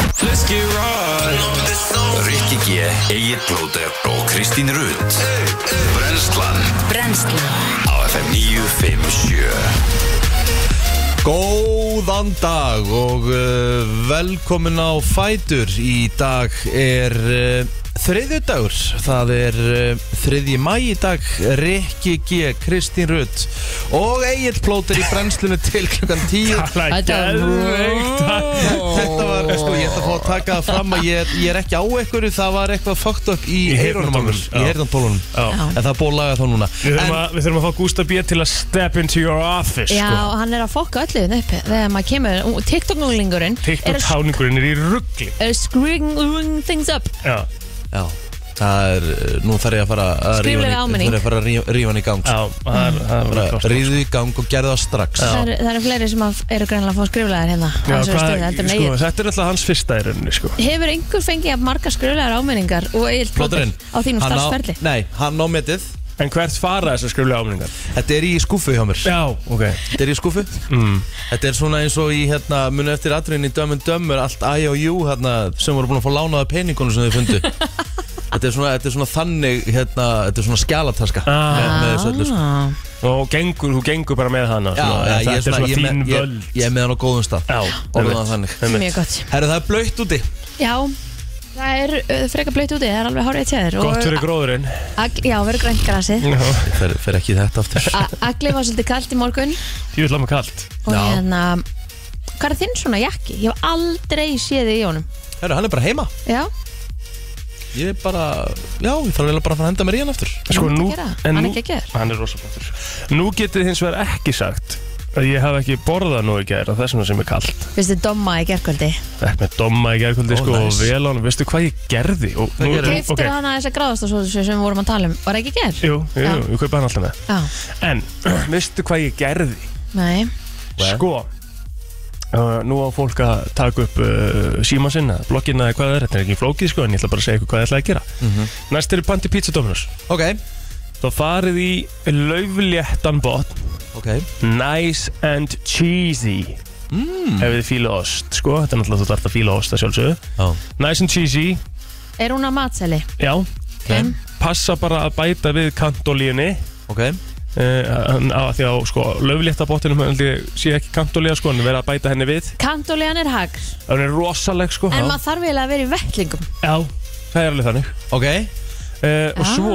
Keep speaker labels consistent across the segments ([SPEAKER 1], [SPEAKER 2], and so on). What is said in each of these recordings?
[SPEAKER 1] Let's get right
[SPEAKER 2] Rikki G, Egil Blóter og Kristín Rutt Brenslan
[SPEAKER 3] Brennslan
[SPEAKER 2] á FM 957
[SPEAKER 4] Góðan dag og uh, velkomin á Fætur Í dag er uh, þriðjudagur Það er uh, þriðji mæ í dag Rikki G, Kristín Rutt og Egil Plóter í brennslunni til klukkan 10
[SPEAKER 3] Þetta er
[SPEAKER 4] Þetta var, sko, ég ætla að fá að taka það fram að ég, ég er ekki á ekkur Það var eitthvað fucked up í
[SPEAKER 5] Í
[SPEAKER 4] eyrunum á mér.
[SPEAKER 5] heyrnartólunum,
[SPEAKER 4] Í heyrnartólunum
[SPEAKER 5] já. Já.
[SPEAKER 4] En það er búið að laga þá núna
[SPEAKER 5] Við þurfum,
[SPEAKER 4] En-
[SPEAKER 5] að, við þurfum að fá Gústa B til að step into your office
[SPEAKER 3] Já,
[SPEAKER 5] sko.
[SPEAKER 3] hann er að fokka öllu hérna uppi Þegar maður kemur, og TikTok-núlingurinn er að
[SPEAKER 5] TikTok-táningurinn er í ruggli
[SPEAKER 3] er screwing screwing things up
[SPEAKER 5] Já,
[SPEAKER 4] Já, það er, uh, nú þarf ég að fara að rífa
[SPEAKER 3] Skrifleg
[SPEAKER 4] hann í-
[SPEAKER 3] áminning.
[SPEAKER 4] þarf ég að fara að rí- rífa hann í gang
[SPEAKER 5] já, það er- það er
[SPEAKER 4] Mm.
[SPEAKER 5] alveg klárt, sko.
[SPEAKER 4] Ríðu í gang og gerðu það strax
[SPEAKER 3] Það eru, það eru fleiri sem að- eru greinlega að fá skriflegar hérna á
[SPEAKER 5] Já,
[SPEAKER 3] þessari
[SPEAKER 5] hvað-
[SPEAKER 3] stöðu, heldur en
[SPEAKER 5] sko,
[SPEAKER 3] Egill.
[SPEAKER 5] Þetta er alltaf hans fyrsta í rauninni sko.
[SPEAKER 3] Hefur einhver fengið að marga skriflegar áminningar og eigil
[SPEAKER 4] Plóturinn
[SPEAKER 3] á þínum
[SPEAKER 4] Hann á-
[SPEAKER 3] starfsferli?
[SPEAKER 4] Nei, hann á metið
[SPEAKER 5] En hvert fara þessar skriflega ámningar?
[SPEAKER 4] Þetta er í skúfu hjá mér
[SPEAKER 5] Já, ok
[SPEAKER 4] Þetta er í skúfu
[SPEAKER 5] mm.
[SPEAKER 4] Þetta er svona eins og í hérna Munu eftir atriðin í Dömmen Dömmur Allt I og U hérna Sem voru búin að fá lánaða peningunum sem þau fundu Þetta er svona, þetta er svona þannig hérna Þetta er svona skjálataska
[SPEAKER 5] Ah.
[SPEAKER 4] með, með þessu öllu sko.
[SPEAKER 3] Ah,
[SPEAKER 5] Og gengur, þú gengur bara með hana
[SPEAKER 4] Já,
[SPEAKER 5] svona,
[SPEAKER 4] já, ég er
[SPEAKER 5] Þetta er
[SPEAKER 4] svona, ég,
[SPEAKER 5] svona
[SPEAKER 4] er
[SPEAKER 5] þín
[SPEAKER 4] með- ég,
[SPEAKER 5] völd
[SPEAKER 4] ég er með hann á góðum stað
[SPEAKER 5] Já,
[SPEAKER 4] Orðum
[SPEAKER 5] einmitt,
[SPEAKER 4] það þannig
[SPEAKER 5] einmitt.
[SPEAKER 3] mjög gott
[SPEAKER 4] Herru, það er blöytt úti
[SPEAKER 3] Já, það er uh, frekar blöyt úti, það er alveg hárið til þér
[SPEAKER 5] Gott fyrir gróðurinn
[SPEAKER 3] Já, verður grænt grasið
[SPEAKER 4] Ég fer, fer ekki í þetta aftur
[SPEAKER 3] A- Agli var svolítið kalt í morgun
[SPEAKER 5] Ég vil láma kallt
[SPEAKER 3] og
[SPEAKER 4] Já.
[SPEAKER 3] hérna Hvað er þinn svona jakki? Ég hef aldrei séð þig í honum
[SPEAKER 4] Herru, hann er bara heima
[SPEAKER 3] Já,
[SPEAKER 4] Ég er bara, já, ég þarf eiginlega bara að fara að henda mér í hann aftur
[SPEAKER 5] sko,
[SPEAKER 3] Hann er
[SPEAKER 5] nú, en
[SPEAKER 3] ekki að gera. Hann er
[SPEAKER 5] nú-
[SPEAKER 3] geggjaður.
[SPEAKER 5] hann er rosa flottur Nú getið hins vegar ekki sagt að ég hef ekki borðað nú í gæra þess vegna sem er kallt
[SPEAKER 3] finnst þið domma í gerkvöldi
[SPEAKER 5] Ekki með domma í gærkvöldi
[SPEAKER 4] Ó,
[SPEAKER 5] sko
[SPEAKER 4] nice.
[SPEAKER 5] og vel á hann, veistu hvað ég gerði? Og, nú,
[SPEAKER 4] gerðirðu?
[SPEAKER 5] nú-
[SPEAKER 3] Keiftir okay. hana þess að gráðast og svo sem við vorum að tala um Var ekki ger?
[SPEAKER 5] Jú, jú,
[SPEAKER 3] Já.
[SPEAKER 5] jú, ég kaupa hann alltaf með
[SPEAKER 3] Já,
[SPEAKER 5] En, veistu hvað ég gerði?
[SPEAKER 3] nei
[SPEAKER 4] Hvað?
[SPEAKER 5] Sko uh, Nú á fólk að taka upp uh, síma sinna, bloggina eða hvað það er Þetta er ekki flókið sko, en ég ætla bara að segja ykkur hvað ég ætla að gera
[SPEAKER 4] Mhm.
[SPEAKER 5] Næst eru pandi pizza dominus
[SPEAKER 4] Ok,
[SPEAKER 5] Þá farið í laufléttan botn
[SPEAKER 4] ok
[SPEAKER 5] Nice and cheesy mm. Ef þið fíla ost sko, Þetta er náttúrulega þú þarf að fíla ost að sjálfsögðu
[SPEAKER 4] Já,
[SPEAKER 5] Nice and cheesy,
[SPEAKER 3] Er hún að matseli?
[SPEAKER 5] já
[SPEAKER 4] ok,
[SPEAKER 5] Passa bara að bæta við kantolíunni
[SPEAKER 4] ok
[SPEAKER 5] Uh, af því að sko, löflétta bóttinum held ég sé ekki kantolíða sko en verða að bæta henni við
[SPEAKER 3] Kantólegan er hagr
[SPEAKER 5] það er rosaleg sko
[SPEAKER 3] En
[SPEAKER 5] já,
[SPEAKER 3] maður þarf eiginlega að vera í vettlingum
[SPEAKER 5] það er alveg þannig
[SPEAKER 4] Ok,
[SPEAKER 5] uh, og
[SPEAKER 3] Ah.
[SPEAKER 5] svo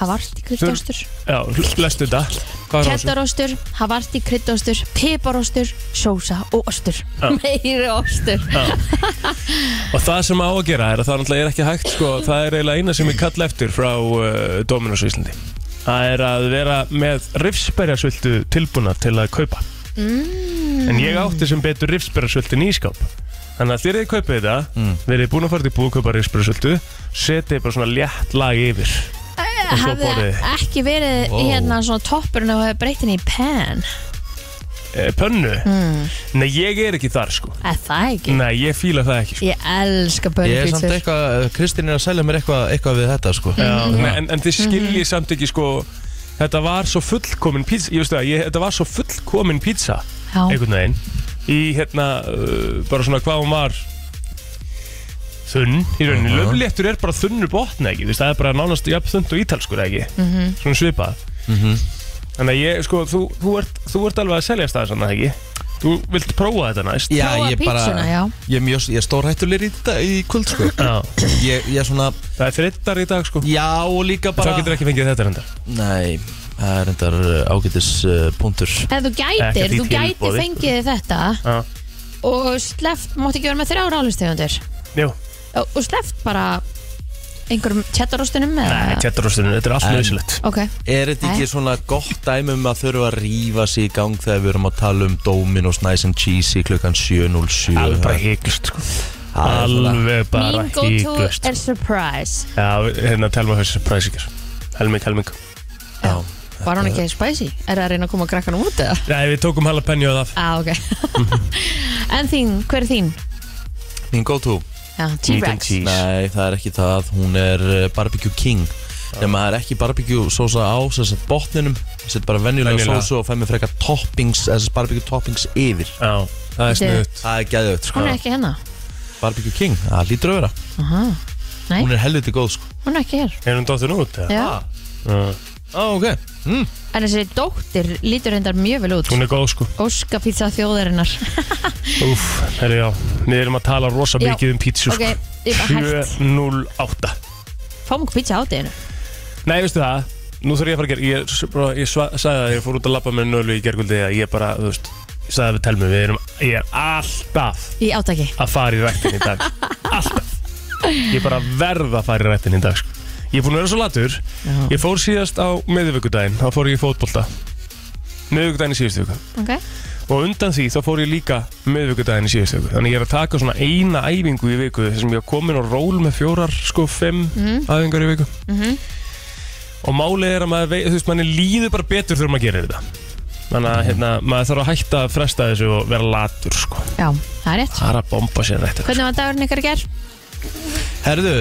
[SPEAKER 3] Havarti kryddóstur
[SPEAKER 5] já, hl- lestu þetta hvað er það
[SPEAKER 3] Kettarostur, havarti kryddóstur Piparostur, sósa og ostur Meiri ostur
[SPEAKER 5] og það sem á að gera er að það náttúrulega er ekki hægt sko það er eiginlega eina sem ég kalla eftir frá uh, Dominos á Íslandi það er að vera með rifsberjarsvöldu tilbúna til að kaupa mm. en ég átti sem betur rifsberjarsvöldin í skáp Þannig að þér þið kaupið þetta, verið búin að fara til búið að kaupa rifsberjarsöldu, setið bara svona létt lag yfir.
[SPEAKER 3] Eh,
[SPEAKER 5] svo
[SPEAKER 3] Hafði
[SPEAKER 5] borðið.
[SPEAKER 3] ekki verið
[SPEAKER 4] Vó.
[SPEAKER 3] hérna svona toppurinn og hefði breytin í pan
[SPEAKER 5] Eh, pönnu? Nei, ég er ekki þar sko.
[SPEAKER 3] Er það ekki?
[SPEAKER 5] Nei, ég fíla það ekki sko.
[SPEAKER 3] Ég elska
[SPEAKER 4] ég er samt
[SPEAKER 3] bönnpítsur
[SPEAKER 4] eitthvað eh, Kristín er að selja mér eitthvað, eitthvað við þetta sko
[SPEAKER 5] Nei, en, en þið skiljið samt ekki sko Þetta var svo fullkomin pizza Ég veistu það, ég, þetta var svo fullkomin pizza
[SPEAKER 3] Já.
[SPEAKER 5] Einhvern veginn Í hérna, uh, bara svona hvað hún var Þunn Í rauninni, uh
[SPEAKER 4] Mhm.
[SPEAKER 5] er bara þunnur botn ekki þú veist, Það er bara nánast jafn þunnt og ítalskur ekki -hmm. Svona svipað
[SPEAKER 4] Mhm.
[SPEAKER 5] Þannig að ég, sko, þú, þú, ert, þú ert alveg að seljast það sann ekki Þú vilt prófa þetta næst
[SPEAKER 4] Já,
[SPEAKER 3] Prófa
[SPEAKER 4] ég bara,
[SPEAKER 3] pítsuna, já.
[SPEAKER 4] ég er mjög, ég er stórhættulegur í þetta í kvöld sko
[SPEAKER 5] Já.
[SPEAKER 4] Ég, ég er svona,
[SPEAKER 5] Það er þrittar í dag sko
[SPEAKER 4] já og líka bara
[SPEAKER 5] Þá getur ekki fengið þetta reyndar
[SPEAKER 4] Nei, það er endar ágætis uh, punktur
[SPEAKER 3] Ef þú
[SPEAKER 5] Ekkert
[SPEAKER 3] gætir,
[SPEAKER 5] í
[SPEAKER 3] þú gætir
[SPEAKER 5] tilboði.
[SPEAKER 3] fengið þér þetta
[SPEAKER 5] Já.
[SPEAKER 3] og sleft, mátt ekki vera með þrjá rálustegundir
[SPEAKER 5] Jú
[SPEAKER 3] og sleft bara einhverjum cheddarostunum
[SPEAKER 5] Nei,
[SPEAKER 3] eða
[SPEAKER 5] tjættarostunum, þetta er allt
[SPEAKER 4] En-
[SPEAKER 5] nöðsilegt
[SPEAKER 3] Ok,
[SPEAKER 4] Er þetta ekki svona gott dæmi um að þurfa að rífa sig í gang þegar við erum að tala um Dominos Nice and Cheesy klukkan 7.07
[SPEAKER 5] Alveg bara hygglust sko
[SPEAKER 4] Það er svona-
[SPEAKER 5] Alveg bara
[SPEAKER 3] mín go-to
[SPEAKER 5] hygglust
[SPEAKER 3] er surprise
[SPEAKER 5] Já, hérna telma þessi surprise ykkur Helming, helming
[SPEAKER 4] Já,
[SPEAKER 3] Var hún ekki spicy? Er það að reyna að koma krakkanum út eða?
[SPEAKER 5] Nei, við tókum jalapeno að af
[SPEAKER 3] Á, ok En þín, hver er þín?
[SPEAKER 4] Mín go to
[SPEAKER 3] Já,
[SPEAKER 5] Meat and
[SPEAKER 3] T-Rex
[SPEAKER 5] cheese.
[SPEAKER 4] Nei, það er ekki það, hún er uh, barbecue king Nefnum það er ekki barbecue sósa á þess að botninum Ég set bara venjulega
[SPEAKER 5] Venjulega.
[SPEAKER 4] sósu og fæ mér frekar toppings, þess barbecue toppings yfir
[SPEAKER 5] Já, það er
[SPEAKER 3] Þetta er-
[SPEAKER 5] snuðt Ah.
[SPEAKER 4] Það er geðvögt, sko
[SPEAKER 3] Hún er ekki hérna
[SPEAKER 4] Barbecue King, það lítur að vera
[SPEAKER 3] Aha. Nei.
[SPEAKER 4] Hún er helviti góð sko
[SPEAKER 3] Hún er ekki hér
[SPEAKER 5] Er hún dóttir út? eða?
[SPEAKER 3] Já.
[SPEAKER 5] Já.
[SPEAKER 4] Á, ok mm.
[SPEAKER 3] En þessi dóttir lítur reyndar mjög vel út
[SPEAKER 5] Hún er góð sko
[SPEAKER 3] Óskapizza þjóðarinnar
[SPEAKER 5] Úf, herri já Við erum að tala rosa
[SPEAKER 3] Já.
[SPEAKER 5] mikið um pítsu
[SPEAKER 3] Ok, ég bara hægt
[SPEAKER 5] 708
[SPEAKER 3] Fáum okkur pizza á deginu
[SPEAKER 5] Nei, veistu það, nú þarf ég að fara að gera Ég, s- bara, ég sva, sagði það, ég fór út að labba með nölu í gerguldi að ég bara, þú veist Ég sagði það við telmi, við erum, ég er alltaf
[SPEAKER 3] Í átaki
[SPEAKER 5] að fara í rættin í dag Alltaf Ég bara verð að fara í rættin í dag sko. Ég er búin að vera svo latur Ég fór síðast á miðvikudaginn, þá fór ég í fótbolta Miðvikudaginn í síðustu viku
[SPEAKER 3] Ok
[SPEAKER 5] Og undan því þá fór ég líka miðvikudaginn í síðustu viku Þannig ég er að taka svona eina æfingu í viku Þessum ég er komin og ról með fjórar, sko, fimm æfingar í viku
[SPEAKER 3] Mhm.
[SPEAKER 5] Og málið er að maður, vei, þú veist, manni líður bara betur þegar maður gerir þetta Þannig að hérna, maður þarf að hætta að fresta þessu og vera latur, sko
[SPEAKER 3] Já, það er rétt
[SPEAKER 5] Það er að bomba sér þetta
[SPEAKER 3] Hvernig var dagurinn ykkar í gær?
[SPEAKER 4] Herðu,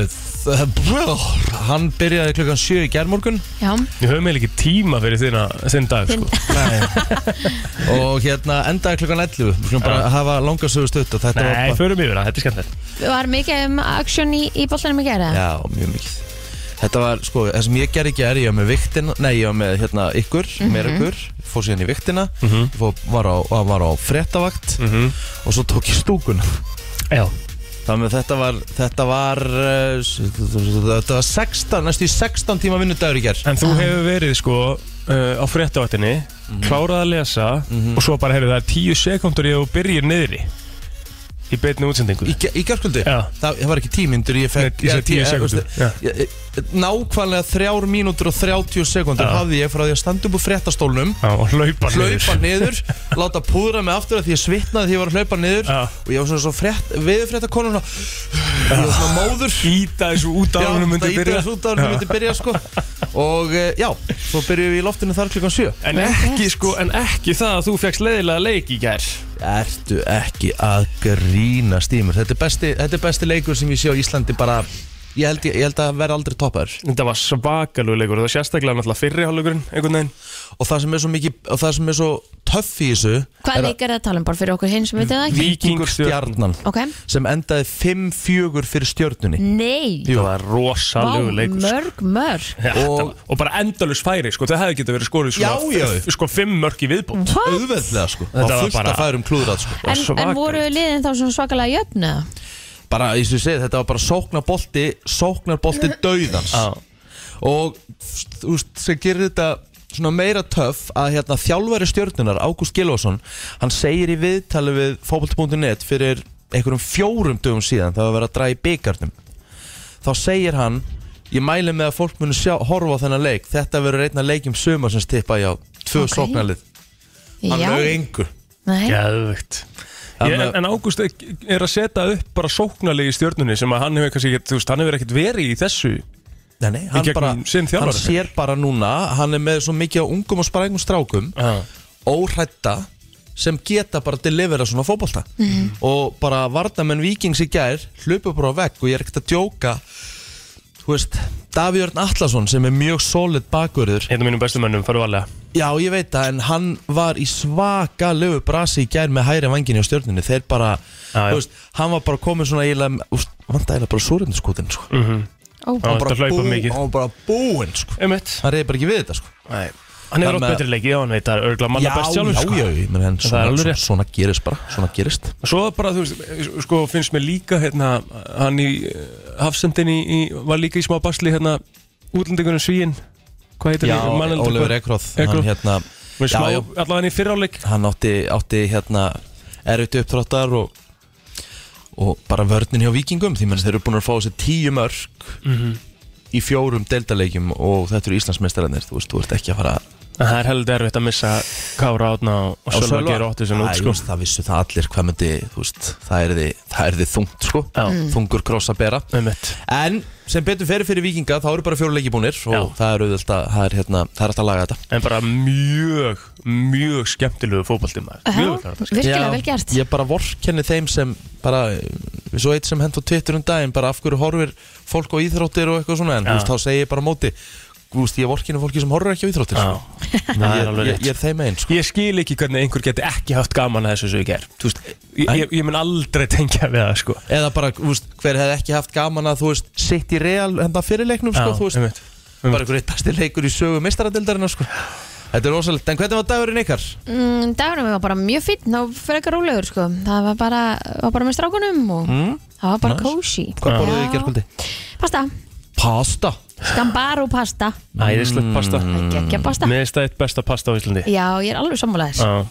[SPEAKER 4] það- brr, hann byrjaði klukkan 7 í gerðmorgun
[SPEAKER 3] Já,
[SPEAKER 5] Við höfum eiginlega ekki tíma fyrir þina, þinn dag
[SPEAKER 3] Þinn-
[SPEAKER 5] sko.
[SPEAKER 4] Og hérna endaði klukkan 11 Við skulum bara hafa langarsögu stutt og þetta
[SPEAKER 5] Nei,
[SPEAKER 4] var bara,
[SPEAKER 5] förum yfir það, þetta er skemmtilegt
[SPEAKER 3] var mikið um aksjón í, í bollanum í gær? eða?
[SPEAKER 4] Já, mjög mikið Þetta var, sko, það sem ég gerði í gerði, ég var með viktina, nei, ég var með, hérna, ykkur,
[SPEAKER 5] Mhm.
[SPEAKER 4] mm meir ykkur, fór síðan í viktina, mm fór, var á, var á frettavakt
[SPEAKER 5] Mhm.
[SPEAKER 4] og svo tók ég stúkuna.
[SPEAKER 5] Já,
[SPEAKER 4] Þannig að þetta var þetta var eh, s- þetta var 16, næstu í 16 tíma vinnudagur í gerð
[SPEAKER 5] en þú hefur verið sko uh, á fréttavættinni klárað að lesa og svo bara heyrðu það er tíu sekundur ég og byrjir niðri í beinni útsendingu
[SPEAKER 4] Í, ge- í gerðskvöldu?
[SPEAKER 5] Já.
[SPEAKER 4] Það það var ekki tímyndur, ég fekk
[SPEAKER 5] Nei, ég sagði
[SPEAKER 4] tí-
[SPEAKER 5] 10
[SPEAKER 4] eh,
[SPEAKER 5] sekúndur,
[SPEAKER 4] veistu,
[SPEAKER 5] já.
[SPEAKER 4] ég- ég- Nákvæmlega 3 mínútur og 30 sekundur
[SPEAKER 5] Já.
[SPEAKER 4] hafði ég frá því að standa upp úr fréttastólnum
[SPEAKER 5] Já, og hlaupa niður
[SPEAKER 4] hlaupa niður, láta púðra mig aftur af því ég svitnaði því ég var að hlaupa niður
[SPEAKER 5] Já.
[SPEAKER 4] og ég var svona svo frétt, veðurfrétta konur svona, ég var svona móður
[SPEAKER 5] Íta þessu út af húnum
[SPEAKER 4] það
[SPEAKER 5] myndi
[SPEAKER 4] ítir
[SPEAKER 5] byrja
[SPEAKER 4] þessu út að hún myndi byrja sko og eh, já, svo byrjuðum við í loftinu þar klukkan 7
[SPEAKER 5] En ekki sko, en ekki það að þú fegst leiðilega leik í gær
[SPEAKER 4] Ertu ekki að grína stímur þetta er, besti, þetta er besti leikur sem ég sé á Íslandi bara Ég held, ég, held að vera aldrei toppaður
[SPEAKER 5] Þetta var svakalug leikur, það var sérstaklega náttúrulega fyrrihálugurinn einhvern veginn
[SPEAKER 4] Og það sem er svo mikið Og það sem er svo töff í þessu
[SPEAKER 3] Hvað
[SPEAKER 4] er
[SPEAKER 3] leik er það að tala um bara fyrir okkur hinn sem veitum það ekki?
[SPEAKER 4] Víkingur stjarnan
[SPEAKER 3] Ok
[SPEAKER 4] Sem endaði 5-4 fyrir stjörnunni
[SPEAKER 3] Nei
[SPEAKER 5] Það var
[SPEAKER 3] Vá,
[SPEAKER 5] rosalegu leikur sko.
[SPEAKER 3] mörg, mörg
[SPEAKER 5] Já,
[SPEAKER 4] Og-
[SPEAKER 5] og, og bara endalus færi sko, það hefði getið verið skorið svona,
[SPEAKER 4] Já, já.
[SPEAKER 5] f- sko fimm mörk í viðbót
[SPEAKER 3] Hvað?
[SPEAKER 4] Auðveldlega sko
[SPEAKER 5] Þetta
[SPEAKER 4] Það
[SPEAKER 5] var
[SPEAKER 4] var fullt
[SPEAKER 5] bara-
[SPEAKER 4] að færum klúðrat sko
[SPEAKER 3] En, en
[SPEAKER 5] svakalegt.
[SPEAKER 3] voru liðin þá svona svakalega jöfna?
[SPEAKER 4] Bara, eins og ég segi, þetta var bara sóknarbolti Sóknarbolti dauðans
[SPEAKER 5] Já.
[SPEAKER 4] Og þú veist, sem gerir þetta svona meira töff að hérna þjálfari stjörnunar, Ágúst Gilvason hann segir í viðtali við fókbalti.net fyrir einhverjum fjórum dögum síðan það var að vera að draga í byggarnum þá segir hann ég mæli með að fólk muni sjá, horfa á þennan leik þetta verður einna leikjum sumar sem stippa ég á tvö
[SPEAKER 3] Ok.
[SPEAKER 4] okay. sóknarlið, hann
[SPEAKER 3] Já
[SPEAKER 4] lögur engu
[SPEAKER 3] Nei
[SPEAKER 5] Gæðvögt
[SPEAKER 4] Þannig
[SPEAKER 5] En,
[SPEAKER 4] að-
[SPEAKER 5] en Ágúst er er að setja upp bara sóknarlegi stjórnunni sem að hann hefur kannski ekkert, þú veist, hann hefur ekkert verið í þessu
[SPEAKER 4] Nei, nei, hann,
[SPEAKER 5] gegnum
[SPEAKER 4] bara,
[SPEAKER 5] sinn þjálfara.
[SPEAKER 4] hann sér bara núna hann er með svo mikið á ungum og sprængum strákum óhrætta sem geta bara delivera svona fótbolta og bara varnamenn vikings í gær hlupu bara á vegg og ég er ekkert að djóka þú veist Davíörn Atlason sem er mjög solid bakurður
[SPEAKER 5] Hérna mínum bestu mönnum, faru varlega
[SPEAKER 4] já ég veit það en hann var í svaka lögu brasi í gær með hæri vanginni á stjörninni þeir bara,
[SPEAKER 5] Já, já.
[SPEAKER 4] þú veist hann var bara komin svona eiginlega vandægilega bara súrindskotin sko. mm.
[SPEAKER 3] Ó,
[SPEAKER 5] Já, þetta hlaupa mikið.
[SPEAKER 4] hann var bara búinn sko.
[SPEAKER 5] Einmitt
[SPEAKER 4] hann reyði bara ekki við þetta sko.
[SPEAKER 5] Nei. Hann hefur átt
[SPEAKER 4] Þannig að-
[SPEAKER 5] betri leiki, já, hann veit það er örgulega manna best sjálfur
[SPEAKER 4] já,
[SPEAKER 5] sko.
[SPEAKER 4] já, já, menn,
[SPEAKER 5] Það er
[SPEAKER 4] svona,
[SPEAKER 5] alveg
[SPEAKER 4] svona,
[SPEAKER 5] rétt.
[SPEAKER 4] svona gerist bara svona gerist
[SPEAKER 5] Svo bara, þú veist, sko finnst mér líka hérna, hann í eh, Hafsendin í, í, var líka í smá basli hérna, útlendingunum Svíin hvað heitir
[SPEAKER 4] Já,
[SPEAKER 5] hann? Man heldur
[SPEAKER 4] Ólefur
[SPEAKER 5] hvað-
[SPEAKER 4] Ekroð
[SPEAKER 5] Ekroð.
[SPEAKER 4] hann, hérna,
[SPEAKER 5] Með
[SPEAKER 4] já,
[SPEAKER 5] smá,
[SPEAKER 4] já,
[SPEAKER 5] allavega í fyrráleik
[SPEAKER 4] hann átti, átti hérna, erfitt upptráttar og, og bara vörnin hjá vikingum því menn þeir eru búin að fá sér tíu mörg
[SPEAKER 5] Mhm.
[SPEAKER 4] í fjórum deildaleikjum og þetta eru Íslandsmeistararnir þú veist, þú ert ekki að fara
[SPEAKER 5] En Það er heldur erfitt að missa Kára átna og
[SPEAKER 4] á
[SPEAKER 5] Sölva
[SPEAKER 4] Sölva.
[SPEAKER 5] gera óttu sem
[SPEAKER 4] Æ,
[SPEAKER 5] út
[SPEAKER 4] þú
[SPEAKER 5] sko
[SPEAKER 4] veist, það vissu það allir hvað myndi þú veist, það er þið þungt sko
[SPEAKER 5] Já.
[SPEAKER 4] þungur kross að bera
[SPEAKER 5] Einmitt.
[SPEAKER 4] en sem betur fyrir fyrir vikinga þá eru bara fjóruleiki búnir og
[SPEAKER 5] Já.
[SPEAKER 4] það er auðvitað það er, hérna, það er alltaf að laga þetta
[SPEAKER 5] En bara mjög, mjög skemmtilegu fótbolti maður
[SPEAKER 3] Já,
[SPEAKER 5] Mjög klart sko.
[SPEAKER 4] Já,
[SPEAKER 3] virkilega vel gert
[SPEAKER 4] Ég bara vorkenni þeim sem bara, eh, svo eitt sem hendur á Twitter um daginn bara af hverju horfir fólk á íþróttir og eitthvað svona en
[SPEAKER 5] Já.
[SPEAKER 4] þú veist, þá segi ég bara á móti úst, ég vorkinu fólki sem horfir ekki á íþróttir
[SPEAKER 5] Já,
[SPEAKER 4] sko.
[SPEAKER 5] það er
[SPEAKER 4] ég,
[SPEAKER 5] alveg
[SPEAKER 4] ég,
[SPEAKER 5] rétt
[SPEAKER 4] ég er þeim einn sko.
[SPEAKER 5] Ég skil ekki hvernig einhver geti ekki haft gaman að þessu sem ég ger Þú veist, ég, ég, ég mun aldrei tengja við það sko
[SPEAKER 4] eða bara, þú veist, hver hefði ekki haft gaman að þú veist, sitt í real henda fyrirleiknum sko, þú veist,
[SPEAKER 5] einmitt.
[SPEAKER 4] bara einhver eitt besti leikur í sögu mistaradildarinnar sko. þetta er rosalegt, en hvernig var dagurinn ykkar?
[SPEAKER 3] Mm, dagurinn var bara mjög fýtt, þá fyrir ekki rólegur sko. Það var bara, var bara með strákunum og það var bara
[SPEAKER 4] Mm. nice.
[SPEAKER 3] kósi
[SPEAKER 4] Hvað borðuðu í gerkvöldi?
[SPEAKER 3] Pasta,
[SPEAKER 4] Pasta
[SPEAKER 3] skambaro pasta
[SPEAKER 5] Æðislegt pasta
[SPEAKER 4] Mm.
[SPEAKER 3] Gekja pasta
[SPEAKER 5] Mér finnst það eitt besta pasta á Íslandi
[SPEAKER 3] Já, ég er alveg sammálaðis
[SPEAKER 5] Já.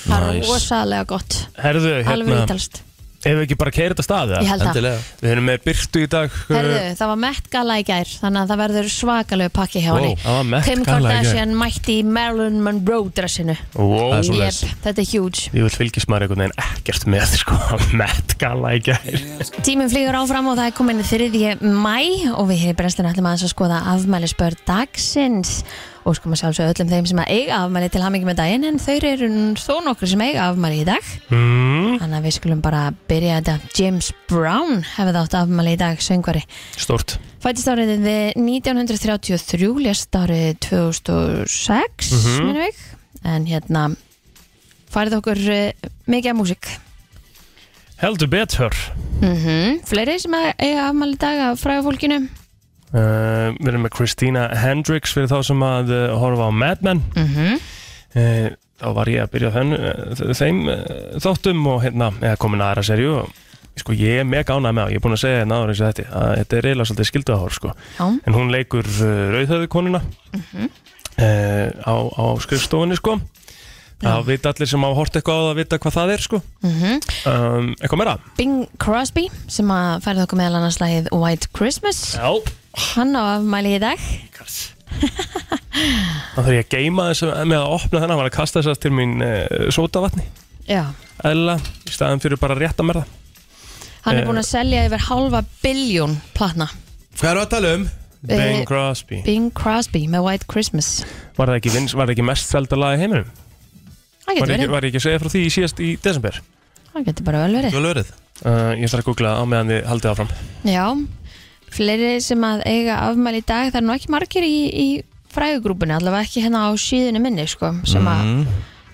[SPEAKER 3] Það er
[SPEAKER 4] Ah, nice.
[SPEAKER 3] rosalega gott,
[SPEAKER 5] Herðu,
[SPEAKER 3] alveg
[SPEAKER 5] hérna,
[SPEAKER 3] ítalst
[SPEAKER 5] ef við ekki bara keira þetta staði
[SPEAKER 3] Ég held það
[SPEAKER 4] Endilega
[SPEAKER 5] Við erum með byrtu í dag
[SPEAKER 3] Herðu, það var Met Gala í gær þannig að það verður svakalegu pakki hjá
[SPEAKER 4] Wow,
[SPEAKER 3] henni
[SPEAKER 5] það var Met
[SPEAKER 3] Kim
[SPEAKER 5] Gala í gær.
[SPEAKER 3] Kardashian mætti í Marilyn Monroe dressinu
[SPEAKER 5] Wow,
[SPEAKER 4] Það er svo-
[SPEAKER 3] Jep,
[SPEAKER 4] Svoleiðis.
[SPEAKER 3] þetta er huge
[SPEAKER 5] Ég vil fylgjast maður einhvern veginn ekkert með sko, Met Gala í gær
[SPEAKER 3] Tíminn flýgur áfram og það er komin 3. mæ og við hér í brennslinu ætlum aðeins að skoða afmælisbörn dagsins og skoðum að sjálfsög öllum þeim sem að eiga afmæli til hamingi með daginn en þeir eru nú þó nokkur sem eiga afmæli í dag
[SPEAKER 5] mm,
[SPEAKER 3] Þannig að við skulum bara byrja þetta James Brown hefði átt afmæli í dag söngvari
[SPEAKER 5] Stort
[SPEAKER 3] Fættist árið við 1933, lést árið 2006, mm
[SPEAKER 5] Mhm.
[SPEAKER 3] minnum ég. En hérna, farið okkur uh, mikið af músík.
[SPEAKER 5] Heldur betur
[SPEAKER 3] Mm
[SPEAKER 5] Mhm.
[SPEAKER 3] Fleiri sem að eiga afmæli í dag af fræða fólkinu.
[SPEAKER 5] Uh, við erum með Christina Hendricks fyrir þá sem að uh, horfa á Mad Men
[SPEAKER 3] Mm
[SPEAKER 5] uh, þá var ég að byrja á þenn, uh, þeim uh, þáttum og hérna eða komin aðra serju og sko, ég er mega ánægð með á, ég er búin að segja náður eins og þetta að þetta er reyla svolítið skilduðahór sko.
[SPEAKER 3] Já,
[SPEAKER 5] en hún leikur uh, rauðhöðu konuna
[SPEAKER 3] Mhm.
[SPEAKER 5] uh, á, á skrifstofunni sko. það vita allir sem á hort eitthvað á það að vita hvað það er sko.
[SPEAKER 3] mm
[SPEAKER 5] um, eitthvað meira
[SPEAKER 3] Bing Crosby sem að færið okkur meðal annars lagið White Christmas.
[SPEAKER 5] Já.
[SPEAKER 3] Hann á afmæli í dag.
[SPEAKER 5] þá þarf ég að geima þess með að opna þennan, hann var að kasta þess til mín uh, sótavatni
[SPEAKER 3] Já,
[SPEAKER 5] eðla í staðan fyrir bara að rétta mér það
[SPEAKER 3] hann er
[SPEAKER 5] Eh.
[SPEAKER 3] búinn að selja yfir halva biljón platna.
[SPEAKER 4] Hvað eru að tala um?
[SPEAKER 3] Eh,
[SPEAKER 5] Bing Crosby
[SPEAKER 3] Bing Crosby með White Christmas.
[SPEAKER 5] Var það ekki, vins, var það ekki mest selda lag í heiminum?
[SPEAKER 3] Það
[SPEAKER 5] Var
[SPEAKER 3] getur
[SPEAKER 5] ég, ekki,
[SPEAKER 3] verið,
[SPEAKER 5] var ég ekki að segja frá því síðast í desember?
[SPEAKER 3] það getur bara vel verið.
[SPEAKER 4] Hvað lörið?
[SPEAKER 5] Uh, ég þarf að googla á meðan þið haldið áfram
[SPEAKER 3] Já, fleiri sem að eiga afmæli í dag, það er nú ekki margir í, í fræðugrúpunni, allavega ekki hérna á síðunni minni, sko, sem
[SPEAKER 5] Mhm.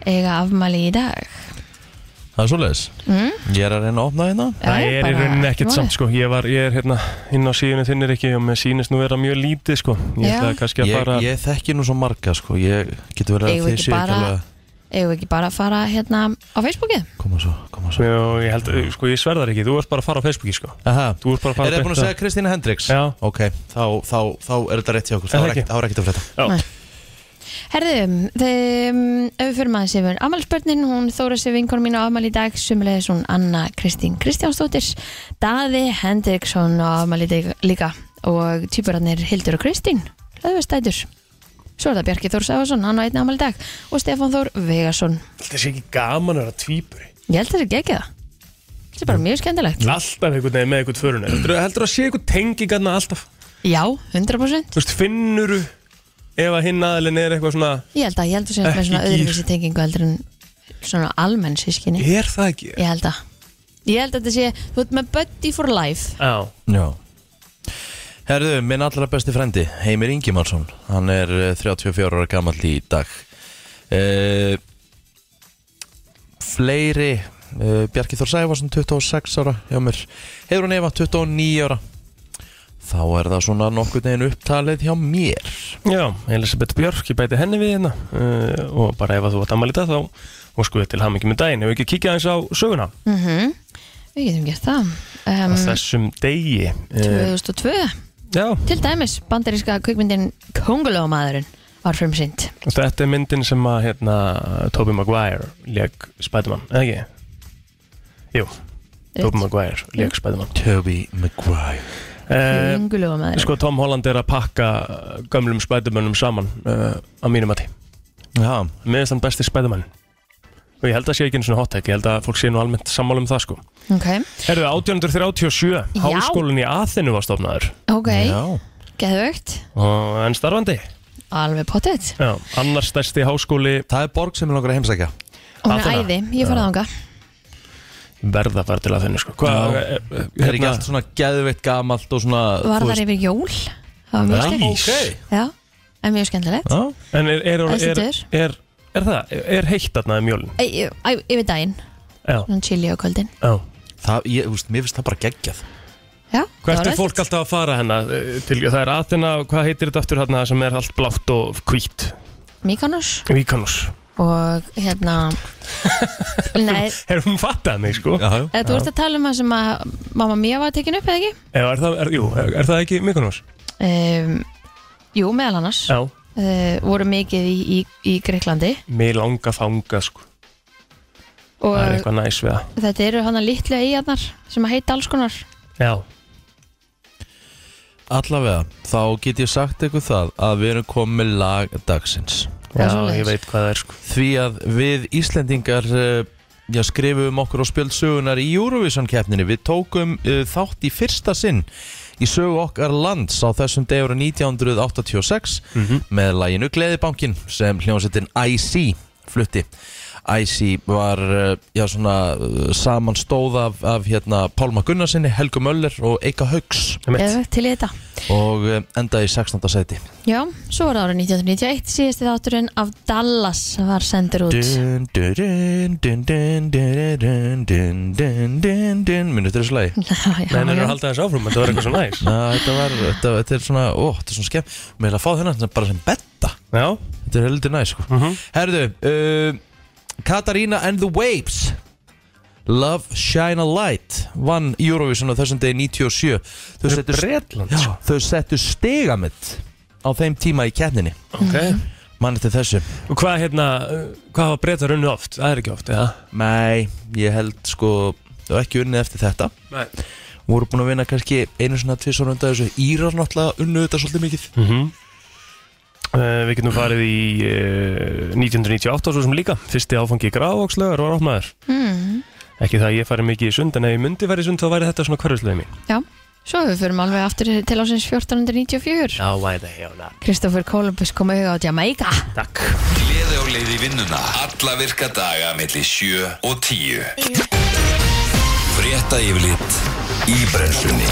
[SPEAKER 3] að eiga afmæli í dag.
[SPEAKER 4] Mm. Það er svoleiðis
[SPEAKER 3] Mm.
[SPEAKER 4] Ég er að reyna að opna hérna
[SPEAKER 5] Það er í
[SPEAKER 3] bara
[SPEAKER 5] rauninni ekkert
[SPEAKER 3] málið.
[SPEAKER 5] samt sko Ég, var, ég er hérna inn á síðunni þinnir ekki og mér sýnist nú vera mjög lítið sko Ég
[SPEAKER 3] Já.
[SPEAKER 5] ætla kannski að
[SPEAKER 4] ég,
[SPEAKER 5] fara
[SPEAKER 4] ég þekki nú svo marga sko Ég getur verið
[SPEAKER 3] Eigum
[SPEAKER 4] að þið
[SPEAKER 3] við ekki
[SPEAKER 4] séu ekki
[SPEAKER 3] bara-
[SPEAKER 4] alveg að
[SPEAKER 3] Eigum við ekki bara að fara hérna á Facebookið?
[SPEAKER 4] Koma svo, koma svo
[SPEAKER 5] Svo ég held, sko ég sverðar ekki, þú ert bara að fara á Facebooki sko
[SPEAKER 4] Aha.
[SPEAKER 5] Þú ert bara að fara
[SPEAKER 4] Er það búin að
[SPEAKER 5] beint
[SPEAKER 4] segja Kristína Hendricks?
[SPEAKER 5] Já.
[SPEAKER 4] Ok, þá, þá, þá er þetta rétt hjá okkur Þá
[SPEAKER 5] Er
[SPEAKER 4] er
[SPEAKER 5] það
[SPEAKER 4] ekkert-
[SPEAKER 5] ekki?
[SPEAKER 4] þá er ekkert að frétta
[SPEAKER 5] Já.
[SPEAKER 3] Herðu, þeim, ef við fyrir maður sem er afmælspörnin, hún Þóra sér vinkonu mín á afmæli í dag, sumulegis hún Anna Kristín Kristjánsdóttir, Daði Hendriksson á afmæli í dag líka og týpurarnir Hildur og Kristín, hlöðvistætur. Svo er það Bjarki Þór Sæfarsson, hann á einn afmæli í dag og Stefán Þór Vegarsson.
[SPEAKER 5] Þetta sé ekki gaman að vera tvíburi
[SPEAKER 3] Ég held þessi ekki það. Þetta er bara mjög skemmtilegt.
[SPEAKER 5] Alltaf einhvern veginn með einhvern förun Heldur að sé einhvern tengingarna alltaf
[SPEAKER 3] Já, 100%.
[SPEAKER 5] Þú veist, finnuru ef að hinn aðilin er eitthvað svona
[SPEAKER 3] Ég held að, ég held að sé með
[SPEAKER 5] Ekki
[SPEAKER 3] svona
[SPEAKER 5] gír.
[SPEAKER 3] öðruvísi tengingu heldur en svona almenn sískinni.
[SPEAKER 5] Er það ekki?
[SPEAKER 3] Ég held að Ég held að þetta sé, þú ert með Buddy for Life
[SPEAKER 5] Já,
[SPEAKER 4] Já Herðu, minn allra besti frendi, Heimir Ingimarsson Hann er eh, 34 ára gamall í dag uh, Fleiri uh, Bjarki Þór Sæfarsson 26 ára hjá mér Heiður hann 29 ára Þá er það svona nokkuð neginn upptalið hjá mér
[SPEAKER 5] Já, Elisabeth Björk, ég bæti henni við hérna uh, og bara ef að þú ert ammælið það þá og skoðið til hamingi með daginn, ef við ekki kíkja aðeins á söguna
[SPEAKER 3] mm Við getum gert það
[SPEAKER 5] á
[SPEAKER 3] um,
[SPEAKER 5] þessum degi uh,
[SPEAKER 3] 2002
[SPEAKER 5] Já,
[SPEAKER 3] Til dæmis, bandaríska kvikmyndin Kongulómaðurinn var frumsýnd
[SPEAKER 5] þetta er myndin sem að hérna, Tobey Maguire leik Spiderman, eða ekki? Jú, Tobey Maguire leik Spiderman
[SPEAKER 4] Toby Maguire
[SPEAKER 5] uh,
[SPEAKER 3] Kongulómaðurinn
[SPEAKER 5] Sko, Tom Holland er að pakka gömlum Spidermanum saman uh, á mínum mati
[SPEAKER 4] Já,
[SPEAKER 5] Mér finnst hann besti Spiderman og ég held að sé ekki einu svona hot take, ég held að fólk sé nú almennt sammála um það sko
[SPEAKER 3] Ok,
[SPEAKER 5] Herðu, 1837,
[SPEAKER 3] Já.
[SPEAKER 5] háskólinn í Aþenu var stofnaður
[SPEAKER 3] ok,
[SPEAKER 4] já
[SPEAKER 3] geðvögt
[SPEAKER 5] og enn starfandi
[SPEAKER 3] Alveg pottet
[SPEAKER 5] Já, annars stærsti háskóli
[SPEAKER 4] Það er borg sem er langar að heimsækja
[SPEAKER 3] Hún er
[SPEAKER 5] Aþena.
[SPEAKER 3] æði, ég fara þanga
[SPEAKER 5] verða að fara til Aþenu sko. Hvað,
[SPEAKER 4] Já.
[SPEAKER 5] eh, eh,
[SPEAKER 4] Það er ekki allt svona geðveitt gamalt og svona
[SPEAKER 3] Var
[SPEAKER 4] þú
[SPEAKER 3] þar
[SPEAKER 4] veist-
[SPEAKER 3] yfir jól Það var mjög
[SPEAKER 4] Já,
[SPEAKER 3] skemmt
[SPEAKER 4] ok.
[SPEAKER 3] Já, Það er mjög skemmtilegt
[SPEAKER 4] Já,
[SPEAKER 5] En er, er,
[SPEAKER 3] Það
[SPEAKER 5] er,
[SPEAKER 3] stendur.
[SPEAKER 5] er, er það, er heitt þarna um jólin?
[SPEAKER 3] Æ, æ, æ, Yfir daginn,
[SPEAKER 5] Já,
[SPEAKER 3] svona chili á kvöldin
[SPEAKER 5] já
[SPEAKER 4] það, ég, úst, mér finnst það bara geggjað
[SPEAKER 3] Já,
[SPEAKER 5] Hvert
[SPEAKER 3] það
[SPEAKER 5] er
[SPEAKER 3] var
[SPEAKER 5] fólk alltaf að fara hennar? Til, það er Athena, hvað heitir þetta aftur hérna sem er allt blátt og hvít?
[SPEAKER 3] Mykonos
[SPEAKER 5] Víkanus
[SPEAKER 3] og hérna Nei,
[SPEAKER 5] Er hún fattað mig sko? Já,
[SPEAKER 4] já.
[SPEAKER 3] eða þú ert að tala um það sem að mamma mía var tekin upp eða ekki?
[SPEAKER 5] er það, er, jú, er, er það ekki Mykonos?
[SPEAKER 3] Um, jú, meðal annars
[SPEAKER 5] Já
[SPEAKER 3] uh, voru mikið í, í, í Greiklandi
[SPEAKER 5] Mér langa þanga sko
[SPEAKER 3] og
[SPEAKER 5] Það er eitthvað næs við það
[SPEAKER 3] þetta eru hana litlu eigarnar sem að heita alls konar
[SPEAKER 5] Já
[SPEAKER 4] Allavega, þá get ég sagt eitthvað það að við erum komið með lag dagsins
[SPEAKER 3] Það er svoleiðis.
[SPEAKER 5] Já, ég veit hvað það er sko
[SPEAKER 4] Því að við Íslendingar eh, já, skrifum okkur á spjöldsögunar í Eurovision keppninni Við tókum uh, þátt í fyrsta sinn í sögu okkar lands á þessum degur 1986
[SPEAKER 5] Mhm.
[SPEAKER 4] með laginu Gleðibankin sem hljómsettin IC flutti IC var eh, já, svona, eh, samanstóð af, af hérna, Pálma Gunnarsinni, Helgu Möller og Eika Haugs
[SPEAKER 5] Einmitt.
[SPEAKER 3] eða til í þetta
[SPEAKER 4] og eh, endaði í 16. seti
[SPEAKER 3] Já, svo var það árið 1991 síðasti þátturinn af Dallas var sendur út
[SPEAKER 4] dun, dun, dun, dun, dun, dun, dun, dun, dun, dun Minu þetta er slagi
[SPEAKER 3] Já,
[SPEAKER 5] Nei, en er
[SPEAKER 3] já.
[SPEAKER 5] að halda þess áfram, þetta var eitthvað svo næs
[SPEAKER 4] Ná, þetta, var, þetta, þetta er svona, ó, þetta er svona skemmt Mér er að fá þennan sem- bara sem betta
[SPEAKER 5] Já,
[SPEAKER 4] Þetta er heldur næ, sko Herðu, uh, Katarina and the Waves Love Shine a Light vann Eurovision á þessum degi 97 Þau
[SPEAKER 5] þetta
[SPEAKER 4] settu,
[SPEAKER 5] er Bretland
[SPEAKER 4] já,
[SPEAKER 5] sko
[SPEAKER 4] þau settu stegamitt á þeim tíma í keppninni
[SPEAKER 5] okay.
[SPEAKER 4] Mann eftir þessu
[SPEAKER 5] Og hvað hérna, hvað hafa breytar unni oft? Það er ekki oft, eða?
[SPEAKER 4] Nei, ég held sko Þau ekki unnið eftir þetta
[SPEAKER 5] Nei
[SPEAKER 4] voru búin að vinna kannski einu svona tvið svona undan þessu Írar náttúrulega unnu þetta svolítið mikið
[SPEAKER 5] mm Eh, Við getum farið í uh, 1998 og svo sem líka Fyrsti áfangi í Grafókslaugar var opnaður
[SPEAKER 3] Mm,
[SPEAKER 5] Ekki það að ég farið mikið í sund En ef ég myndi farið í sund þá væri þetta svona hverfislega mín
[SPEAKER 3] já. Svo við förum alveg aftur til ásins 1494
[SPEAKER 5] Já, why the hell not
[SPEAKER 3] Kristoffer Columbus kom auðvitað á Jamaica
[SPEAKER 5] Takk
[SPEAKER 2] Gleði á leið í vinnuna Alla virka daga melli 7 og 10 Frétta yfirlit í brennslunni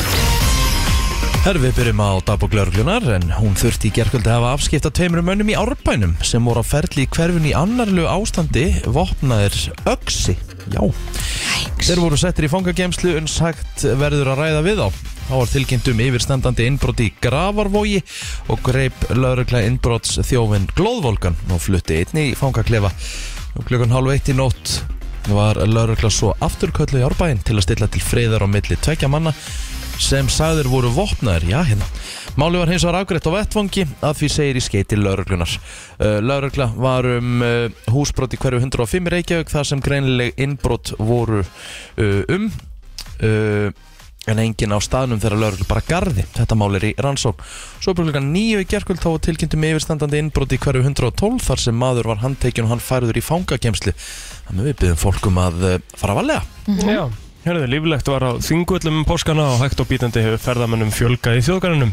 [SPEAKER 4] Herru, við byrjum á dagbók lauruglunar en hún þurfti í gerkvöldi að hafa afskipta tveimur mönnum í árbænum sem voru á ferli í hverfun í annarlu ástandi vopnaðir öksi Já Þeir voru settir í fangagemslu en sagt verður að ræða við á Þá var tilkynnt um yfirstandandi innbrot í Gravarvogi og greip laurugla innbrots þjófinn Glóðvolgan og flutti einni í fangaklefa og klukkan hálf eitt í nótt var laurugla svo afturköllu í árbæin til að stilla til friðar á milli tvekja manna sem sagður voru vopnaðir, já hérna Máli var hins vegar afgreitt á vettvangi að því segir í skeiti lauruglunar uh, Laurugla var um uh, húsbrot í hverju 105 í Reykjavík þar sem greinileg innbrot voru uh, um uh, en engin á staðnum þegar lauruglu bara gardi þetta mál er í rannsók svo er bara klukkan nýju í gerkvöld þá var tilkynntum yfirstandandi innbrot í hverju 112 þar sem maður var handtekinn og hann færður í fangakemslu þannig við byrjum fólkum að uh, fara valega
[SPEAKER 5] Já Hérðu, líflegt var á þingvöllum um páskana og hægt og bítandi hefur ferðamönnum fjölgað í þjóðgarunum.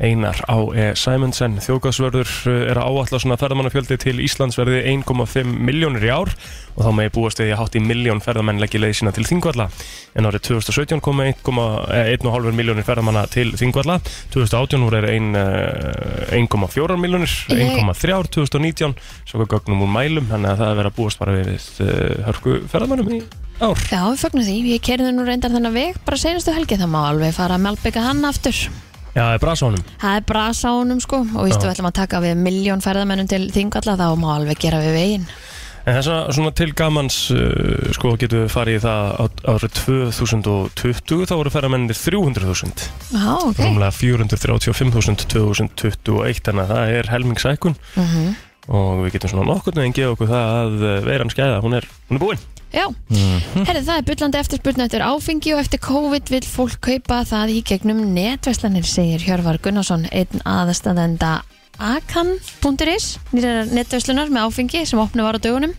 [SPEAKER 5] Einar á E. Simonsen, þjóðgasvörður, er að áallar svona ferðamannafjöldi til Íslands verði 1,5 miljónir í ár og þá megi búast við að hátt í miljón ferðamenn leggja leið sína til þingvalla. En árið 2017 komu eh, 1,5 miljónir ferðamanna til þingvalla, 2018 voru þeir ein, eh, 1,4 miljónir,
[SPEAKER 3] Ég-
[SPEAKER 5] 1,3 2019, svo hvað gögnum úr mælum, þannig að það er verið að búast bara við eh, hörku ferðamönnum í ár.
[SPEAKER 3] Já, við fagnum því, ég kerði nú reyndar þennan veg bara senastu helgi, það má alveg fara að melbyggja hann aftur
[SPEAKER 5] Já, það er brasónum
[SPEAKER 3] Það er brasa á honum sko og vístu
[SPEAKER 5] Já.
[SPEAKER 3] við ætlum að taka við miljón ferðamennum til þingalla þá má alveg gera við veginn
[SPEAKER 5] En þess að svona til gamans uh, sko getum við farið í það á- árið 2020 þá voru ferramennir 300.000
[SPEAKER 3] Já, ok
[SPEAKER 5] rúmlega 435.000 2021 þannig að það er helmingsækun
[SPEAKER 3] mm
[SPEAKER 5] og við getum svona nokkurnu en gefa okkur það að uh, veiran skæða, hún er, hún er búin
[SPEAKER 3] Já, herri það er byllandi eftirspurnu eftir áfengi og eftir COVID vill fólk kaupa það í gegnum netverslanir segir Hjörvar Gunnarsson einn aðastadenda akan.is nýrar netverslunar með áfengi sem opnu var á dögunum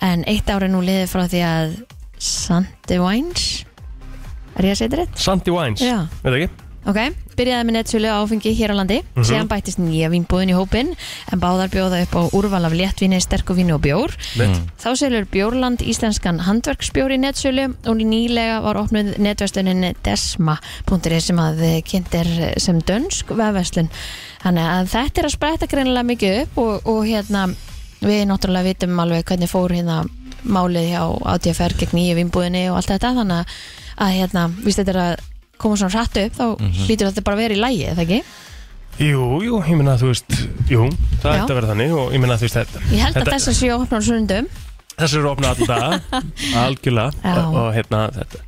[SPEAKER 3] en eitt ári nú liðið frá því að Sandy Wines er ég að segja þetta rétt?
[SPEAKER 5] Sandy Wines,
[SPEAKER 3] Já,
[SPEAKER 5] veit ekki?
[SPEAKER 3] Ok, byrjaði með nettsölu á áfengi hér á landi mm
[SPEAKER 5] Mhm.
[SPEAKER 3] síðan bættist nýja vínbúðin í hópin en báðar bjóða upp á úrval af léttvíni, sterkuvíni og bjór
[SPEAKER 5] Mm.
[SPEAKER 3] Þá selur Bjórland íslenskan handverksbjór í nettsölu og nýlega var opnuð netverslunin desma.is sem að eh, kynnt er sem dönsk vefverslun Þannig að þetta er að spretta greinilega mikið upp og, og hérna við náttúrulega vitum alveg hvernig fór hérna málið hjá ATFR gegn nýju vinnbúðinni og allt þetta þannig að, að hérna, víst þetta er að koma svona hratt upp þá hlýtur þetta bara að vera í lægi, eða ekki?
[SPEAKER 5] Jú, jú, ég minna að þú veist Jú, það
[SPEAKER 3] Já.
[SPEAKER 5] ætti að vera þannig og ég minna að þú veist þetta
[SPEAKER 3] Ég held að
[SPEAKER 5] þetta-
[SPEAKER 3] þessar séu opnar á sunnundum
[SPEAKER 5] Þessi eru opnað alltaf dag Algjörlega
[SPEAKER 3] Já.
[SPEAKER 5] og, og hérna þetta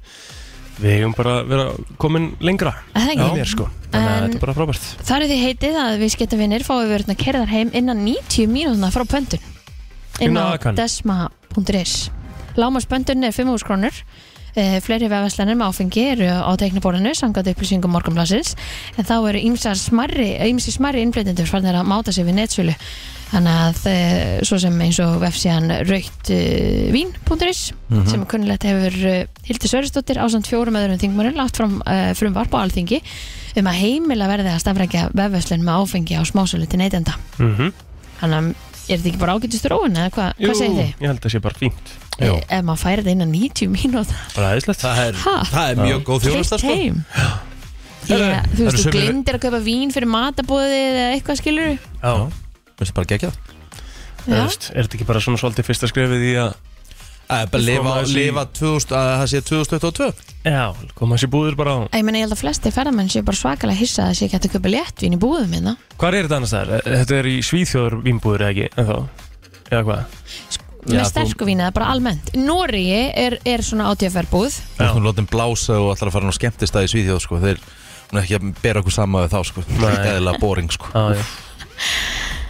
[SPEAKER 5] Við hefum bara verið komin lengra
[SPEAKER 3] Það ekki?
[SPEAKER 5] hjá mér sko Þannig að
[SPEAKER 3] En-
[SPEAKER 5] þetta er bara frábært
[SPEAKER 3] Þar er því heitið að við skettum vinnir fáum við verðna kerðar heim innan 90 mínútna frá pöndun inn
[SPEAKER 5] Inn á
[SPEAKER 3] á
[SPEAKER 5] Akan.
[SPEAKER 3] desma.is Lámas pöndun er 5 úrskrónur uh, fleiri vefaslanir með áfengi eru á teikniborðinu sangat upplýsingum morgunblassins en þá eru ýmsar smarri ýmsi smarri innflytjendur farnir að máta sig við netsölu þannig að uh, svo sem eins og vefsíðan rautvín.is
[SPEAKER 6] Mhm.
[SPEAKER 3] sem kunnilegt hefur uh, Hildur Sörjastóttir ásamt fjórum öðrum þingmörun lagt fram uh, frumvarp á alþingi um að heimila verði að stafrækja vefveslun með áfengi á smásölu til neytenda
[SPEAKER 5] mm -hmm.
[SPEAKER 3] þannig að er þetta ekki bara ágætist róun eða hva, hvað segir þið?
[SPEAKER 5] Ég held að það sé bara fínt
[SPEAKER 3] Jú. Ef maður færi þetta innan 90 mínúta
[SPEAKER 5] Bara aðeinslegt
[SPEAKER 4] Það er,
[SPEAKER 3] Ha?
[SPEAKER 4] það er mjög góð þjónusta
[SPEAKER 3] Keyrt
[SPEAKER 4] sko.
[SPEAKER 3] heim
[SPEAKER 4] Herðu,
[SPEAKER 3] Ég,
[SPEAKER 4] það
[SPEAKER 3] Þú veist,
[SPEAKER 4] eru
[SPEAKER 3] þú
[SPEAKER 4] sömu-
[SPEAKER 3] glindir að kaupa vín fyrir matabóðið eða eitthvað skilur
[SPEAKER 5] Já,
[SPEAKER 4] Mér finnst bara gegja það
[SPEAKER 5] þú veist, er þetta ekki bara svona svolítið fyrsta skrefið í að
[SPEAKER 4] Það er bara að lifa,
[SPEAKER 5] Koma þessu í-
[SPEAKER 4] lifa 2000, að það sé 2022
[SPEAKER 5] Já, koma þessi búður bara á
[SPEAKER 3] Ég meina, ég held að flestir ferðamenn séu bara svakalega hissa að það sé ekki hægt að kaupa léttvín í búðum hérna
[SPEAKER 5] Hvar er þetta annars þar? Þetta er í Svíþjóður vínbúður eða ekki, en Eða hvað?
[SPEAKER 4] Já,
[SPEAKER 3] Sko, með
[SPEAKER 4] þú-
[SPEAKER 3] sterku vín eða bara almennt Nóriði er, er svona átíðaferð búð
[SPEAKER 4] Þú erum látin blása og ætlar að fara nú skemmtistað í Svíþjóð sko. Þeir hún er ekki að bera okkur sama við þá sko. Það er eðlilega boring sko.
[SPEAKER 5] Já, já.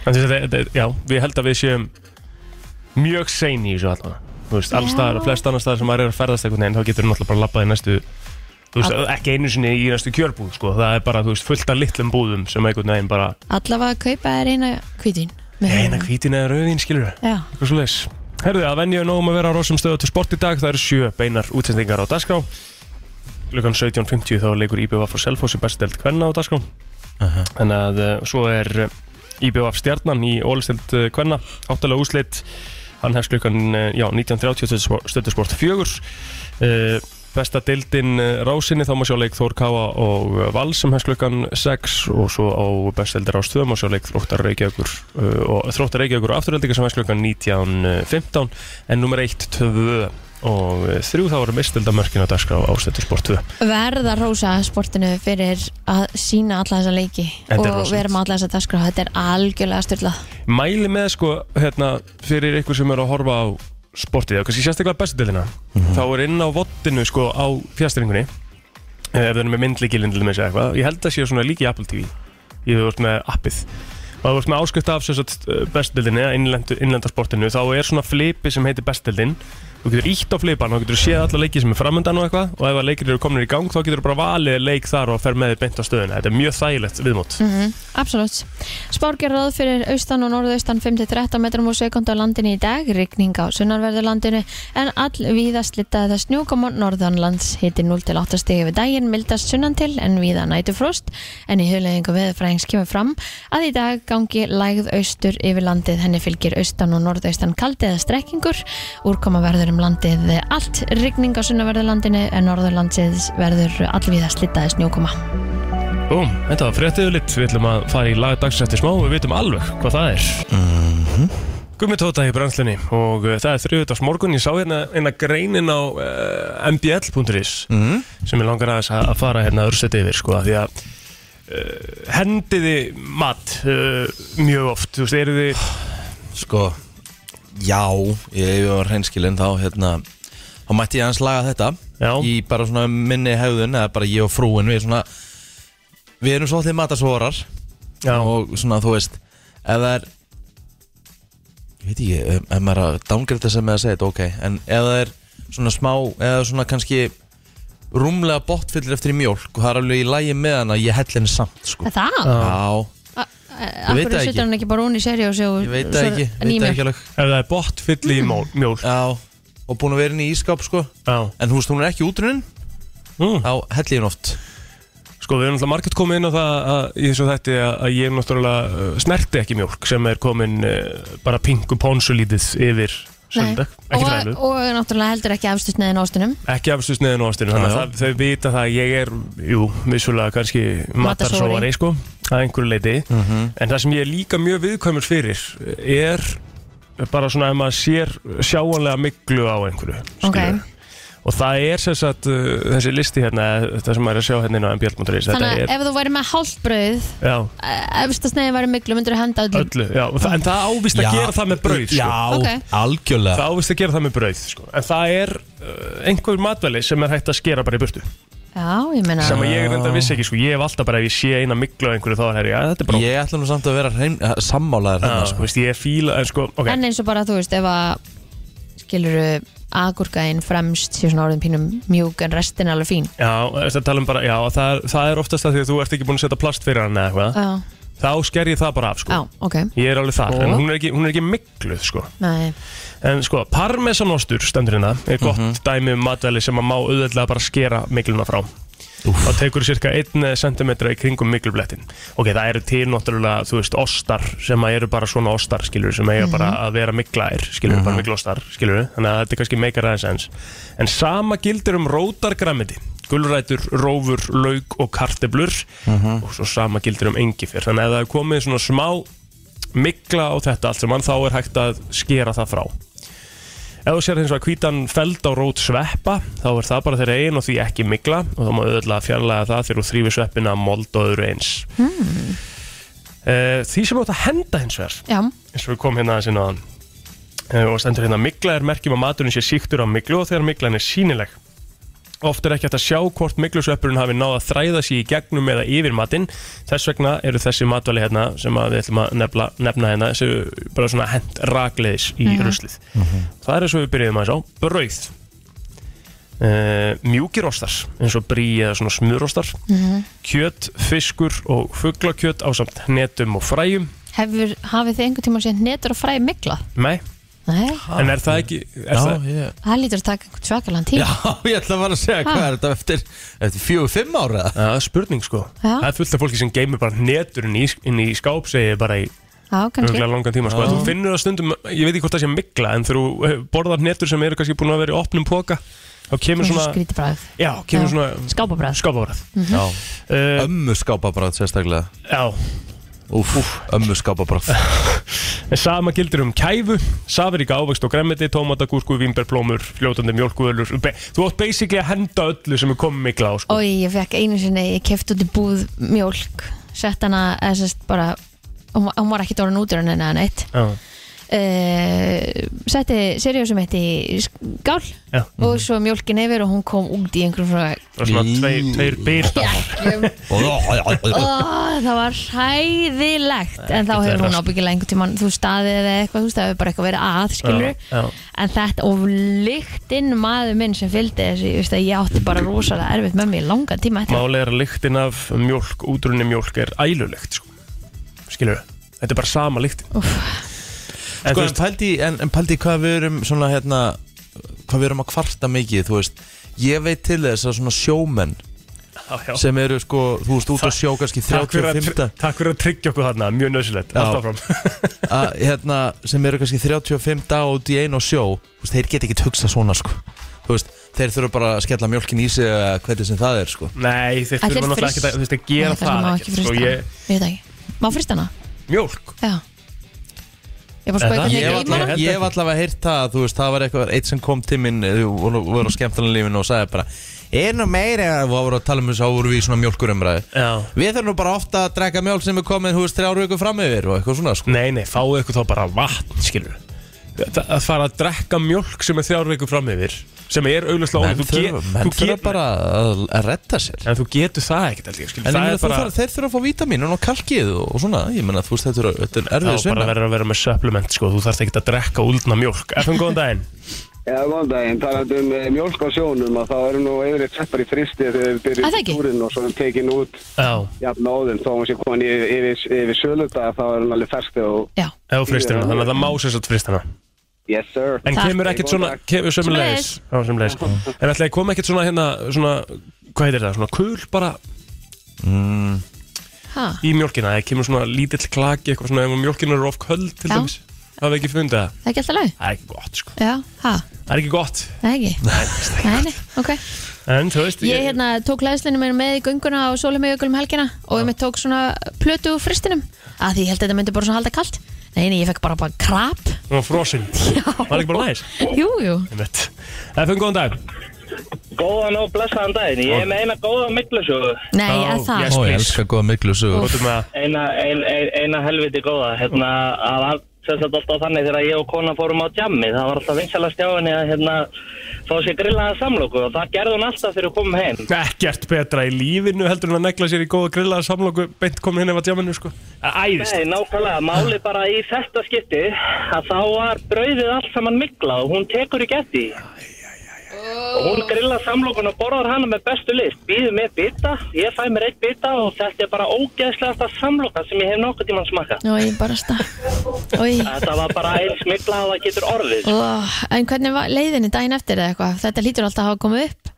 [SPEAKER 5] En þú veist, þetta- þetta- já, við held að við séum mjög sein í þessu allavega Þú veist, alls
[SPEAKER 3] Já.
[SPEAKER 5] staðar og flest annars staðar sem maður er að ferðast einhvern veginn þá getur náttúrulega bara labbað í næstu þú veist, ekki einu sinni í næstu kjörbúð sko. það er bara, þú veist, fullt af litlum búðum sem einhvern veginn bara,
[SPEAKER 3] Allavega kaupa er eina kvítin
[SPEAKER 5] eina hvítin eða rauðin skilur það,
[SPEAKER 3] Já,
[SPEAKER 5] eitthvað svo leis Herðu, að venja er nógum að vera á Rósum stöðu til sport í dag það eru sjö beinar útsendingar á dagskrá klukkan 17.50 þá leikur IBVF og Selfossi bestdelt kvenna á dagskrá Þannig að uh, svo er uh, IBF stjarnan í ólistild uh, Kvenna, áttalega úsleitt hann hefst klukkan uh, já, 19.30 stöðusport fjögur uh, besta deildin uh, rásinni þá má sjá leik Þór Káa og uh, Val sem hefst klukkan 6 og svo á besta deildir rás 2 má sjá leik Þróttar Reykjavíkur uh, og Þróttar Reykjavíkur og afturöldingar sem hefst klukkan 19.15 en nummer 1, 2 og 3 þá eru mistildamörkin á dagskrá á stöðusport 2
[SPEAKER 3] verða að rósa sportinu fyrir að sína alla þessa leiki
[SPEAKER 5] Þetta er
[SPEAKER 3] og
[SPEAKER 5] rosalegt.
[SPEAKER 3] vera með alla þessa dagskrá þetta er algjörlega styrlað
[SPEAKER 5] mæli með sko hérna, fyrir ykkur sem eru að horfa á sportið og kannski sérstaklega bestudelina þá er inn á vottinu sko á fjastringunni ef það er með myndlíkilinn til þess eitthvað ég held að sé svona líki í Apple TV ég hef vort með appið og það vort með áskrift af bestudelinni innlendarsportinu þá er svona flipi sem heitir bestudelin þú getur ítt á flipan og getur séð alla leiki sem er framöndan og eitthvað og ef að leikir eru komnir í gang þá getur þú bara valið leik þar og fer með þig beint á stöðuna þetta er mjög þægilegt viðmót
[SPEAKER 3] mm Absolutt Spárgerðað fyrir austan og norðaustan 5-13 metrum og sekund á landinu í dag rigning á sunnanverðu landinu en all víða slitaði það snjúkom á norðanlands hiti 0-8 stegi við daginn mildast sunnan til en víða nætu frost en í hugleðingu veðurfræðings kemur fram að í dag gangi lægð austur yfir landið henni fylgir austan og norðaustan kaldið eða strekkingur úrkoma verður um landið allt rigning á sunnanverðu landinu en norðanlandsins verður allvíða slitaði snjúkoma
[SPEAKER 5] Búm, þetta var fréttið lit, við ætlum að fara í lag dagsins eftir smá og við vitum alveg hvað það er mm -hmm. Gummitóta í brennslunni og uh, það er þriðutags morgun, ég sá hérna eina greinin á uh, mbl.is
[SPEAKER 4] Mhm.
[SPEAKER 5] sem ég langar aðeins að, að fara hérna örstuð yfir sko, af því að uh, hendiði mat uh, mjög oft, þú veist, eru þið
[SPEAKER 4] sko Já, ég hef var hreinskilinn þá hérna, þá mætti ég aðeins laga þetta
[SPEAKER 5] Já.
[SPEAKER 4] í bara svona minni hefðun eða bara ég og frúin við, svona, við erum svolítið matasvorar
[SPEAKER 5] Já.
[SPEAKER 4] og svona þú veist ef það er ég veit ekki, ef- ef maður er að dángrita sem með að segja þetta, ok, en ef það er svona smá, eða svona kannski rúmlega botfyllir eftir í mjólk og það er alveg í lægi með hana, ég hell henni samt sko.
[SPEAKER 3] Er Það?
[SPEAKER 4] Já,
[SPEAKER 3] Af
[SPEAKER 4] veit
[SPEAKER 3] hverju
[SPEAKER 4] það
[SPEAKER 3] setur
[SPEAKER 4] ekki.
[SPEAKER 3] hann ekki bara hún í serju og svo
[SPEAKER 4] ég veit það ekki, veit það ekki alveg
[SPEAKER 5] ef það er bótt fyll í mjól, mjól.
[SPEAKER 4] Já, og búin að vera inn í ískáp sko
[SPEAKER 5] Já,
[SPEAKER 4] En þú veist, hún er ekki útrunin
[SPEAKER 5] mm.
[SPEAKER 4] Þá hell ég henn oft
[SPEAKER 5] Sko við erum alltaf margætt komið inn á það að, í þessu þætti að, að ég náttúrulega uh, snerti ekki mjólk sem er komin uh, bara pingu pónsulítið yfir söndag,
[SPEAKER 3] og,
[SPEAKER 5] ekki fræðlu
[SPEAKER 3] og náttúrulega heldur ekki afstutniðin ástunum
[SPEAKER 5] ekki afstöðs neðan og ástinu þannig að
[SPEAKER 4] Já, já.
[SPEAKER 5] það, þau vita það að ég er, jú, vissulega kannski matarsóari, sko, að einhverju leiti en það sem ég er líka mjög viðkvæmur fyrir er bara svona ef maður sér sjáanlega miklu á einhverju
[SPEAKER 3] Ok.
[SPEAKER 5] skilurðu. og það er sem sagt uh, þessi listi hérna, þetta sem maður er að sjá hérna inn á mbl.is, þetta
[SPEAKER 3] Þannig
[SPEAKER 5] er,
[SPEAKER 3] að ef þú væri með hálft brauð
[SPEAKER 5] já,
[SPEAKER 3] Efstasneiðin væri miklu, myndur þú henda öllum
[SPEAKER 5] öllu já, og það, en það ávist að gera það með brauð sko.
[SPEAKER 4] Já,
[SPEAKER 3] Ok.
[SPEAKER 4] algjörlega
[SPEAKER 5] það ávist að gera það með brauð sko. en það er uh, einhver matveli sem er hægt að skera bara í burtu
[SPEAKER 3] Já, ég meina
[SPEAKER 5] sem að ég reynda vissi ekki sko, ég hef alltaf bara ef ég sé eina miklu á einhverju þá er herri, ja, þetta er bara
[SPEAKER 4] Ég ætla nú samt að vera hrein, sammálaðir
[SPEAKER 5] Já,
[SPEAKER 4] hérna
[SPEAKER 5] sko,
[SPEAKER 4] sko.
[SPEAKER 5] veist, ég fíla, en sko, ok
[SPEAKER 3] En eins og bara, þú veist, ef að skiluru agurkain fremst sé svona orðin pínum mjúk en restin alveg fín
[SPEAKER 5] Já, þetta tala um bara, já, það er, það er oftast að því að þú ert ekki búin að setja plast fyrir hann eða eitthvað
[SPEAKER 3] Já,
[SPEAKER 5] Þá sker ég það bara af, sko
[SPEAKER 3] já, ok
[SPEAKER 5] Ég er alveg þar,
[SPEAKER 3] Og?
[SPEAKER 5] en hún er ekki, hún er ekki mikluð, sko
[SPEAKER 3] Nei,
[SPEAKER 5] En sko, parmesanostur, stendur hérna, er gott dæmi um matvæli sem að má auðveldlega bara skera mikluna frá Þá tekur cirka 1 cm í kringum miklublettin Ok, það eru til náttúrulega, þú veist, ostar sem að eru bara svona ostar, skilur sem eiga bara að vera miklaðir, skilur bara miklostar, skilur þannig að þetta kannski meikar aðeins ens En sama gildir um rótargræmiti gulrætur, rófur, lauk og karteblur og svo sama gildir um engifér þannig að ef það er komið svona smá mikla á þetta allt saman þá er hægt að skera það frá Ef þú sér hins vegar hvítan feld á rót sveppa þá er það bara þeirra ein og því ekki mikla og þá má auðvitað fjarlæga það þegar þú þrýfir sveppina að mold og öðru eins hmm. Því sem átt að henda hins vegar
[SPEAKER 3] já,
[SPEAKER 5] eins og við komum hérna aðeins inn á hann og stendur hérna mikla er merkjum að maturinn sé síktur á miklu og þegar miklan er sínileg Oft er ekki hægt að sjá hvort miklusveppurinn hafi náð að þræða sér í gegnum eða yfir matinn þess vegna eru þessi matvali hérna sem að við ætlum að nefna, nefna hérna þessu bara svona hent rakleiðis í ruslið Það er eins og við byrjuðum aðeins á brauð Uh, mjúkir ostar eins og brí eða svona smurostar kjöt, fiskur og fuglakjöt á samt hnetum og fræjum
[SPEAKER 3] hefur, hafið þið einhvern tíma sér netur að fræði mikla?
[SPEAKER 5] Nei,
[SPEAKER 3] Nei,
[SPEAKER 5] en er það ekki er
[SPEAKER 4] Já,
[SPEAKER 5] það,
[SPEAKER 4] ég,
[SPEAKER 3] það lítur að taka einhvern svakalan
[SPEAKER 4] já,
[SPEAKER 3] tíma
[SPEAKER 4] ég ætla bara að segja hvað er þetta eftir, eftir fjögur, fimm ára
[SPEAKER 5] Já, það er spurning sko
[SPEAKER 3] Já.
[SPEAKER 5] Það er fullt af fólki sem geymir bara netur inn í, inn í skáp segi ég bara í
[SPEAKER 3] Já, kannski
[SPEAKER 5] örgulega langan tíma sko. Þú finnur það stundum, ég veit ekki hvort það sé mikla en þegar þú eh, borðar netur sem eru kannski búin að vera í opnum póka þá kemur
[SPEAKER 3] Svona...
[SPEAKER 5] svona,
[SPEAKER 3] Skríti bræð
[SPEAKER 5] já, kemur svona
[SPEAKER 3] Skápabræð
[SPEAKER 5] skápafræð
[SPEAKER 4] Já,
[SPEAKER 5] uh,
[SPEAKER 4] ömmu skápabrátt sérstaklega
[SPEAKER 5] Já,
[SPEAKER 4] Úf, ömmu skápabrátt
[SPEAKER 5] en sama gildir um kæfu safiríka ávext og gremmiti, tómatagúrku, vínberplómur fljótandi mjólkuvölur be- Þú átt basically að henda öllu sem er komið mikla á sko.
[SPEAKER 3] Og ég fekk einu sinni, ég kefti út í búð mjólk Sett hana, eða sérst bara Hún var- hún var ekki dóran útur en eða neitt
[SPEAKER 5] Já,
[SPEAKER 3] uh, Setti seriósum eitt í skál
[SPEAKER 5] já
[SPEAKER 3] Og svo mjólkin yfir og hún kom út í einhverjum frá
[SPEAKER 5] Það er svona tveir, tveir byrta
[SPEAKER 3] oh, Það var hræðilegt En þá
[SPEAKER 5] ekkert
[SPEAKER 3] hefur
[SPEAKER 5] verra,
[SPEAKER 3] hún
[SPEAKER 5] sko.
[SPEAKER 3] ábyggilega einhvern tímann Þú staðið eða eitthvað, þú veist, það hefur bara eitthvað verið að skilur
[SPEAKER 5] Já, já.
[SPEAKER 3] En þetta og lyktinn maður minn sem fylgdi þessu Ég veist að ég átti bara rosalega erfitt með mér í langan tíma eftir.
[SPEAKER 5] Málið er að lyktin af mjólk, útrunni mjólk er ælulykt sko. Skilur við? Þetta er bara sama lyktin En
[SPEAKER 4] Sko,
[SPEAKER 5] þú
[SPEAKER 4] en
[SPEAKER 5] veist,
[SPEAKER 4] pældi, í- en, en pældi í hvað við erum svona hérna hvað við erum að kvarta mikið, þú veist ég veit til þess að svona sjómenn
[SPEAKER 5] á, já,
[SPEAKER 4] sem eru sko, þú veist, út á sjó kannski
[SPEAKER 5] takk, fyrir að,
[SPEAKER 4] 35
[SPEAKER 5] tr- takk fyrir að tryggja okkur þarna, mjög nöðsilegt
[SPEAKER 4] Já.
[SPEAKER 5] Alltaf fram
[SPEAKER 4] að, hérna, sem eru kannski 35 dag út í einu og sjó þú veist, þeir geta ekki hugsað svona sko. Þú veist, þeir þurfa bara að skella mjölkin í sig eða hvernig sem það er sko.
[SPEAKER 5] Nei, þeir
[SPEAKER 3] Ætli
[SPEAKER 5] þurfa náttúrulega
[SPEAKER 3] frys-
[SPEAKER 5] ekki að, þú veist, að gera það
[SPEAKER 3] Nei, kannski má
[SPEAKER 5] ekkert,
[SPEAKER 3] ekki
[SPEAKER 5] sko,
[SPEAKER 3] frysta hana.
[SPEAKER 5] ég,
[SPEAKER 3] Ég veit það ekki. Má frysta hana?
[SPEAKER 5] Mjólk
[SPEAKER 3] Já Ég bara spöði
[SPEAKER 5] það-
[SPEAKER 3] hvernig
[SPEAKER 4] Ég
[SPEAKER 5] Ég
[SPEAKER 4] hef
[SPEAKER 3] ég
[SPEAKER 5] ætla-
[SPEAKER 3] ímana
[SPEAKER 4] allavega- ég hef allavega heyrt það þú veist, það var eitthvað, eitt sem kom til minn eh, og og voru á skemmtunarlífinu og sagði bara er nú meira, og það voru að tala um þess að voru við í svona mjölkurumræði
[SPEAKER 5] Já
[SPEAKER 4] við þurfum nú bara ofta að drekka mjölk sem er komin þú veist, þrjár viku fram yfir og eitthvað svona sko.
[SPEAKER 5] Nei, nei, fáið ykkur þá bara vatn, skilur við Þa- Að fara að drekka mjólk sem er þrjár veikur fram yfir Sem er auglustlega
[SPEAKER 4] menn þurfa menn þurfa bara að, að retta sér
[SPEAKER 5] En þú getur það ekkert, held ég, skilur
[SPEAKER 4] En
[SPEAKER 5] það
[SPEAKER 4] ég meina,
[SPEAKER 5] er
[SPEAKER 4] þú
[SPEAKER 5] bara-
[SPEAKER 4] þarf, þeir þurfa að fá vítamínun og kalkið og, og svona, ég meina, þú veist, þetta er, þetta er erfið
[SPEAKER 5] þá bara
[SPEAKER 4] svinna.
[SPEAKER 5] verður að vera með supplement sko, þú þarft ekki að drekka úldna mjólk FM góðan daginn
[SPEAKER 6] Já, góðan daginn, talandi um eh, mjólk á sjónum að þá eru nú yfirleitt sett bara í fristi þegar þeir
[SPEAKER 3] Er Ah, það
[SPEAKER 6] byrja
[SPEAKER 3] ekki?
[SPEAKER 6] túrin og svo er hún tekin út
[SPEAKER 5] Já,
[SPEAKER 6] jafn áðin þó hún sé komin yfir, yfir, yfir söludag þá er hún alveg fersti og
[SPEAKER 3] Já
[SPEAKER 5] eða fristir hana, þannig að það má sér satt frist hana
[SPEAKER 6] yes sir
[SPEAKER 5] En
[SPEAKER 3] Takk.
[SPEAKER 5] kemur ekkert svona, kemur sömulegis Já, sömulegis En ætlaði kom ekkert svona hérna, svona, hvað heitir það, svona kul bara
[SPEAKER 3] Ha?
[SPEAKER 5] í mjölkina, það kemur svona lítill klaki eitthvað svona ef mjölkina eru of köld til
[SPEAKER 3] Já.
[SPEAKER 5] dæmis það er ekki fundið það,
[SPEAKER 3] Það er ekki alltaf lag?
[SPEAKER 5] það er ekki gott sko
[SPEAKER 3] Já, ha?
[SPEAKER 5] það er ekki gott,
[SPEAKER 3] Það er ekki? Nei, nei, ok
[SPEAKER 5] en þú veist
[SPEAKER 3] Ég hérna, tók hlæðslinu mér með í gönguna á Sólumjökul um helgina og ég mitt tók svona plötu úr fristinum að því ég held að þetta myndi bara svona halda kalt Nei, nei, ég fekk bara bara krap
[SPEAKER 5] hún var frosin, það er ekki bara næs
[SPEAKER 3] Jú, jú
[SPEAKER 5] Einmitt. FN, góðan dag
[SPEAKER 7] Góðan og blessaðan daginn, ég er með eina góða miklusögu
[SPEAKER 3] Nei,
[SPEAKER 5] Ó,
[SPEAKER 3] oh, það
[SPEAKER 5] yes.
[SPEAKER 4] Ó, ég
[SPEAKER 5] please.
[SPEAKER 4] elska góða miklu sögur
[SPEAKER 5] Notum að-
[SPEAKER 7] Eina, ein, ein, eina helviti góða, hérna, það var sem sagt alltaf þannig þegar ég og konan fórum á djammi Það var alltaf vinsalast hjá henni að hérna, fá sér grillaða samlóku og það gerði hún alltaf fyrir að koma heim
[SPEAKER 5] ekkert betra í lífinu heldur en að negla sér í góða grillaða samlóku beint komin hinn ef að djáminu sko Það er æðist,
[SPEAKER 7] Nei, nákvæmlega, máli bara í þetta skipti að þá var brauðið allt saman mikla og hún tekur ekki eftir því. og hún grilla samlokun og borðar hana með bestu list býður með bita, ég fæ mér eitt bita og þetta er bara ógeðslegasta samloka sem ég hef nokkuð tímann smakað.
[SPEAKER 3] Nú, ég bara stað Új
[SPEAKER 7] þetta var bara eins mikla að það getur orðið
[SPEAKER 3] En hvernig var leiðinni daginn eftir eða eitthvað? Þetta lítur alltaf að hafa komið upp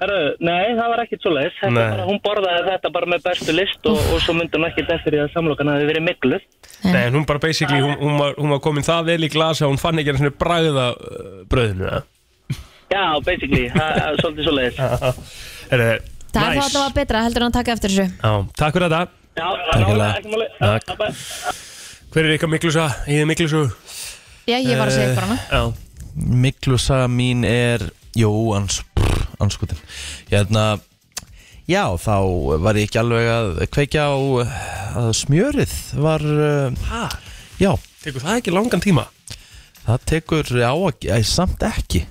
[SPEAKER 7] Heru, nei, það var ekkit svo leis
[SPEAKER 5] Nei.
[SPEAKER 7] bara, hún borðaði þetta bara með bestu list og, og svo myndi hún ekkit eftir því að samlokan hafi verið mikluð
[SPEAKER 5] Nei, en hún bara basically, hún, hún, var, hún var komin það vel í glasa að hún fann ekki einhvern veginn bragða uh, bröðinu eða?
[SPEAKER 7] já, basically, það er svolítið svo leis
[SPEAKER 5] Er
[SPEAKER 3] Það er þá
[SPEAKER 5] næs.
[SPEAKER 3] alltaf betra heldur en að taka eftir þessu
[SPEAKER 5] Já, takk fyrir þetta
[SPEAKER 7] já,
[SPEAKER 4] Takkilega.
[SPEAKER 7] ekki máli
[SPEAKER 5] Takk.
[SPEAKER 7] Já, bara-
[SPEAKER 5] Hver er ykkar miklusa? Ég er miklusu
[SPEAKER 3] Já, ég var að segja ykkur hana
[SPEAKER 4] Eh.
[SPEAKER 5] Já,
[SPEAKER 4] Miklu saga mín er Jó, ans, brr, anskutin Hérna Já, þá var ég ekki alveg að kveikja á eh, að smjörið var, eh,
[SPEAKER 5] hæ?
[SPEAKER 4] já,
[SPEAKER 5] Tekur það ekki langan tíma?
[SPEAKER 4] það tekur á að, ei, samt ekki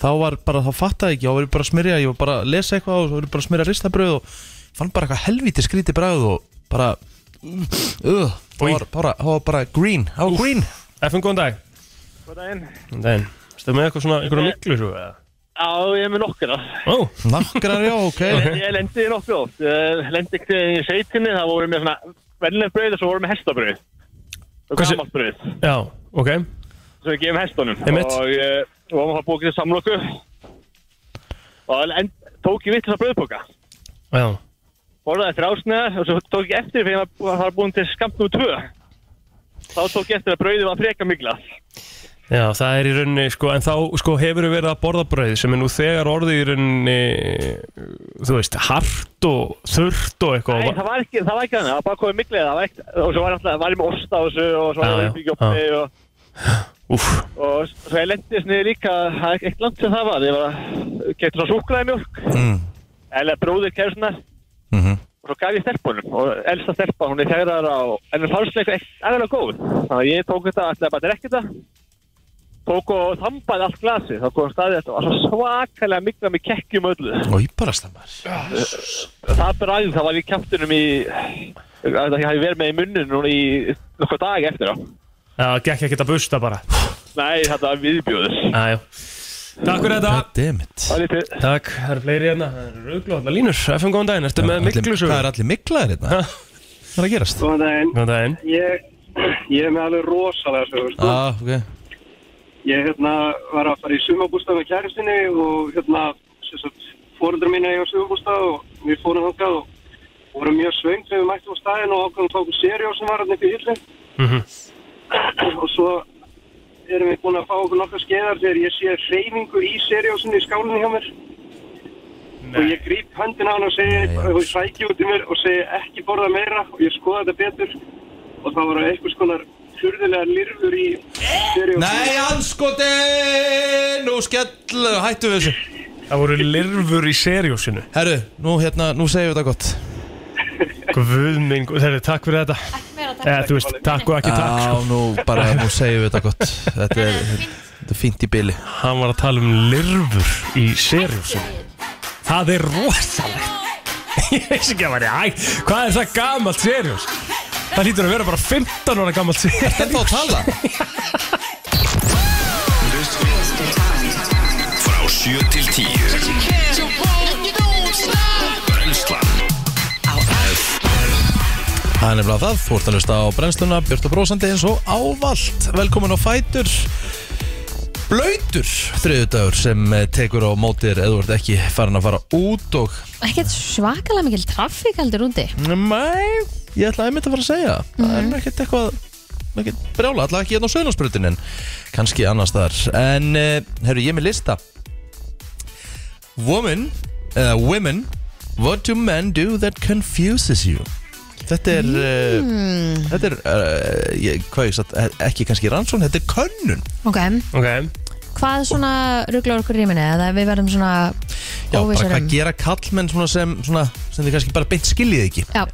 [SPEAKER 4] þá var bara, þá fattaði ég ekki, þá var ég bara að smyrja ég var bara að lesa eitthvað og þá var ég bara að smyrja ristabröð og fann bara eitthvað helvíti skríti bræð og bara uh, þá
[SPEAKER 5] Új.
[SPEAKER 4] var bara, þá var bara green, þá var green
[SPEAKER 5] FN, góðan dag
[SPEAKER 8] Góðan daginn.
[SPEAKER 5] Góðan daginn Erstu með eitthvað svona, einhverja miklusu eða?
[SPEAKER 8] Já, ég er með nokkra.
[SPEAKER 5] Ó,
[SPEAKER 4] nakkrar, já, ok
[SPEAKER 8] Ég lendi í nokkra oft. Ég lendi ekki í sveitinni, það voru með svona vennileg brauð og svo voru með hestabrauð. Og
[SPEAKER 5] Hversu-
[SPEAKER 8] gammalt brauð
[SPEAKER 5] já, ok
[SPEAKER 8] sem við gefum hestunum.
[SPEAKER 5] Einmitt.
[SPEAKER 8] Og eh, við varum að búið til samlokku. Og en, tók ég vitt þess að brauðboka.
[SPEAKER 5] Já,
[SPEAKER 8] Borðaði eftir ásneðar og svo tók ég eftir fyrir að það var búin til skamt nr. 2. Þá tók ég eftir að brauðið var freka miklað.
[SPEAKER 5] já, það er í rauninni, sko, en þá, sko, hefur við verið að borða brauð sem er nú þegar orðið í rauninni þú veist, hart og þurrt og eitthvað
[SPEAKER 8] Nei, það var ekki, það var ekki þannig, það var bara komið miklið, það var ekki, og svo var alltaf, var ég með ost á þessu og
[SPEAKER 5] Já,
[SPEAKER 8] svo var
[SPEAKER 5] já,
[SPEAKER 8] ég með gjóppi og,
[SPEAKER 5] Úff,
[SPEAKER 8] og svo ég lendi þessu niður líka, það er eitt land sem það var, ég var, kefti svona súklaði mjölk,
[SPEAKER 4] mm,
[SPEAKER 8] eða bróðir kefti svona,
[SPEAKER 4] mm
[SPEAKER 5] Mhm.
[SPEAKER 8] og svo gaf ég stelpunum, og elsta stelpa, hún er þegar á, en hún fannst eitthvað aðeins góð, þannig að ég tók þetta, ætlaði bara að drekka þetta, tók og þambaði allt glasið, þá kom staðið þetta, og svo svakalega mikla með kekkjum og öllu.
[SPEAKER 4] og ég bara stammar
[SPEAKER 8] Það bræðið, það var í kjæftunum í Það hefði verið með í munnun núna í nokkuð dag eftir á
[SPEAKER 5] já, gekk ekkert að busta bara
[SPEAKER 8] Nei, þetta var viðbjóður
[SPEAKER 5] Já, já Takk fyrir þetta
[SPEAKER 4] goddammit
[SPEAKER 8] Það er lítið
[SPEAKER 5] Takk, það eru fleiri hérna, það eru rauglóðla línur FM, góðan daginn, ertu með miklusu?
[SPEAKER 4] hvað er allir miklaðir hérna?
[SPEAKER 5] Ha?
[SPEAKER 4] hvað er að gerast?
[SPEAKER 6] Góðan daginn.
[SPEAKER 5] Góðan daginn
[SPEAKER 6] Ég, ég er með alveg rosalega sögur, sko.
[SPEAKER 4] Ah, okay.
[SPEAKER 6] Ég hérna, var að fara í sumabústað með kæristinni og hérna, sem sagt, fórundra mín eiga sumabústað og við fórum þangað og vorum mjög svöng þegar við mættum á staðin og ákveðum tókum serjó sem var hann upp í hillu.
[SPEAKER 5] Mhm.
[SPEAKER 6] og svo erum við búin að fá okkur nokkar skeiðar þegar ég sé hreyfingu í serjósinu í skálinni hjá mér. Og ég gríp höndina á hann og segi,
[SPEAKER 4] Nei,
[SPEAKER 6] og sæki út í mér og segi ekki borða meira og ég skoða þetta betur og það voru einhvers konar fyrðilega lirfur í serjósinu.
[SPEAKER 4] Nei, anskotin! Nú skell, hættu við þessu
[SPEAKER 5] Það voru lirfur í seriósinu
[SPEAKER 4] Herru, nú hérna, nú segjum við þetta gott
[SPEAKER 5] Guðminn, þeirri, takk fyrir þetta
[SPEAKER 3] Ekki meira að
[SPEAKER 5] Eða, þú veist, takk og
[SPEAKER 4] Ah.
[SPEAKER 5] ekki takk
[SPEAKER 4] Já, nú bara, nú segjum við þetta gott Þetta er, þetta er fínt í byli
[SPEAKER 5] Hann var að tala um lirfur í seriósinu Það er rosalegt Ég veist ekki að væri æ, hvað er það gamalt seriós? Það lítur að vera bara 15 ára gamalt seriós
[SPEAKER 4] Þetta að tala
[SPEAKER 2] Frá 7 til 10 Brenslan
[SPEAKER 4] Það er nefnilega það, þú ert að hlusta á brennsluna Björn og brósandi eins og ávallt Velkomin á Fætur blöytur þriðudagur sem eh, tekur á mótir eða þú ert ekki farin að fara út og
[SPEAKER 3] Ekkert svakalega mikil trafík heldur úti
[SPEAKER 4] Nei, ég ætlaði einmitt að fara að segja Það er nú ekkert eitthvað ekkert brjála, allavega ekki hérna á Söðlandsbrutin en kannski annars þar En, uh, herru, ég er með lista Woman eða Women What do men do that confuses you? Þetta er, mm. þetta er, uh, ég, hvað ég satt, eh, ekki kannski rannsón, þetta er könnun
[SPEAKER 3] Ok,
[SPEAKER 5] Ok,
[SPEAKER 3] hvað svona rugglar okkur rýminni eða við verðum svona um-
[SPEAKER 4] Já, bara
[SPEAKER 3] óvissarum
[SPEAKER 4] hvað gera kallmenn svona sem, svona, sem þið kannski bara beint skiljið ekki
[SPEAKER 3] Já,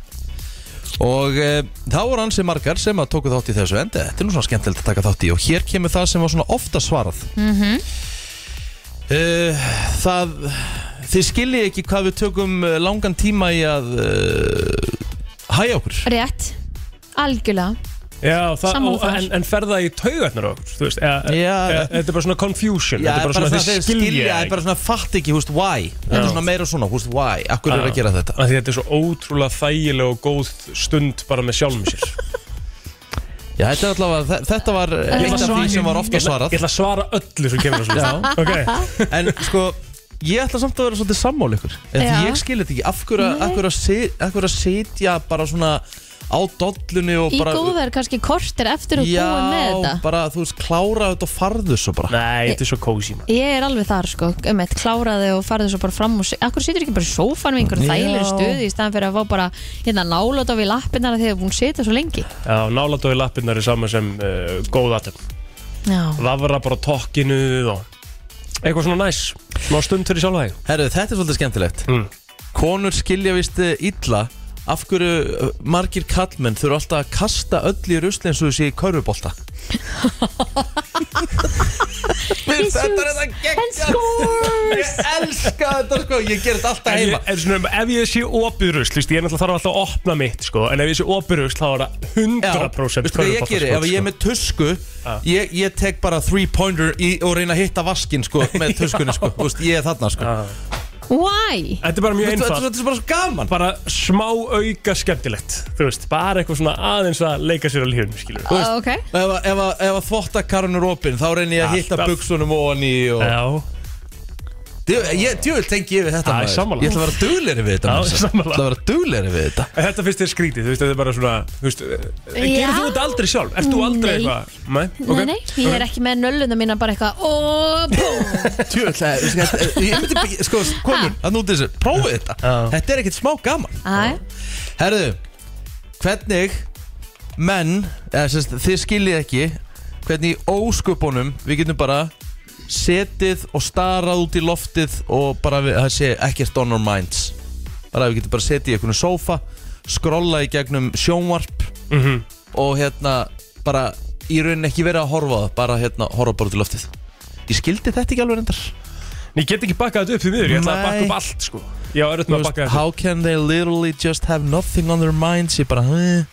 [SPEAKER 4] Og e, þá voru hansi margar sem að tóku þátt í þessu enda Þetta er nú svona skemmtilegt að taka þátt í Og hér kemur það sem var svona ofta svarað mm Það Þið skiljið ekki hvað við tökum eh, langan tíma í að uh, Hæja okkur
[SPEAKER 3] rétt Algjörlega,
[SPEAKER 5] já, það,
[SPEAKER 3] Sammála
[SPEAKER 5] og,
[SPEAKER 3] þar.
[SPEAKER 5] en, en ferða í taugarnar á okkur, þú veist, eða,
[SPEAKER 4] Já.
[SPEAKER 5] eða, þetta er bara svona confusion,
[SPEAKER 4] Já,
[SPEAKER 5] þetta er bara svona
[SPEAKER 4] þeir
[SPEAKER 5] þið skilja
[SPEAKER 4] Það er bara svona fatt ekki, húst, why Þetta er
[SPEAKER 5] Já.
[SPEAKER 4] svona meira svona, húst, why Akkur er að gera þetta
[SPEAKER 5] Því þetta er svo ótrúlega þægileg og góð stund bara með sjálfum sér
[SPEAKER 4] Já, þetta, er allavega, þe- þetta var eitt af því sem var ofta svarað
[SPEAKER 5] Ég ætla að svara öllu sem kemur á svona Ok,
[SPEAKER 4] En sko, ég ætla samt að vera svolítið sammál ykkur Eða
[SPEAKER 3] Já.
[SPEAKER 4] Því ég skil þetta ekki, af hverju af hverju að si- af hverju að sitja bara svona á dollunni og
[SPEAKER 3] í
[SPEAKER 4] bara
[SPEAKER 3] góðverð kannski kortir eftir að
[SPEAKER 4] Já,
[SPEAKER 3] búa með þetta
[SPEAKER 4] bara þú veist, klára þetta og farðu svo bara
[SPEAKER 5] Nei, þetta er svo kósi man
[SPEAKER 3] Ég er alveg þar sko, um eitt, kláraði og farði svo bara fram og Akkur situr ekki bara í sófanum í einhverjum
[SPEAKER 4] Já.
[SPEAKER 3] þægilegri stuði í staðan fyrir að fá bara hérna nálót á við lappinnar þegar búin að sita svo lengi
[SPEAKER 5] Já, nálat og í lappirnar er sama sem uh, góð aðtöfn
[SPEAKER 3] Já,
[SPEAKER 5] Vafra bara á tokkinu og eitthvað svona næs Smá stund fyrir sjálfa þig
[SPEAKER 4] Herru, þetta er svolítið skemmtilegt
[SPEAKER 5] Mm.
[SPEAKER 4] Konur skilja vist eh, illa Af hverju eh, margir kallmenn þurfa alltaf að kasta öll í rusli eins og þú sé í körfubolta Mér finnst Þetta er þetta
[SPEAKER 3] sko-
[SPEAKER 4] geggjast Ég elska þetta sko, ég ger þetta alltaf
[SPEAKER 5] En ég,
[SPEAKER 4] heima
[SPEAKER 5] en svona, ef ég sé opirusl, ég náttúrulega þarf alltaf að opna mitt sko, En ef ég sé opirusl, þá er það 100%
[SPEAKER 4] Veistu hvað ég geri, ef ég er
[SPEAKER 5] körfuboltaskot,
[SPEAKER 4] með tusku ég, ég tek bara three pointer í, og reyna að hitta vaskin sko, með tuskunni sko, Þú veist, ég er þarna sko
[SPEAKER 3] why?
[SPEAKER 5] sko. Þetta er bara mjög
[SPEAKER 4] Veistu,
[SPEAKER 5] einfalt
[SPEAKER 4] Þetta þetta er bara svo gaman
[SPEAKER 5] bara smá auka skemmtilegt þú veist, bara eitthvað svona aðeins að leika sér á lífum, skilur við
[SPEAKER 3] Uh, ok,
[SPEAKER 4] Ef, að- ef, að- ef að þvottakarinn er opinn þá reynir ég að hitta
[SPEAKER 5] Alltaf.
[SPEAKER 4] buksunum og hann í og...
[SPEAKER 5] Já,
[SPEAKER 4] Djú, ég, djúvel tengi ég við þetta
[SPEAKER 5] Já, ég sammála.
[SPEAKER 4] Ég ætla að vera dugleiri við þetta
[SPEAKER 5] Já,
[SPEAKER 4] maður. Ég
[SPEAKER 5] sammála.
[SPEAKER 4] ætla að vera dugleiri við þetta
[SPEAKER 5] en þetta finnst þér skrítið, þú veist, þetta er bara svona þú veist, eh,
[SPEAKER 3] Já.
[SPEAKER 5] gerir þú þetta aldrei sjálf? Ert þú aldrei
[SPEAKER 3] Nei.
[SPEAKER 5] eitthvað? Nei, ok.
[SPEAKER 3] nei, nei, ég er ekki með nölluna mína bara eitthvað og búm
[SPEAKER 4] Djúvel, ég myndi bara- sko, komur, að núti þessu, prófið þetta
[SPEAKER 5] Já.
[SPEAKER 4] Þetta er ekkert smá gaman
[SPEAKER 3] Æ,
[SPEAKER 4] Herðu, hvernig menn, eða sérst, þið skiljið ekki hvernig í ósköpunum við getum bara setið og starað út í loftið og bara við, það sé ekkert on our minds bara við getum bara setið í einhvern sofa skrolla í gegnum sjónvarp
[SPEAKER 5] Mhm.
[SPEAKER 4] og hérna bara í rauninni ekki verið að horfa á það bara hérna horfa bara út í loftið ég skildi þetta ekki alveg reyndar
[SPEAKER 5] Nei, Ég get ekki bakkað þetta upp því miður, ég ætla að
[SPEAKER 4] Nei.
[SPEAKER 5] bakka upp allt, sko Já, eruð
[SPEAKER 4] Þú
[SPEAKER 5] með að
[SPEAKER 4] veist,
[SPEAKER 5] bakka þetta
[SPEAKER 4] how can they literally just have nothing on their minds ég bara, eh,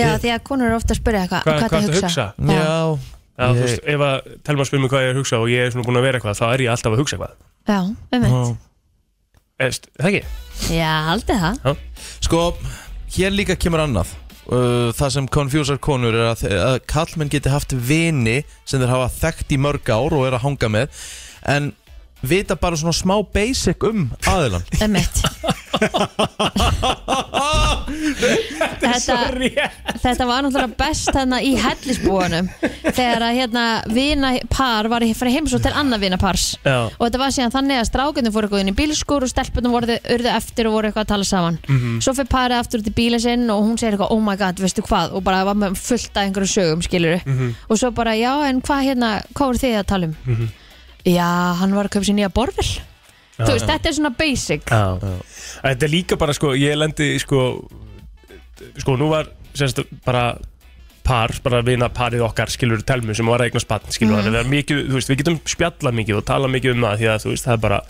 [SPEAKER 3] já því að konur eru ofta að spyrja eitthvað
[SPEAKER 5] Hvað-
[SPEAKER 3] Hvað
[SPEAKER 5] hvað
[SPEAKER 3] það
[SPEAKER 5] ertu að
[SPEAKER 3] hugsa?
[SPEAKER 4] já, já.
[SPEAKER 5] Já, þú veist, ef að telma spyr mig hvað ég er að hugsa og ég er svona búin að vera eitthvað, þá er ég alltaf að hugsa eitthvað
[SPEAKER 3] Já, um
[SPEAKER 4] Já.
[SPEAKER 5] Eðst, Það ekki?
[SPEAKER 3] Já, aldrei það
[SPEAKER 4] Sko, hér líka kemur annað Uh, það sem konfjúsar konur er að, að kallmenn geti haft vini sem þeir hafa þekkt í mörg ár og er að hanga með en vita bara svona smá basic um aðilan
[SPEAKER 3] Um Þetta,
[SPEAKER 5] rétt
[SPEAKER 3] þetta var náttúrulega best þarna í hellisbúanum þegar að hérna vinapar var að fara heimsótt til annað vinapars
[SPEAKER 5] Já,
[SPEAKER 3] og þetta var síðan þannig að strákunum fóru eitthvað inn í bílskur og stelpunum voru urðu eftir og voru eitthvað að tala saman
[SPEAKER 5] Mhm.
[SPEAKER 3] svo fyrir parið aftur út í bílinn sinn og hún segir eitthvað oh my god, veistu hvað og bara var með fullt af einhverju sögum skiluru
[SPEAKER 5] Mhm.
[SPEAKER 3] og svo bara já, en hvað hérna, hvað voru þið að tala um já, hann var að köpa sér nýja borvel þú veist, þetta er svona basic
[SPEAKER 5] já. Þetta er líka bara sko, ég lendi sko, sko nú var semst bara par, bara vina parið okkar skilur telmu sem var að eignast barn
[SPEAKER 3] Mhm.
[SPEAKER 5] skilur mm. er mikið, þú veist, við getum spjallað mikið og tala mikið um það því að þú veist, það er bara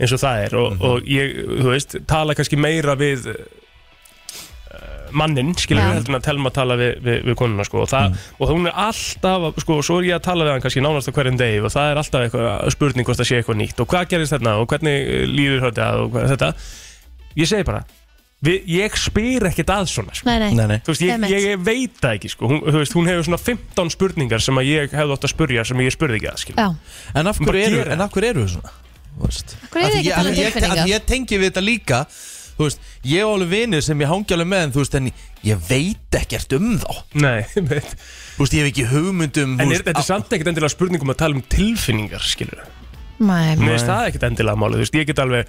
[SPEAKER 5] eins og það er og, og ég, þú veist, tala kannski meira við uh, mannin, skilur
[SPEAKER 3] Já.
[SPEAKER 5] við heldur en að telma tala við, við, við konuna sko og, það, og hún er alltaf, að- sko, svo er ég að tala við hann kannski nánast á hverjum degi og það er alltaf eitthvað spurning hvort það sé eitthvað nýtt og hvað gerist þarna og hvernig eh, líður þetta og hvað, þetta ég segi bara við, ég spyr ekkert að svona sko.
[SPEAKER 3] Nei, nei,
[SPEAKER 4] Nei, nei
[SPEAKER 5] Þú veist, ég,
[SPEAKER 3] Einmitt.
[SPEAKER 5] ég veit það ekki sko. hún, þú veist, hún hefur svona 15 spurningar sem að ég hefði átt að spurja sem ég spurði ekki að skil.
[SPEAKER 3] Já,
[SPEAKER 4] En af
[SPEAKER 5] Bara
[SPEAKER 4] hverju eru,
[SPEAKER 5] gera það.
[SPEAKER 4] en af hverju eru við svona? Þú veist.
[SPEAKER 3] hverju
[SPEAKER 4] Af
[SPEAKER 3] eru
[SPEAKER 4] því
[SPEAKER 3] þið ekki að
[SPEAKER 4] ég-
[SPEAKER 3] tala
[SPEAKER 4] af
[SPEAKER 3] um
[SPEAKER 4] því ég- af því
[SPEAKER 3] tilfinningar?
[SPEAKER 4] Ég tengi við þetta líka Þú veist, ég og alveg vinir sem ég hangi alveg með en, þú veist, en ég veit ekkert um þá
[SPEAKER 5] Nei, veit.
[SPEAKER 4] Þú veist, ég hef ekki um, hugmyndum
[SPEAKER 5] en er, þetta er samt ekkert endilega spurningum að tala um tilfinningar skilur.
[SPEAKER 3] Nei,
[SPEAKER 5] Mér finnst það ekkert endilega málið, þú veist, ég get alveg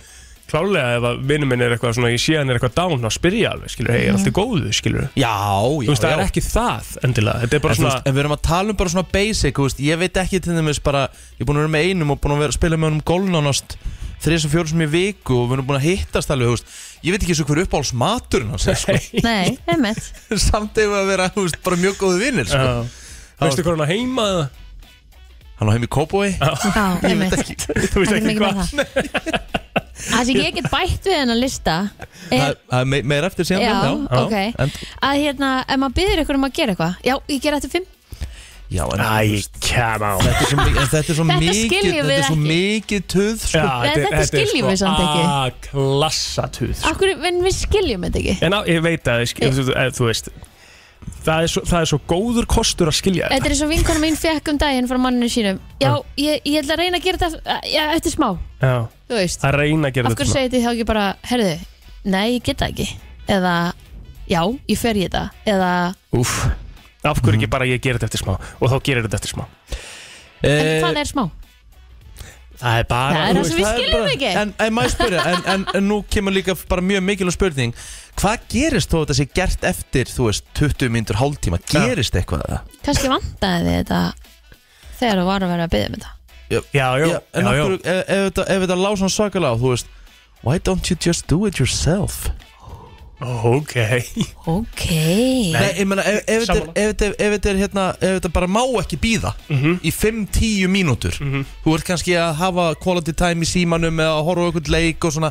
[SPEAKER 5] klálega ef að vinnu minn er eitthvað svona, ég sé hann er eitthvað dán að spyrja alveg, skilur, hei, er
[SPEAKER 3] Mhm.
[SPEAKER 5] allt í góðu, skilur
[SPEAKER 4] Já, já,
[SPEAKER 5] Þú veist, það
[SPEAKER 4] já
[SPEAKER 5] er ekki það endilega, þetta er bara
[SPEAKER 4] En, þú
[SPEAKER 5] svona
[SPEAKER 4] veist, en við erum að tala um bara svona basic þú veist, Ég veit ekki til þeim bara Ég er búin að vera með einum og búin að vera að spila með honum gólnánast Þrís og fjórum sem ég viku Og við erum búin að hittast alveg þú veist, Ég veit ekki svo hver uppáhalds maturinn hans er, sko.
[SPEAKER 3] nei, einmitt
[SPEAKER 4] Samt ef að vera þú veist, bara mjög góðu vinnir sko.
[SPEAKER 5] Já. Veistu hvað hann á heima eða?
[SPEAKER 4] Hann á heim í Kópói
[SPEAKER 3] Já, einmitt
[SPEAKER 5] Þú veist
[SPEAKER 3] Hann er
[SPEAKER 5] ekki
[SPEAKER 3] mikið með
[SPEAKER 5] hvað
[SPEAKER 3] það. Það sem ég get bætt við hennar lista er,
[SPEAKER 4] Það er me- meira eftir síðan
[SPEAKER 3] já,
[SPEAKER 4] já.
[SPEAKER 3] ok
[SPEAKER 4] En,
[SPEAKER 3] að hérna, ef maður byrður ykkur um að gera eitthvað já, ég gera þetta fimm
[SPEAKER 4] já, en, þú
[SPEAKER 5] Æ,
[SPEAKER 4] veist,
[SPEAKER 5] come on
[SPEAKER 4] þetta er svo mikið- en þetta er svo
[SPEAKER 3] Þetta
[SPEAKER 4] mikið
[SPEAKER 3] skiljum
[SPEAKER 4] Þetta
[SPEAKER 3] við
[SPEAKER 4] er svo
[SPEAKER 3] ekki.
[SPEAKER 4] mikið töð sko.
[SPEAKER 5] Já,
[SPEAKER 3] Nei, þetta skiljum við samt ekki.
[SPEAKER 5] A-klassatuð sko.
[SPEAKER 3] Akkur, en við skiljum þetta ekki
[SPEAKER 5] En á, ég veit að, ég, þú, þú veist það er, svo, það er svo góður kostur að skilja
[SPEAKER 3] Þetta
[SPEAKER 5] þetta
[SPEAKER 3] er eins og vinkona mín fekk um daginn frá manninu sínum Já, ég, ég ætla að reyna að gera þetta já, eftir smá,
[SPEAKER 5] Já,
[SPEAKER 3] þú veist
[SPEAKER 5] að reyna að gera
[SPEAKER 3] Af
[SPEAKER 5] þetta
[SPEAKER 3] hverju
[SPEAKER 5] svona.
[SPEAKER 3] segið þið þá ekki bara, herðu Nei, ég get það ekki Eða, já, ég fer í þetta Eða,
[SPEAKER 5] Úff. Af hverju ekki bara ég gerir þetta eftir smá og þá gerir þetta eftir smá
[SPEAKER 3] en
[SPEAKER 4] Eh,
[SPEAKER 3] hvað er smá?
[SPEAKER 5] Það er bara
[SPEAKER 3] Það er
[SPEAKER 5] þú
[SPEAKER 3] það
[SPEAKER 5] veist,
[SPEAKER 3] sem við
[SPEAKER 4] er
[SPEAKER 3] skiljum
[SPEAKER 4] bara-
[SPEAKER 3] ekki
[SPEAKER 4] En, en maður spyrja, en, en, en nú kemur líka bara mjög mikilvæg spurning Hvað gerist þó þetta sé gert eftir, þú veist, 20 mínútur hálftíma Gerist eitthvað að það?
[SPEAKER 3] Kannski vantaði þið þetta Þegar þú var að vera að byggja um þetta
[SPEAKER 5] Já, já, já,
[SPEAKER 4] en
[SPEAKER 5] já,
[SPEAKER 4] okkur, ef, ef, þetta- ef þetta lág svona svakalega á, þú veist Why don't you just do it yourself?
[SPEAKER 5] Ok
[SPEAKER 3] Ok
[SPEAKER 4] Nei, ég meina, ef, ef, þetta er-
[SPEAKER 5] Sammála.
[SPEAKER 4] ef, þetta er- ef þetta er hérna, ef þetta bara má ekki býða
[SPEAKER 5] Mhm.
[SPEAKER 4] Í 5-10 mínútur Þú ert kannski að hafa quality time í símanum Eða að horfa á einhvern leik og svona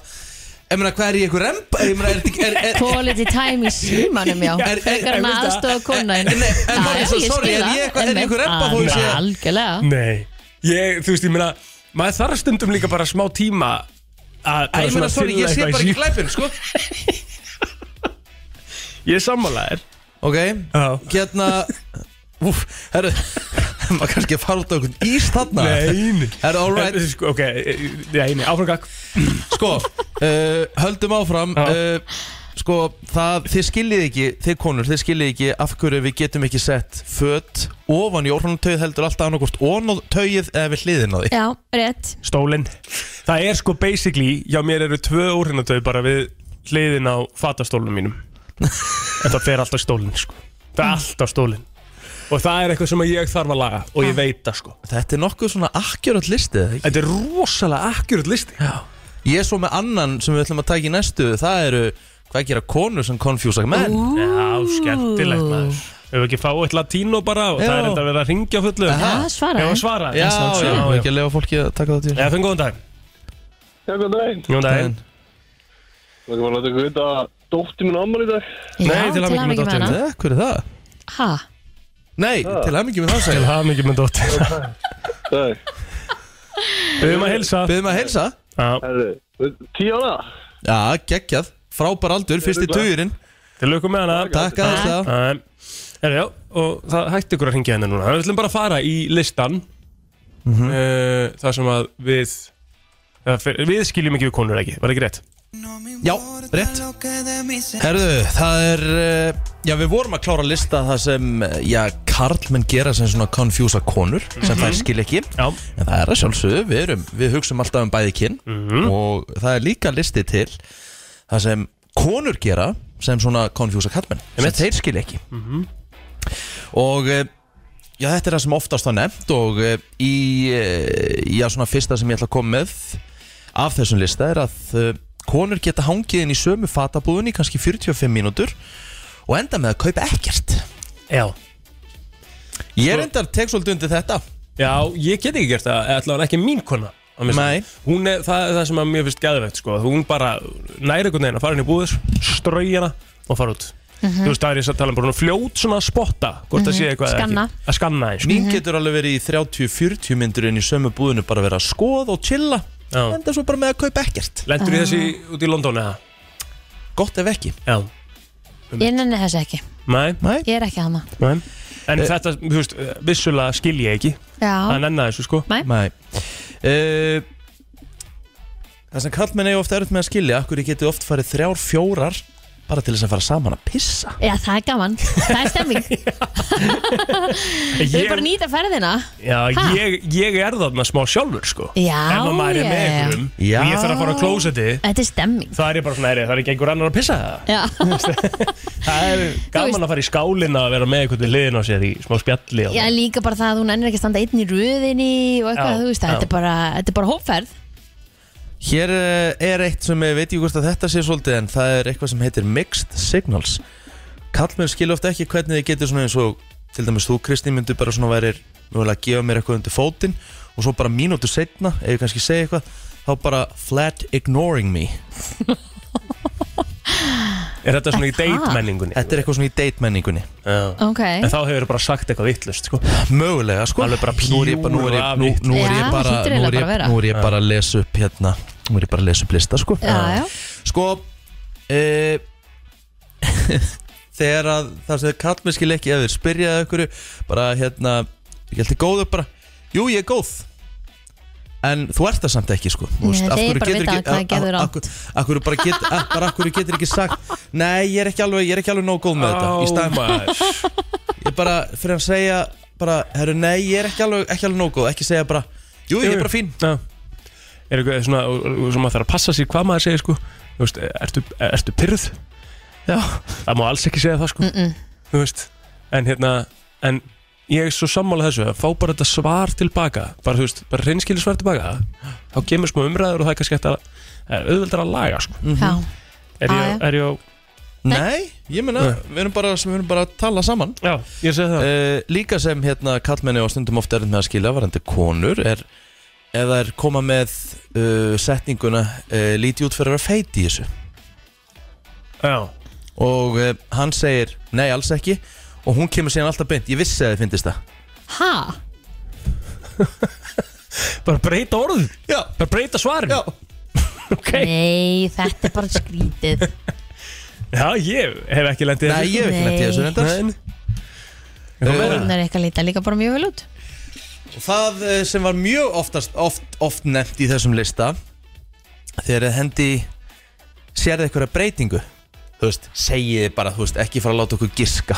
[SPEAKER 4] Ég meina, hvað er í einhver remba? Ég meina, er þetta ekki, er, er,
[SPEAKER 3] Quality time í símanum, já
[SPEAKER 4] Er- er-
[SPEAKER 3] Frekar hann
[SPEAKER 5] er-
[SPEAKER 3] að aðstofa kona
[SPEAKER 4] En- en- en-
[SPEAKER 3] Já,
[SPEAKER 4] en-
[SPEAKER 3] ég
[SPEAKER 4] sorry,
[SPEAKER 3] skil
[SPEAKER 4] er
[SPEAKER 3] það,
[SPEAKER 4] ég eitthvað- er ég
[SPEAKER 3] einmitt.
[SPEAKER 4] einhver rebba þó ég
[SPEAKER 3] Ah,
[SPEAKER 4] sé-
[SPEAKER 3] Algjörlega
[SPEAKER 5] Nei Ég, þú veist, ég meina maður þarf stundum líka bara smá tíma að
[SPEAKER 4] Æ,
[SPEAKER 5] bara
[SPEAKER 4] ég meina,
[SPEAKER 5] svona
[SPEAKER 4] sorry,
[SPEAKER 5] fylla
[SPEAKER 4] ég sé
[SPEAKER 5] eitthvað í
[SPEAKER 4] bara
[SPEAKER 5] sí-
[SPEAKER 4] ekki glæpin, sko
[SPEAKER 5] Ég er sammálaðir
[SPEAKER 4] Ok,
[SPEAKER 5] Já.
[SPEAKER 4] hérna Úf, herru Maður kannski að fara út á einhvern ís þarna
[SPEAKER 5] Nei
[SPEAKER 4] Herru, all right,
[SPEAKER 5] Sko, ok, nei, nei, áfram gakk
[SPEAKER 4] sko uh, Höldum áfram
[SPEAKER 5] Já.
[SPEAKER 4] uh, Sko, það, þið skiljið ekki Þið konur, þið skiljið ekki af hverju við getum ekki sett Föt ofan í orðanumtögið heldur alltaf annarkvort Ofan á tögið eða við hliðin á því
[SPEAKER 3] Já, rétt
[SPEAKER 5] Stólinn Það er sko basically, já mér eru tvö úrhinnatöð bara við hliðin á fatastólunum mínum En það fer alltaf stólinn sko Það er alltaf stólinn Og það er eitthvað sem ég þarf að laga og ég veit það sko
[SPEAKER 4] Þetta er nokkuð svona akkurat listið eða ekki?
[SPEAKER 5] Þetta er rosalega akkurat listi
[SPEAKER 4] Ég er svo með annan sem við ætlum að taka í næstu Það eru, hvað gera konur sem konfjúsa menn
[SPEAKER 5] Já, skemmtilegt maður Ef við ekki fá eitt latínó bara og
[SPEAKER 4] Já.
[SPEAKER 5] það er þetta að vera að ringja á fullu
[SPEAKER 3] Já,
[SPEAKER 5] Já,
[SPEAKER 3] svaraði
[SPEAKER 5] svara
[SPEAKER 4] Já, já,
[SPEAKER 5] já,
[SPEAKER 4] ekki að lefa fólki að taka það til
[SPEAKER 5] Já, fenn góðan dag
[SPEAKER 8] Já, góðan daginn.
[SPEAKER 5] Góðan daginn
[SPEAKER 8] Það er bara að láta ykkur vita að dóttir minn ámali í dag.
[SPEAKER 5] Nei, til hamingju með
[SPEAKER 3] hamingju
[SPEAKER 5] dótturina.
[SPEAKER 3] hana.
[SPEAKER 4] Eh, Hver er það?
[SPEAKER 3] Ha,
[SPEAKER 4] Nei, til aðmyggjum við það
[SPEAKER 5] Til
[SPEAKER 4] segja
[SPEAKER 5] hafa mikið með dóttir
[SPEAKER 8] Það er,
[SPEAKER 5] Við erum að hilsa
[SPEAKER 4] Byðum að heilsa
[SPEAKER 5] Já,
[SPEAKER 8] herru, tíu ára.
[SPEAKER 4] Já, geggjað, frábær aldur, fyrsti
[SPEAKER 8] glað.
[SPEAKER 4] tugurinn
[SPEAKER 5] til lökum með hana
[SPEAKER 4] Takk aðeins það
[SPEAKER 5] Erðu já, og það hætti ykkur að ringja henni núna Við ætlum bara að fara í listan mm Það sem að við eða fyr- Við skiljum ekki við konur ekki, var ekki rétt?
[SPEAKER 4] Já, rétt Herðu, það er eh, Já, við vorum að klára að lista það sem eh, Já, karlmenn gera sem svona konfjúsa konur Sem þær skil ekki
[SPEAKER 5] Já,
[SPEAKER 4] En það er að sjálfsögðu, við, erum, við hugsum alltaf um bæði kyn og það er líka listi til það sem konur gera sem svona konfjúsa kallmenn sem
[SPEAKER 5] Einmitt.
[SPEAKER 4] þeir skilja ekki og eh, já, þetta er það sem oftast það nefnt og eh, í eh, já, svona fyrsta sem ég ætla að koma með af þessum lista er að eh, konur geta hangið inn í sömu fatabúðin í kannski 45 mínútur og enda með að kaupa ekkert
[SPEAKER 5] já
[SPEAKER 4] Ég er endar tek svolítið undir þetta
[SPEAKER 5] Já, ég get ekki gert það, allavega ekki mín kona að missa.
[SPEAKER 4] Nei.
[SPEAKER 5] Hún er, það er það sem að mér finnst gæðvegt sko. að Hún bara næri einhvern veginn að fara inn í búðis Strauja hana og fara út Þú veist, það er ég að tala um bara svona fljót svona að spotta Hvort það sé eitthvað eða
[SPEAKER 3] Skanna.
[SPEAKER 5] ekki Að skanna eins
[SPEAKER 4] Mín getur alveg verið í 30-40 myndur inn í sömu búðinu bara vera að skoða og chilla
[SPEAKER 5] Já.
[SPEAKER 4] enda svo bara með að kaupa ekkert
[SPEAKER 5] Lendur í þessi út í London eða?
[SPEAKER 4] gott ef ekki
[SPEAKER 5] Já,
[SPEAKER 3] Ég nenni þess ekki,
[SPEAKER 5] nei,
[SPEAKER 4] Nei, Eh.
[SPEAKER 3] ég er ekki hana
[SPEAKER 5] nei En þetta, þú veist, vissulega skil ég ekki Það
[SPEAKER 3] Já,
[SPEAKER 5] nennar þessu, sko
[SPEAKER 4] nei uh, Það sem kallmenn eiga ofta erut með að skilja Akkur ég geti oft farið þrjár, fjórar Bara til þess að fara saman að pissa
[SPEAKER 3] já það er gaman, það er stemming Þau
[SPEAKER 5] ég,
[SPEAKER 3] bara nýta ferðina
[SPEAKER 5] já,
[SPEAKER 3] Ha?
[SPEAKER 5] ég, ég er þarna smá sjálfur, sko
[SPEAKER 3] Já,
[SPEAKER 5] Ef að maður er með
[SPEAKER 3] ég-
[SPEAKER 5] einhverjum
[SPEAKER 4] Já.
[SPEAKER 5] Og ég þarf að fara á klósetti
[SPEAKER 3] Þetta er stemming
[SPEAKER 5] Það er ég bara svona, "Heyrðu, það er ekki einhver annar að pissa það
[SPEAKER 3] Já,
[SPEAKER 5] Það er gaman að fara í skálina að vera með einhvern við liðin á sér í smá spjalli og
[SPEAKER 3] já líka bara það að hún ennir ekki að standa einn í röðinni og eitthvað,
[SPEAKER 5] Já,
[SPEAKER 3] þú
[SPEAKER 5] já.
[SPEAKER 3] veist, þetta er bara, þetta er bara hópferð
[SPEAKER 4] Hér eh, er eitt sem ég veit ekki hvort að þetta sé svolítið en það er eitthvað sem heitir Mixed Signals Kallmenn skilja ofta ekki hvernig þið getur svona eins og til dæmis þú Kristi myndu bara svona værir mögulega að gefa mér eitthvað undir fótinn og svo bara mínútu setna ef ég kannski segi eitthvað þá bara flat ignoring me
[SPEAKER 5] Er þetta svona í
[SPEAKER 3] Ha?
[SPEAKER 5] deitmenningunni?
[SPEAKER 4] Þetta er eitthvað svona í date menningunni
[SPEAKER 5] Já.
[SPEAKER 3] Ok,
[SPEAKER 5] En þá hefur bara sagt eitthvað vittlust sko.
[SPEAKER 4] Mögulega sko
[SPEAKER 5] Alveg bara
[SPEAKER 4] Nú er ég bara- nú er
[SPEAKER 5] pjúra
[SPEAKER 4] ég- nú- Nú er
[SPEAKER 3] Já,
[SPEAKER 4] ég bara
[SPEAKER 3] hlýtur
[SPEAKER 4] Nú
[SPEAKER 3] eiginlega
[SPEAKER 4] er
[SPEAKER 3] bara að vera.
[SPEAKER 4] ég- nú er ég bara að lesa upp hérna Nú er ég bara að lesa upp lista sko
[SPEAKER 3] já, já,
[SPEAKER 4] Sko e, Þegar að það sem kallmenn skil ekki eða þeir spyrjaði ykkur bara hérna, ég held þið góðu bara Jú, ég er góð En þú ert það samt ekki sko Þú
[SPEAKER 3] Nei,
[SPEAKER 4] af
[SPEAKER 3] þeir
[SPEAKER 4] hverju
[SPEAKER 3] bara
[SPEAKER 4] getur
[SPEAKER 3] vita
[SPEAKER 4] ekki-
[SPEAKER 3] hvað gerðu
[SPEAKER 4] af- af-
[SPEAKER 3] rangt.
[SPEAKER 4] af hverju bara get- af- bara af hverju getur ekki sagt Nei, ég er ekki alveg, ég er ekki alveg nóg góð með þetta Í staðan
[SPEAKER 5] maður
[SPEAKER 4] ég bara, fyrir að segja bara, herru, nei, ég er ekki alveg, ekki alveg nóg góð ekki segja bara, jú, ég er bara fín
[SPEAKER 5] Já. Er eitthvað svona og- og- og sem maður þarf að passa sér hvað maður segir sko. Þú veist, ertu, ertu pyrrð?
[SPEAKER 4] Já.
[SPEAKER 5] Það má alls ekki segja það sko.
[SPEAKER 3] mm -mm.
[SPEAKER 5] Þú veist, En hérna En ég er svo sammála þessu að fá bara þetta svar tilbaka bara þú veist, bara reynskili svar tilbaka þá kemur smá umræður og það er kannski hægt að eh, auðveldara að laga sko.
[SPEAKER 4] mm
[SPEAKER 3] já
[SPEAKER 5] er,
[SPEAKER 3] Ah, Já,
[SPEAKER 5] ég,
[SPEAKER 3] já.
[SPEAKER 5] er ég á
[SPEAKER 4] nei, ég menna,
[SPEAKER 5] Nei.
[SPEAKER 4] við erum bara við erum bara að tala saman
[SPEAKER 5] Já, ég segi það
[SPEAKER 4] uh, líka sem hérna kallmenni á stundum oft erðum með að skilja varandi konur er eða er koma með uh, setninguna uh, líti út fyrir að vera feit í þessu
[SPEAKER 5] Já,
[SPEAKER 4] og uh, hann segir, nei, alls ekki og hún kemur síðan alltaf beint, ég vissi að þið finnist það
[SPEAKER 3] Ha,
[SPEAKER 5] bara breyta orð
[SPEAKER 4] já,
[SPEAKER 5] bara breyta svarinu
[SPEAKER 4] já
[SPEAKER 5] okay.
[SPEAKER 3] nei, þetta er bara skrítið
[SPEAKER 5] Já, ég hef ekki lendið
[SPEAKER 4] nei, ég hef ekki nætti þessu reyndar
[SPEAKER 5] Nei.
[SPEAKER 4] Eh,
[SPEAKER 3] Hún er eitthvað líta líka bara mjög vel út
[SPEAKER 4] Það eh, sem var mjög oftast, oft, oft nefnt í þessum lista Þegar þið hendi Sérðu einhverja breytingu Þú veist, segiði bara, þú veist, ekki fara að láta okkur giska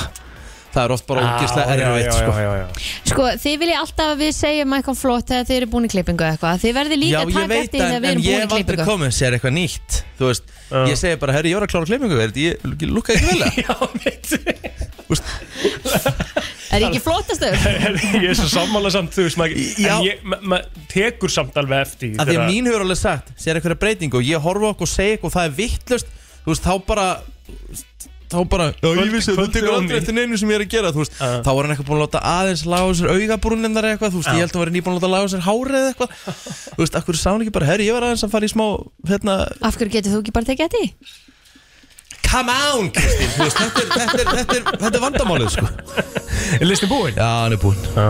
[SPEAKER 4] Það er oft bara ógislega erfitt sko.
[SPEAKER 5] já, já.
[SPEAKER 3] Sko, þið viljið alltaf að við segjum eitthvað flott þegar þið eru búin í klippingu eitthvað Þið verðið líka að
[SPEAKER 4] ég
[SPEAKER 3] taka
[SPEAKER 4] veit
[SPEAKER 3] eftir því
[SPEAKER 4] það,
[SPEAKER 3] þegar við
[SPEAKER 4] en ég
[SPEAKER 3] erum búin í
[SPEAKER 4] hef aldrei
[SPEAKER 3] klippingu
[SPEAKER 4] komið sér eitthvað nýtt Þú veist, ég segi bara, herri, ég var að klára klemmingu er þetta- Ég lukka ekki vel að
[SPEAKER 5] Já, mitt
[SPEAKER 3] Er ég ekki flottastur?
[SPEAKER 5] Ég er svo sammála samt, þú veist maður
[SPEAKER 4] Já.
[SPEAKER 5] En ég, ma- maður tekur samt alveg eftir því
[SPEAKER 4] Af því að
[SPEAKER 5] þegar-
[SPEAKER 4] mín hefur alveg sagt, sér einhverja breytingu og ég horfa okkur og segja eitthvað og það er vittlust þú veist, þá bara þá bara, já ég vissi að þú
[SPEAKER 5] Kvöld-
[SPEAKER 4] tekur
[SPEAKER 5] kvöldið
[SPEAKER 4] aldrei
[SPEAKER 5] á
[SPEAKER 4] eftir neinu sem ég er að gera þú veist,
[SPEAKER 5] Já.
[SPEAKER 4] þá var hann eitthvað búin að láta aðeins laga á sér augabrúnin þar eitthvað, þú veist,
[SPEAKER 5] Já.
[SPEAKER 4] ég held að hann var nýbúin að láta laga á sér hárið eða eitthvað, þú veist, akkur sá hann ekki bara herri, ég var aðeins að fara í smá, hérna
[SPEAKER 3] Af hverju getur þú ekki bara tekið eftir? því?
[SPEAKER 4] come on, Kristín, þú veist, þetta er, þetta er, þetta er, þetta er vandamálið, sko
[SPEAKER 5] Er listin búin?
[SPEAKER 4] já, hann er búinn,
[SPEAKER 5] Já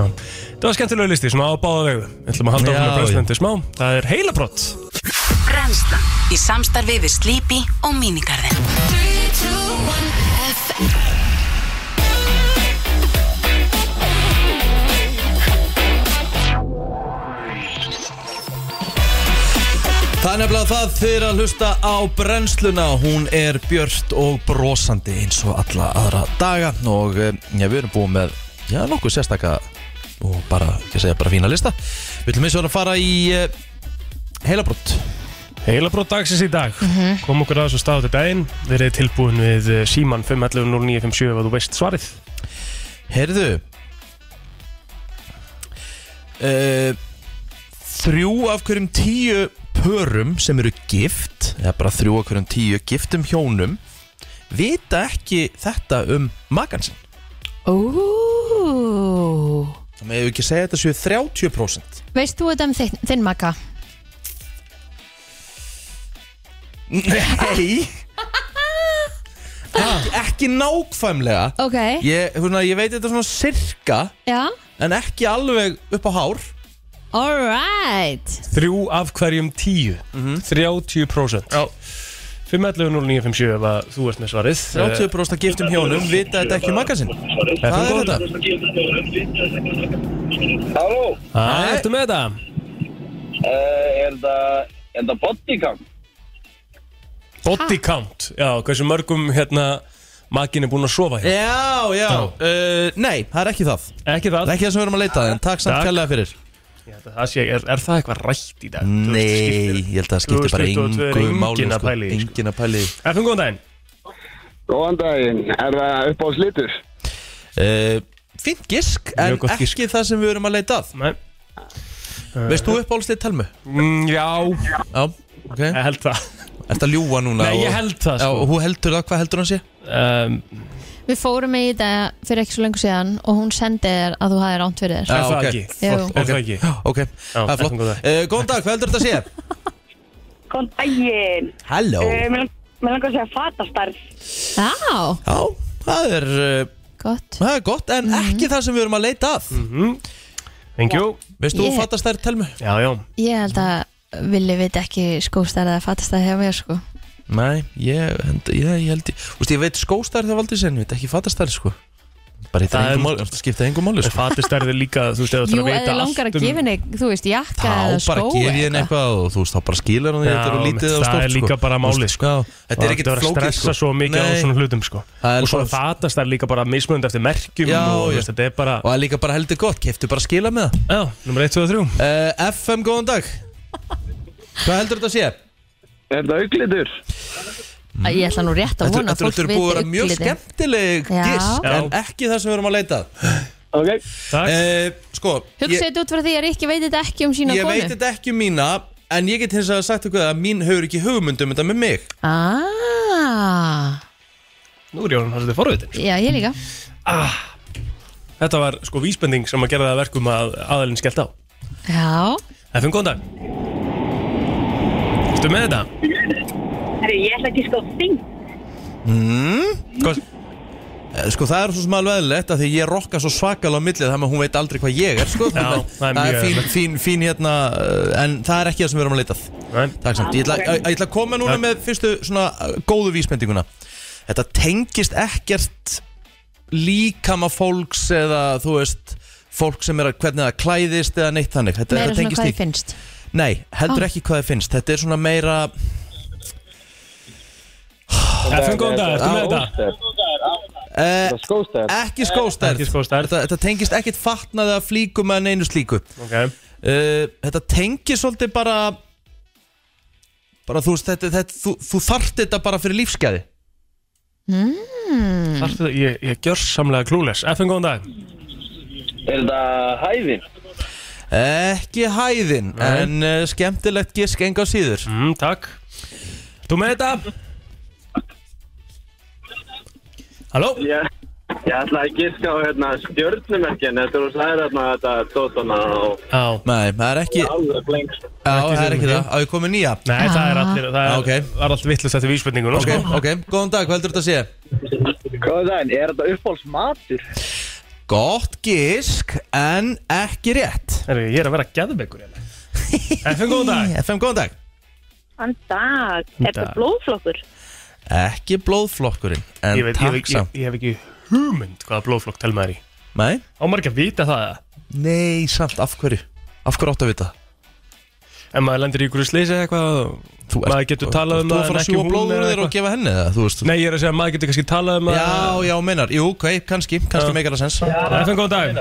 [SPEAKER 5] Það var skemmtilega listi, svona á báða vegu Við ætlum að halda
[SPEAKER 4] Já,
[SPEAKER 5] áfram að
[SPEAKER 4] já.
[SPEAKER 5] brennslandi smá Það er heilabrott
[SPEAKER 9] Brennslan í samstarfi við Sleepy og Minigarðin
[SPEAKER 4] það er nefnilega það fyrir að hlusta á brennsluna, hún er björt og brosandi eins og alla aðra daga og eh, já, við erum búin með já, nokkuð sérstaka og bara, ekki að segja, bara fína lista við ætlum eins og að fara í eh, heilabrótt
[SPEAKER 5] Heilabrótt dagsins í dag Kom okkur að þessu stáðu daginn Verið tilbúin við eh, símann 511 0957 ef þú veist svarið
[SPEAKER 4] heyrðu uh, þrjú af hverjum tíu pörum sem eru gift eða bara þrjú af hverjum tíu giftum hjónum vita ekki þetta um makan sinn
[SPEAKER 3] Ó,
[SPEAKER 4] Það meðu ekki segja þetta séu 30%
[SPEAKER 3] Veist þú þetta um þinn, þinn maka?
[SPEAKER 4] Nei ekki, ekki nákvæmlega
[SPEAKER 3] Ok,
[SPEAKER 4] ég, svona, ég veit þetta svona sirka
[SPEAKER 3] já,
[SPEAKER 4] En ekki alveg upp á hár
[SPEAKER 3] alright
[SPEAKER 4] Mhm.
[SPEAKER 5] Þrjú af hverjum tíu 30% Já 511-0957 ef að þú ert með svarið Eh,
[SPEAKER 4] 30% af giftum hjónum vita þetta ekki um maga sinn Hvað er þetta?
[SPEAKER 7] Halló,
[SPEAKER 5] Það ertu með þetta?
[SPEAKER 7] Eh, er þetta bodycam?
[SPEAKER 5] Body count Já, hversu mörgum hérna Makin er búinn að sofa hér
[SPEAKER 4] Já, já uh, Nei, það er ekki það Það
[SPEAKER 5] Eh, Ekki það
[SPEAKER 4] er ekki það sem við erum að leita að, En takk samt
[SPEAKER 5] Takk.
[SPEAKER 4] kærlega fyrir
[SPEAKER 5] Ég held að það sé, er, er það eitthvað rætt í dag?
[SPEAKER 4] Nei, ég held að það skiptir bara
[SPEAKER 5] 2022 er
[SPEAKER 4] engu máli
[SPEAKER 5] enginn að
[SPEAKER 4] sko.
[SPEAKER 5] pæla í því, sko.
[SPEAKER 4] Enginn að pæli sko.
[SPEAKER 5] FM, góðan daginn
[SPEAKER 8] Góðan daginn, er það upp á slitur?
[SPEAKER 4] uh, Fint gisk, en
[SPEAKER 5] Mjög gott
[SPEAKER 4] ekki
[SPEAKER 5] gisk.
[SPEAKER 4] það sem við erum að leita að
[SPEAKER 5] Nei.
[SPEAKER 4] Veist þú uppáhaldslið telmu?
[SPEAKER 5] Mm, já,
[SPEAKER 4] Já, ok
[SPEAKER 5] ég held það
[SPEAKER 4] Ertu að ljúa núna?
[SPEAKER 5] Eh. Nei,
[SPEAKER 4] og-
[SPEAKER 5] ég held það
[SPEAKER 4] Já, og
[SPEAKER 5] sko.
[SPEAKER 4] hún heldur það, hvað heldur hann sé?
[SPEAKER 5] um,
[SPEAKER 3] Við fórum með í þetta fyrir ekki svo lengur síðan og hún sendi þér að þú hafði ránt fyrir
[SPEAKER 5] Er
[SPEAKER 3] þér
[SPEAKER 4] Já,
[SPEAKER 5] það
[SPEAKER 4] ok.
[SPEAKER 5] ekki?
[SPEAKER 3] Jú.
[SPEAKER 5] Er það ekki?
[SPEAKER 4] Ok, það er flott
[SPEAKER 5] góðan dag.
[SPEAKER 4] uh, Góðan dag, hvað heldur þetta sé?
[SPEAKER 10] Góðan daginn.
[SPEAKER 4] Hello
[SPEAKER 10] Eh, Mér lang- mér langar að segja fatastarf.
[SPEAKER 3] Já,
[SPEAKER 4] Já, það er, uh,
[SPEAKER 3] gott
[SPEAKER 4] það er gott, en
[SPEAKER 3] Mhm.
[SPEAKER 4] ekki það sem við erum að leita að
[SPEAKER 5] Mm. Thank you
[SPEAKER 4] Veist þú,
[SPEAKER 3] Ég-
[SPEAKER 4] fattast þær telmu?
[SPEAKER 5] Já, já
[SPEAKER 3] Ég held að villi veit ekki skóstæða eða fatastæða hjá mér sko
[SPEAKER 4] Nei, ég, hend, ég, ég held ég Þú veist, ég veit skóstær þegar valdið sinni, veit ekki fattastær sko Bara þetta
[SPEAKER 5] Það
[SPEAKER 4] engu
[SPEAKER 5] er-
[SPEAKER 4] máli, það skipta engu máli sko
[SPEAKER 5] Fatistærði líka, þú veist, ef þú
[SPEAKER 3] Jú,
[SPEAKER 5] ætlar að
[SPEAKER 3] eða
[SPEAKER 5] vita
[SPEAKER 3] langar að
[SPEAKER 5] allt um-
[SPEAKER 3] gefa henni, þú veist,
[SPEAKER 4] Þá
[SPEAKER 3] jakka eða skó
[SPEAKER 4] bara gef ég henni
[SPEAKER 3] eða eitthvað.
[SPEAKER 4] eitthvað og þú veist, þá bara skilur hann því
[SPEAKER 5] Já,
[SPEAKER 4] þetta er lítið
[SPEAKER 5] mitt,
[SPEAKER 4] og
[SPEAKER 5] það
[SPEAKER 4] stórt
[SPEAKER 5] er líka
[SPEAKER 4] sko.
[SPEAKER 5] bara
[SPEAKER 4] Þú veist,
[SPEAKER 5] málið, sko.
[SPEAKER 4] já, Þetta er
[SPEAKER 5] Það
[SPEAKER 4] ekkert
[SPEAKER 5] að vera að
[SPEAKER 4] flókið sko.
[SPEAKER 5] stressa svo mikið á
[SPEAKER 4] Nei.
[SPEAKER 5] svona hlutum sko.
[SPEAKER 4] Það er
[SPEAKER 5] Og svo
[SPEAKER 4] bara-
[SPEAKER 5] fatast það líka bara mismunandi eftir merkjum
[SPEAKER 4] Já,
[SPEAKER 5] og,
[SPEAKER 4] já.
[SPEAKER 5] Veist, Þetta er bara
[SPEAKER 4] Og það er líka bara heldur gott, keftu bara skila með það
[SPEAKER 5] Já, nummer 1, 2 og 3
[SPEAKER 4] uh, FM, góðan dag Hvað heldur þetta að sé?
[SPEAKER 8] Er það auglitur?
[SPEAKER 3] Ég ætla nú rétt að
[SPEAKER 4] Þetta þetta-
[SPEAKER 3] vona að fólk
[SPEAKER 4] þetta er búið að vera mjög
[SPEAKER 3] viti upplitið.
[SPEAKER 4] skemmtileg
[SPEAKER 3] Já.
[SPEAKER 4] gisk
[SPEAKER 5] Já.
[SPEAKER 4] En ekki það sem við erum að leita
[SPEAKER 8] Ok,
[SPEAKER 5] Takk
[SPEAKER 4] uh, Sko,
[SPEAKER 3] Hugsa
[SPEAKER 4] ég,
[SPEAKER 3] þetta út frá því að Rikki veit þetta ekki um sína
[SPEAKER 4] ég veit
[SPEAKER 3] konu
[SPEAKER 4] þetta ekki um mína En ég get hins að sagt ykkur að mín hefur ekki hugmyndum þetta með mig
[SPEAKER 3] Ah,
[SPEAKER 5] Nú er ég orðin svolítið forvitin
[SPEAKER 3] já, ég líka
[SPEAKER 5] Þetta var sko vísbending sem að gera það að verkum að aðalinn skellt á
[SPEAKER 3] Já,
[SPEAKER 5] FM, góðan dag Ertu með þetta?
[SPEAKER 10] Herru, ég ætla ekki sko þing.
[SPEAKER 5] Hvað,
[SPEAKER 4] Eh, Sko það er svo sem alveg eðlilegt að því ég rokka svo svakal á millið þannig að hún veit aldrei hvað ég er sko.
[SPEAKER 5] Já, það er mjög
[SPEAKER 4] fín,
[SPEAKER 5] eðlilegt.
[SPEAKER 4] fín, fín hérna eh, en það er ekki það sem við erum að leitað
[SPEAKER 5] Nei.
[SPEAKER 4] Takk samt, ég ætla, ég, ég ætla að koma núna
[SPEAKER 5] Takk.
[SPEAKER 4] með fyrstu svona eh, góðu vísbendinguna Þetta tengist ekkert líkama fólks eða þú veist fólk sem er að hvernig það klæðist eða neitt þannig Þetta,
[SPEAKER 3] meira
[SPEAKER 4] þetta
[SPEAKER 3] svona
[SPEAKER 4] tengist
[SPEAKER 3] hvað
[SPEAKER 4] því
[SPEAKER 3] ég finnst
[SPEAKER 4] Nei, heldur
[SPEAKER 3] Ah.
[SPEAKER 4] ekki hvað það finnst Þetta er svona meira
[SPEAKER 5] FM, góðan dag, ertu með þetta?
[SPEAKER 4] uh,
[SPEAKER 8] skóstæð
[SPEAKER 4] ekki skóstærð
[SPEAKER 5] Ekki skóstærð.
[SPEAKER 4] Þetta, þetta tengist ekkert fatnaði að flíkum en einu slíku
[SPEAKER 5] Okay.
[SPEAKER 4] uh, þetta tengir svolítið bara bara þú veist þetta, þetta, þú, þú þarft þetta bara fyrir lífsgæði
[SPEAKER 5] Þarftu, ég, ég gjör samlega klúles FN, góðan dag
[SPEAKER 7] Er þetta hæðin?
[SPEAKER 4] ekki hæðin
[SPEAKER 5] Nei.
[SPEAKER 4] en uh, skemmtilegt gisk enga síður
[SPEAKER 5] mm, Takk Þú með þetta? Halló?
[SPEAKER 8] Ég, ég ætla að giska á hérna stjörnumerkin Þetta er þú sagðir hérna þetta Dótona og
[SPEAKER 5] Já
[SPEAKER 4] nei, það er ekki, já,
[SPEAKER 8] alveg blengst
[SPEAKER 4] það er
[SPEAKER 5] sem
[SPEAKER 4] ekki
[SPEAKER 5] ekki.
[SPEAKER 4] það á ég komið nýja
[SPEAKER 5] Nei, það er allir, það er,
[SPEAKER 4] Ah, ok.
[SPEAKER 5] var allt vittlust eftir sko. vísbendingun
[SPEAKER 4] ok, ok, góðan dag, hvað heldur þetta að sé?
[SPEAKER 8] Góðan daginn, er þetta uppáhaldsmatur?
[SPEAKER 4] gott gisk en ekki rétt
[SPEAKER 5] Herri, ég er að vera gæðbeggur FN, góðan dag
[SPEAKER 4] FM, góðan dag
[SPEAKER 10] Hann dag. Er
[SPEAKER 5] Dag.
[SPEAKER 10] þetta blóðflokkur?
[SPEAKER 4] ekki blóðflokkurinn en
[SPEAKER 5] ég, veit, ég,
[SPEAKER 4] takk
[SPEAKER 5] ég, ég,
[SPEAKER 4] samt
[SPEAKER 5] ég hef ekki hugmynd hvaða blóðflokk telma er í
[SPEAKER 4] nei,
[SPEAKER 5] Á margir að vita það eða?
[SPEAKER 4] nei, samt, af hverju af hverju áttu að vita það?
[SPEAKER 5] En maður lendir í ykkur slýsi eitthvað
[SPEAKER 4] Þú
[SPEAKER 5] og Maður getur talað um
[SPEAKER 4] það
[SPEAKER 5] það
[SPEAKER 4] Þú
[SPEAKER 5] en
[SPEAKER 4] fara að
[SPEAKER 5] ekki
[SPEAKER 4] sjúa
[SPEAKER 5] hún
[SPEAKER 4] blóður
[SPEAKER 5] eða
[SPEAKER 4] þér og
[SPEAKER 5] eitthvað.
[SPEAKER 4] gefa henni það, þú veist
[SPEAKER 5] Nei, ég er að segja að maður getur kannski talað um
[SPEAKER 4] Já, já, meinar, jú, ok, kannski, kannski
[SPEAKER 5] Já.
[SPEAKER 4] meikar það sens
[SPEAKER 5] það FN, góðan dag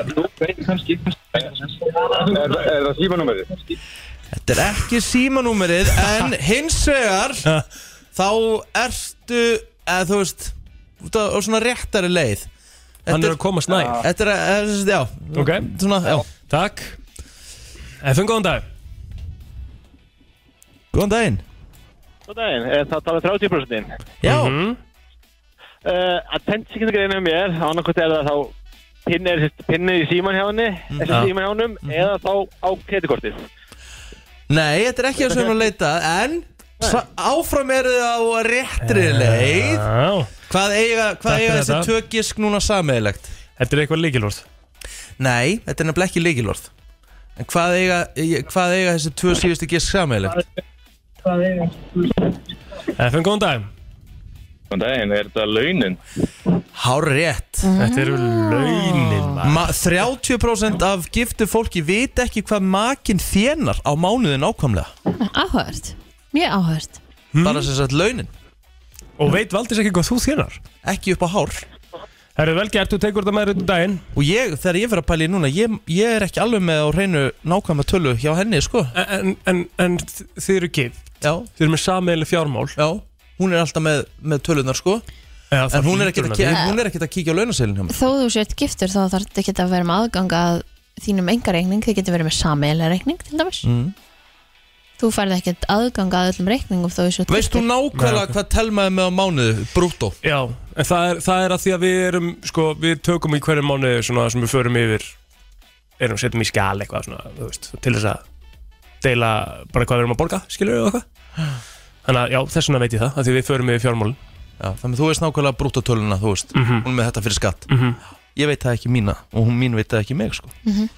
[SPEAKER 8] Er, er það símanúmerið?
[SPEAKER 4] Þetta er ekki símanúmerið, en hins vegar þá ertu, eða þú veist, út á á svona réttari leið
[SPEAKER 5] Hann
[SPEAKER 4] Þetta
[SPEAKER 5] er að koma snæ
[SPEAKER 4] Þetta er, að- eða þú veist, já,
[SPEAKER 5] Ok,
[SPEAKER 4] svona, já
[SPEAKER 5] takk FN, góðan dag
[SPEAKER 4] Góðan daginn
[SPEAKER 8] Góðan daginn, er það talað 30% inn?
[SPEAKER 4] Já,
[SPEAKER 5] Mhm.
[SPEAKER 8] uh, attention-greinu mér annarkvæmt er það þá pinni, er, pinni í síman hjá henni þessi
[SPEAKER 5] Já.
[SPEAKER 8] síman hjá hennum eða þá á kreditkortið
[SPEAKER 4] nei, þetta er ekki það sem við erum að leita að, En sa- áfram eru þið á réttri leið
[SPEAKER 5] Já,
[SPEAKER 4] Hvað eiga,
[SPEAKER 5] Eh. Takk
[SPEAKER 4] hvað eiga
[SPEAKER 5] fyrir
[SPEAKER 4] þessi
[SPEAKER 5] þetta.
[SPEAKER 4] tökisk núna sameigilegt?
[SPEAKER 5] þetta er eitthvað líkilvort
[SPEAKER 4] Nei, þetta er nefnilega ekki leikilorð En hvað eiga, hvað eiga þessi tvö síðustu gisk sammeilegt?
[SPEAKER 5] FM, góðan dag
[SPEAKER 11] Góðan daginn, er þetta launin?
[SPEAKER 4] Hár rétt
[SPEAKER 5] Þetta eru launin
[SPEAKER 4] Ma 30% af giftu fólki vita ekki hvað makinn þjenar á mánuðin ákvæmlega
[SPEAKER 3] Áhört, mjög áhört
[SPEAKER 5] Hmm?
[SPEAKER 4] Bara sem sagt launin
[SPEAKER 5] Og veit Valdís ekki hvað þú þjenar?
[SPEAKER 4] Ekki upp á hár
[SPEAKER 5] Herru vel gert, þú tekur þetta með þetta daginn
[SPEAKER 4] Og ég, þegar ég fyrir að pæli núna ég, ég er ekki alveg með á reynu nákvæmlega tölu hjá henni, sko
[SPEAKER 5] En, en, en þið eru gift
[SPEAKER 4] Já
[SPEAKER 5] Þið eru með sameigli fjármál
[SPEAKER 4] Já, hún er alltaf með, með tölunar, sko
[SPEAKER 5] Já, það
[SPEAKER 4] En hún er
[SPEAKER 5] hlýtur
[SPEAKER 4] ekkert
[SPEAKER 5] hún
[SPEAKER 4] að,
[SPEAKER 5] að
[SPEAKER 4] að,
[SPEAKER 5] vita.
[SPEAKER 4] hún er ekkert að kíkja á launaseilin hjá mér
[SPEAKER 3] Þó þú sért giftur þá þarf þetta ekki að vera með aðgang að þínum engareikning, þið getur verið með sameiglega reikning til dæmis
[SPEAKER 4] mm.
[SPEAKER 3] Þú færði ekkert aðgang að öllum reikningum þó þú sért
[SPEAKER 4] Veist þú
[SPEAKER 3] giftur.
[SPEAKER 4] nákvæmlega hvað telmaði með á mánuði, brúttó?
[SPEAKER 5] Já, en það er, það er að því að við erum sko, við tökum í hverjum mánuði svona sem við förum yfir erum setjum í skjál eitthvað svona, þú veist, til þess að deila bara hvað við erum að borga, skilur við eitthvað Þannig að já, þess vegna veit ég það, að því við förum yfir fjármálin
[SPEAKER 4] Já, þannig að þú veist nákvæmlega brúttotöluna, þú veist
[SPEAKER 5] Mhm.
[SPEAKER 4] Hún er með þetta fyrir skatt
[SPEAKER 5] mm -hmm.
[SPEAKER 4] Ég veit það ekki mína og hún mín veit það ekki mig, sko
[SPEAKER 5] Mhm.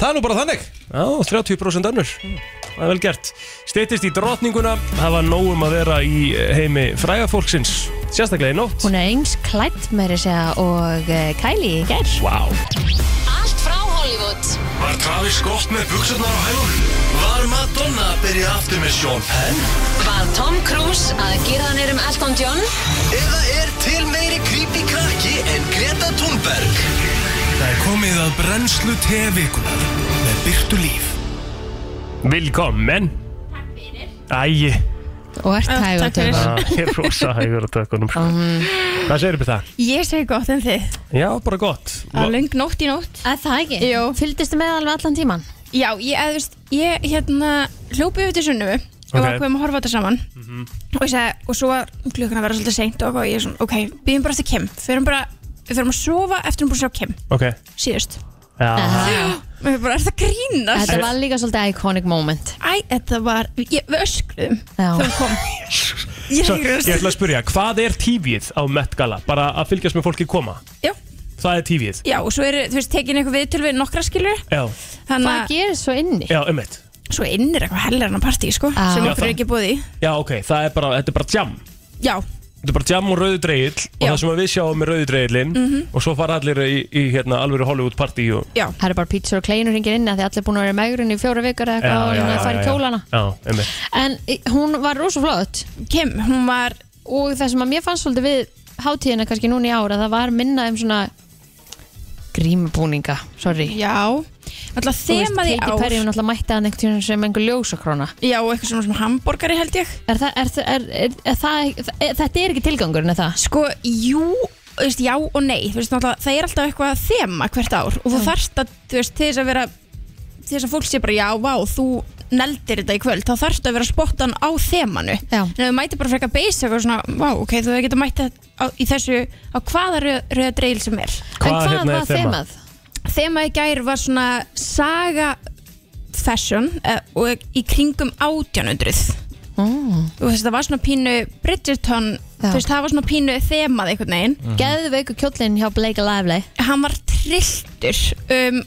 [SPEAKER 4] Það er nú bara þannig
[SPEAKER 5] Já, 30% önnur Það er vel gert Steytist í drotninguna, hafa nógum að vera í eh, heimi frægafólksins Sérstaklega í nótt
[SPEAKER 3] Hún er eins klætt meiri segja og eh, Kylie í gær
[SPEAKER 5] Vá wow.
[SPEAKER 12] Allt frá Hollywood
[SPEAKER 2] Var Travis Scott með buksarnar á hælunum? Var Madonna að byrja aftur með Sean Penn?
[SPEAKER 12] Var Tom Cruise að gera hann erum Elton John?
[SPEAKER 2] Eða er til meiri creepy krakki en Greta Thunberg?
[SPEAKER 5] Það er komið að brennslu tevikunar með byrtu líf Vilkommen Æi
[SPEAKER 3] og ert hægur
[SPEAKER 13] takk fyrir.
[SPEAKER 3] Dögg.
[SPEAKER 5] Ah, Ég er rosa hægur að taka honum sko. Hvað segir við það?
[SPEAKER 13] Ég segi gott en þið
[SPEAKER 5] Já, bara gott
[SPEAKER 13] Það var löng nótt í nótt
[SPEAKER 3] Að það ekki?
[SPEAKER 13] Jó
[SPEAKER 3] Fylgdistu með alveg allan tíman?
[SPEAKER 13] Já, ég, eða, þú veist, ég hérna hljópi yfir til sunnumu og
[SPEAKER 3] Ok.
[SPEAKER 13] okay. ákveðum að horfa á þetta saman
[SPEAKER 3] Mhm.
[SPEAKER 13] og ég segi, og svo var klukkan að vera svolítið seint og eitthvað, og ég er svona, ok, býðum bara eftir Kim fyrir bara, við fyrir að sofa eftir hún búin að sjá Kim
[SPEAKER 5] Ok
[SPEAKER 13] síðust Ah.
[SPEAKER 5] Já
[SPEAKER 13] og ég bara, er það grínast?
[SPEAKER 3] Þetta var líka svolítið iconic moment
[SPEAKER 13] Æ, þetta var, ég, við öskruðum
[SPEAKER 3] Já.
[SPEAKER 13] þegar hún kom Ég
[SPEAKER 5] Svo,
[SPEAKER 13] grínast.
[SPEAKER 5] Ég ætla að spyrja, hvað er tífið á Met Gala? Bara að fylgjast með fólki koma
[SPEAKER 13] Já.
[SPEAKER 5] Það er tífið
[SPEAKER 13] Já, og svo eru, þú veist, tekin eitthvað viðtöl við nokkra skilur
[SPEAKER 5] Já,
[SPEAKER 13] Hvað
[SPEAKER 3] gerir svo inni?
[SPEAKER 5] já, ummitt
[SPEAKER 13] Svo innir eitthvað helgarna partí, sko,
[SPEAKER 3] Ah.
[SPEAKER 13] sem
[SPEAKER 5] Já,
[SPEAKER 13] okkur er
[SPEAKER 5] það-
[SPEAKER 13] ekki búið í
[SPEAKER 5] Já, ok, það er bara, þetta er bara jam
[SPEAKER 13] Já,
[SPEAKER 5] Þetta er bara jam og rauðu dreigill og það sem að við sjáum er rauðu dreigillin
[SPEAKER 3] Mhm.
[SPEAKER 5] og svo fara allir í, í hérna, alveg Hollywood party og...
[SPEAKER 13] Já.
[SPEAKER 3] Það eru bara pítsur og kleinur hringir inn að því allir búin að vera megrun í fjóra vikur eða eitthvað og hérna að fara í kjólana
[SPEAKER 5] Já, einmitt
[SPEAKER 3] En í- hún var rosa flott
[SPEAKER 13] Kim, hún var
[SPEAKER 3] Og það sem að mér fannst svolítið við hátíðina kannski núna í ára Það var minna um svona grímubúninga, sorry
[SPEAKER 13] Já, alltaf þemað í ár.
[SPEAKER 3] Katy Perry, hún alltaf mætti hann einhvern tímann sem einhver ljósakróna
[SPEAKER 13] Já, og eitthvað svona sem hambúrgari held ég
[SPEAKER 3] er það, er, er, er, er, það, er, Þetta er ekki tilgangurinn, er það?
[SPEAKER 13] Sko, jú, þú veist, já og nei Þú veist, náttúrulega, það er alltaf eitthvað þema hvert ár og þú þarft að, þú veist, til þess að vera til þess að fólk sé bara, já, vá, þú neldir þetta í kvöld, þá þarftu að vera spottan á þemanu,
[SPEAKER 3] já.
[SPEAKER 13] en ef þú mæti bara frekar beis eitthvað svona, vá, ok, þú hefur getað mætt þetta á, í þessu, á hvaða rauð, rauða dreil sem er.
[SPEAKER 5] Hvað, hvað hérna, er var þemað?
[SPEAKER 13] Þemað í gær var svona saga fashion eh, og í kringum 1800
[SPEAKER 3] Mm.
[SPEAKER 13] Þú veist, það var svona pínu Bridgerton, þú veist, það var svona pínu þemað einhvern veginn.
[SPEAKER 3] Mhm. Geðveiku kjóllinn hjá Blake Lively.
[SPEAKER 13] Hann var trilltur um,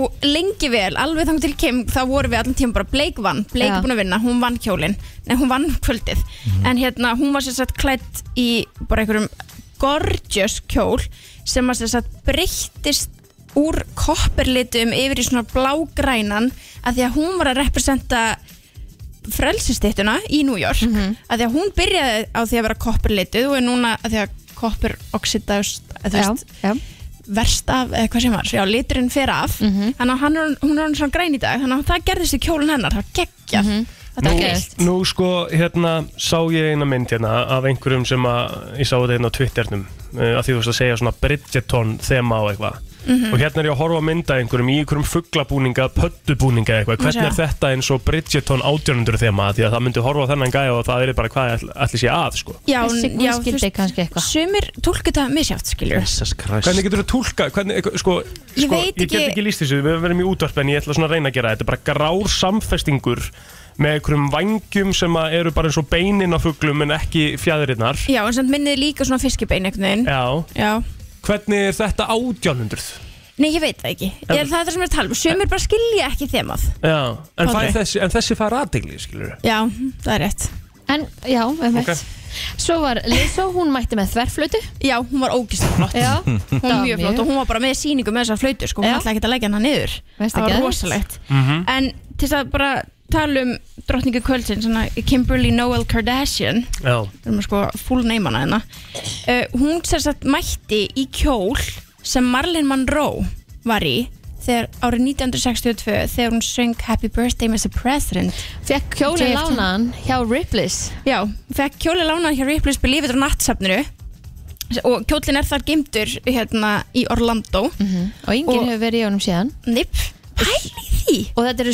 [SPEAKER 13] og lengi vel, alveg þangt til Kim, þá vorum við allan tíma bara Blake vann, Blake
[SPEAKER 3] Já.
[SPEAKER 13] er búin að vinna, hún vann kjólinn, nei, hún vann kvöldið. En hérna, hún var sér satt klætt í bara einhverjum gorgeous kjól sem að sér satt breyttist úr kopperlitum yfir í svona blágrænan að því að hún var að representa frelsistittuna í New York
[SPEAKER 3] Mhm.
[SPEAKER 13] að því að hún byrjaði á því að vera koppurlituð og er núna að því að koppur oxidast
[SPEAKER 3] Já, já.
[SPEAKER 13] verst af, eða hvað sem var, já, liturinn fer af
[SPEAKER 3] Mhm.
[SPEAKER 13] þannig að hann er, hún er hann svona græn í dag þannig að það gerðist í kjólun hennar, það var geggjað
[SPEAKER 3] Mhm.
[SPEAKER 13] þetta
[SPEAKER 5] Nú,
[SPEAKER 13] var greitt
[SPEAKER 5] nú sko, hérna, sá ég eina mynd hérna af einhverjum sem að ég sá þetta hérna á Twitternum uh, að því þú veist að segja svona Bridgerton þema og eitthvað
[SPEAKER 13] Mhm.
[SPEAKER 5] og hérna er ég að horfa á mynda einhverjum í einhverjum fuglabúninga, pöttubúninga eitthvað
[SPEAKER 13] Má
[SPEAKER 5] hvernig er
[SPEAKER 13] sjá.
[SPEAKER 5] þetta eins og Bridgerton 1800 þema Af því að það myndi horfa á þennan gæja og það er bara hvað ætl- ætli sé að sko
[SPEAKER 13] já,
[SPEAKER 3] Þessi hún
[SPEAKER 13] já,
[SPEAKER 3] skildi kannski eitthvað
[SPEAKER 13] sumir tólkuð það misjátt, skilur
[SPEAKER 4] Jesus Christ
[SPEAKER 5] Hvernig getur þú tólka, hvernig, sko,
[SPEAKER 13] Ég
[SPEAKER 5] sko
[SPEAKER 13] veit
[SPEAKER 5] ég get
[SPEAKER 13] ekki-
[SPEAKER 5] ekki líst þessu, við verðum í útvarp en ég ætla svona að reyna að gera þetta, bara grár samfestingur með einhverjum vangjum sem að eru bara eins og beinin á fuglum en ekki fjæðurinnar
[SPEAKER 13] já, en samt minniði líka svona fiskibein einhvern veginn
[SPEAKER 5] Já.
[SPEAKER 13] já.
[SPEAKER 5] Hvernig er þetta 1800?
[SPEAKER 13] nei, ég veit það ekki ég, það er það sem er að tala um, sumir bara skilja ekki þemað
[SPEAKER 5] Já, en,
[SPEAKER 13] Aldrei.
[SPEAKER 5] fær þessi, en þessi fær aðdegli, skilur
[SPEAKER 13] já, það er rétt
[SPEAKER 3] En, já, einmitt Svo var Lizzo, hún mætti með þverflötu
[SPEAKER 13] Já, hún var ógislega flott
[SPEAKER 3] Já,
[SPEAKER 13] Hún var mjög flott og hún var bara með síningu með þessar flautur sko, hún ætlaði ekki að leggja hana niður
[SPEAKER 3] Veist
[SPEAKER 13] Það var
[SPEAKER 3] ekki að-
[SPEAKER 13] rosalegt
[SPEAKER 3] Mhm.
[SPEAKER 13] En til þess að bara tala um drottningu kvöldsins, svona Kimberly Noel Kardashian
[SPEAKER 5] Já.
[SPEAKER 13] við erum að sko full name hana hérna uh, Hún sem sagt mætti í kjól sem Marlon Monroe var í þegar árið 1962 þegar hún söng Happy Birthday Mr. President
[SPEAKER 3] Fekk kjólinn lánaðan hjá Ripley's
[SPEAKER 13] Já, fekk kjólinn lánaðan hjá Ripley's Believe It or Not safninu og kjólinn er þar geimtur hérna í Orlando
[SPEAKER 3] Mhm. Og enginn hefur verið í honum síðan
[SPEAKER 13] Nip, pæli því
[SPEAKER 3] Og þetta eru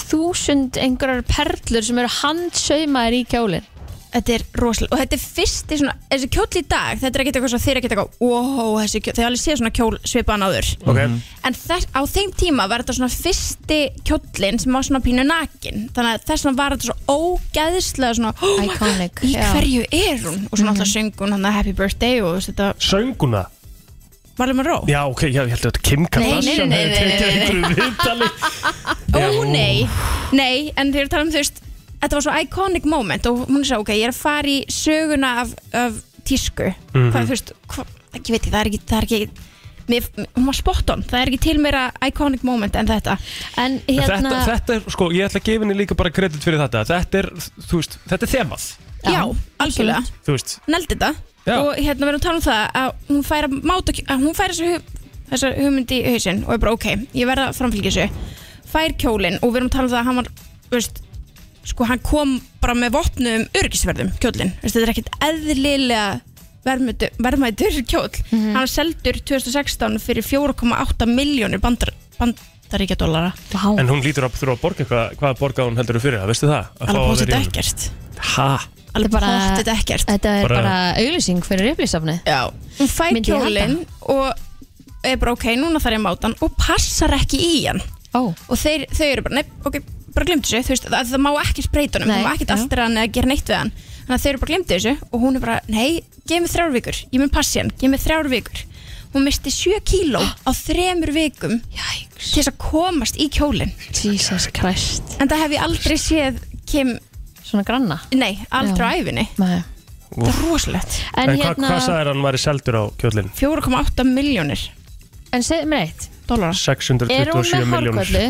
[SPEAKER 3] 6.000 einhverjar perlur sem eru handsaumaðir í kjólinn
[SPEAKER 13] Þetta er rosalega og þetta er fyrsti svona, þessi kjóll í dag þetta er ekkert eitthvað svo þeir ekkert eitthvað wow, þessi kjóll, þeir alveg séð svona kjól svipaðan áður
[SPEAKER 5] Ok.
[SPEAKER 13] en þess, á þeim tíma var þetta svona fyrsti kjóllin sem var svona pínu nakin þannig að þess vegna var þetta svo ógæðislega svona oh my
[SPEAKER 3] Iconic,
[SPEAKER 13] god, í
[SPEAKER 3] já.
[SPEAKER 13] hverju er hún og svona alltaf söng hún hann að happy birthday og veist þetta
[SPEAKER 5] Sönguna?
[SPEAKER 13] Marlon Monroe
[SPEAKER 5] Já, ok, já, ég held að þetta Kim Kardashian
[SPEAKER 13] nei,
[SPEAKER 5] hefði
[SPEAKER 13] nei,
[SPEAKER 5] tekið
[SPEAKER 13] nei, nei.
[SPEAKER 5] einhverju viðtali
[SPEAKER 13] Ó nei, nei, en þegar við tala um þú veist Þetta var svo iconic moment og hún sagði ok, ég er að fara í söguna af, af tísku
[SPEAKER 5] Mhm.
[SPEAKER 13] Hvað þú veist, hva, ekki veit ég, það er ekki, það er ekki mér, Hún var spot on, það er ekki til meira iconic moment en þetta
[SPEAKER 3] En hérna-
[SPEAKER 13] Hérna-
[SPEAKER 5] þetta, þetta er, sko, ég ætla að gefa henni líka bara kredit fyrir þetta Þetta er, þú veist, þetta er þemað
[SPEAKER 13] Já, algjörlega,
[SPEAKER 5] Þú veist,
[SPEAKER 13] neldi þetta
[SPEAKER 5] Já.
[SPEAKER 13] Og hérna við erum að tala um það að hún fær að máta að hún fær þessu, hu- þessu hugmyndi í hausinn og er bara ok, ég verða að framfylgja þessu Fær kjólinn og við erum að tala um það að hann var, þú veist, sko hann kom bara með vopnum örgisverðum kjólinn, Þú veist, þetta er ekkert eðlilega verðmættur kjól hann var seldur 2016 fyrir 4,8 miljónir bandar, bandaríkjadólara
[SPEAKER 3] wow.
[SPEAKER 5] en hún lítur að þurfa að borga eitthvað Hvað borga hún heldur þú fyrir það, veistu það? Að fá
[SPEAKER 13] alveg
[SPEAKER 5] að
[SPEAKER 13] bóðið
[SPEAKER 5] vera í honum.
[SPEAKER 13] ekkert
[SPEAKER 5] Ha?
[SPEAKER 13] alveg pottþétt ekkert
[SPEAKER 3] Þetta er
[SPEAKER 5] Bara-
[SPEAKER 3] bara, auglýsing fyrir Ripley's-safni
[SPEAKER 13] Já, hún fær
[SPEAKER 3] Myndi ég
[SPEAKER 13] kjólinn og er bara ok, núna þarf ég að máta hann og passar ekki í hann
[SPEAKER 3] oh.
[SPEAKER 13] og þeir, þau eru bara, nei, ok, bara glemdu þessu þú veist, það, það má ekki spreita honum,
[SPEAKER 3] Nei,
[SPEAKER 13] það má ekki
[SPEAKER 3] já.
[SPEAKER 13] alltaf hann eða gera neitt við hann þannig að þau eru bara glemdu þessu og hún er bara, nei, gef mér þrjár vikur ég mun passi hann, gef mér þrjár vikur hún misti 7 kíló á þremur vikum Jæks. til þess að komast í kjólinn
[SPEAKER 3] Jesus Christ
[SPEAKER 13] en það hef ég aldrei séð Kim
[SPEAKER 3] svona granna
[SPEAKER 13] nei, aldrei á æfinni
[SPEAKER 3] Nei.
[SPEAKER 13] það er rosalegt
[SPEAKER 5] En,
[SPEAKER 3] hérna-
[SPEAKER 5] hvað, hvað sagði hann væri seldur á kjólinn?
[SPEAKER 13] 4,8 miljónir
[SPEAKER 3] En segðu mér eitt
[SPEAKER 13] Dólarar
[SPEAKER 3] Er
[SPEAKER 5] 627
[SPEAKER 3] hún með
[SPEAKER 5] miljónir
[SPEAKER 3] hárkollu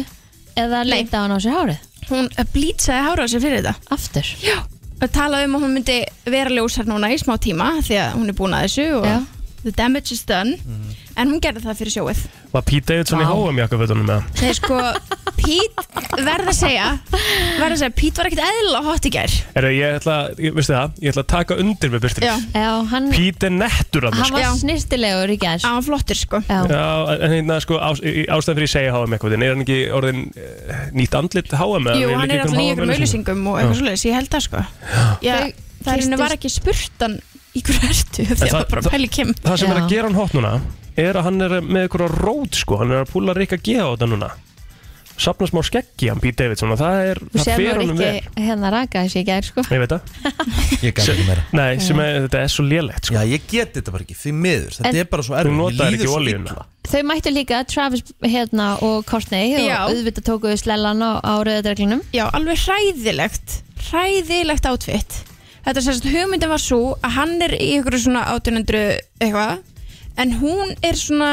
[SPEAKER 3] eða leita hún á sér hárið?
[SPEAKER 13] Hún eh, blýtsaði hárað sér fyrir þetta
[SPEAKER 3] Aftur?
[SPEAKER 13] Já Að tala um að hún myndi vera ljósar núna í smá tíma Því að hún er búin að þessu og The damage is done
[SPEAKER 5] Mhm.
[SPEAKER 13] En hún gerði það fyrir sjóið
[SPEAKER 5] Var Pete Davidson í
[SPEAKER 13] Vá.
[SPEAKER 5] háum jakkafötunum með hann?
[SPEAKER 13] Þeir sko, Pete verð að segja Verð að segja, Pete var ekkert eðla hot í gær
[SPEAKER 5] Er ég ætla, ég, veistu það, ég ætla að taka undir með Birtir
[SPEAKER 3] Já, hann,
[SPEAKER 5] Pete er nettur að
[SPEAKER 3] hann var snirtilegur í gær Já,
[SPEAKER 13] hann flottur sko
[SPEAKER 3] Já,
[SPEAKER 5] Já, en hérna sko á, ástæðan fyrir ég segja HM eitthvað en er hann ekki orðin uh, nýtt andlit HM? eða
[SPEAKER 13] Jú,
[SPEAKER 5] við
[SPEAKER 13] hann er
[SPEAKER 5] líka
[SPEAKER 13] alltaf í
[SPEAKER 5] HM
[SPEAKER 13] ykkur auðlýsingum og eitthvað
[SPEAKER 5] Já.
[SPEAKER 13] svoleiðis, ég held það sko Já, það er henni var ekki spurtan í hverju ertu
[SPEAKER 5] En
[SPEAKER 13] Því að
[SPEAKER 5] það-
[SPEAKER 13] það bara pæli kim
[SPEAKER 5] Það sem er að gera hann hot núna er að hann er með ykkur rót sko hann er að púla Rikka G á þetta núna sapna smá skeggi hann Pete Davidson og það er,
[SPEAKER 3] Þú
[SPEAKER 5] það
[SPEAKER 3] sér
[SPEAKER 5] fer
[SPEAKER 3] maður
[SPEAKER 5] honum vel
[SPEAKER 3] ekki hérna raka þessi í gær sko
[SPEAKER 5] Ég veit það
[SPEAKER 4] Ég gæti ekki meira
[SPEAKER 5] Nei, sem er, þetta er svo lélegt sko.
[SPEAKER 4] Já, ég get þetta bara ekki, því miður Þetta
[SPEAKER 3] En-
[SPEAKER 4] er bara svo erfið
[SPEAKER 5] Þú notaðir ekki olíuna.
[SPEAKER 3] Þau mættu líka Travis hérna og Courtney og
[SPEAKER 13] Já.
[SPEAKER 3] auðvitað tókuðu slellan á, á rauðadreglinum
[SPEAKER 13] Já, alveg hræðilegt hræðilegt átfitt Þetta sem sagt hugmyndin var svo að hann er í ykkur svona 1800 eitthvað en hún er svona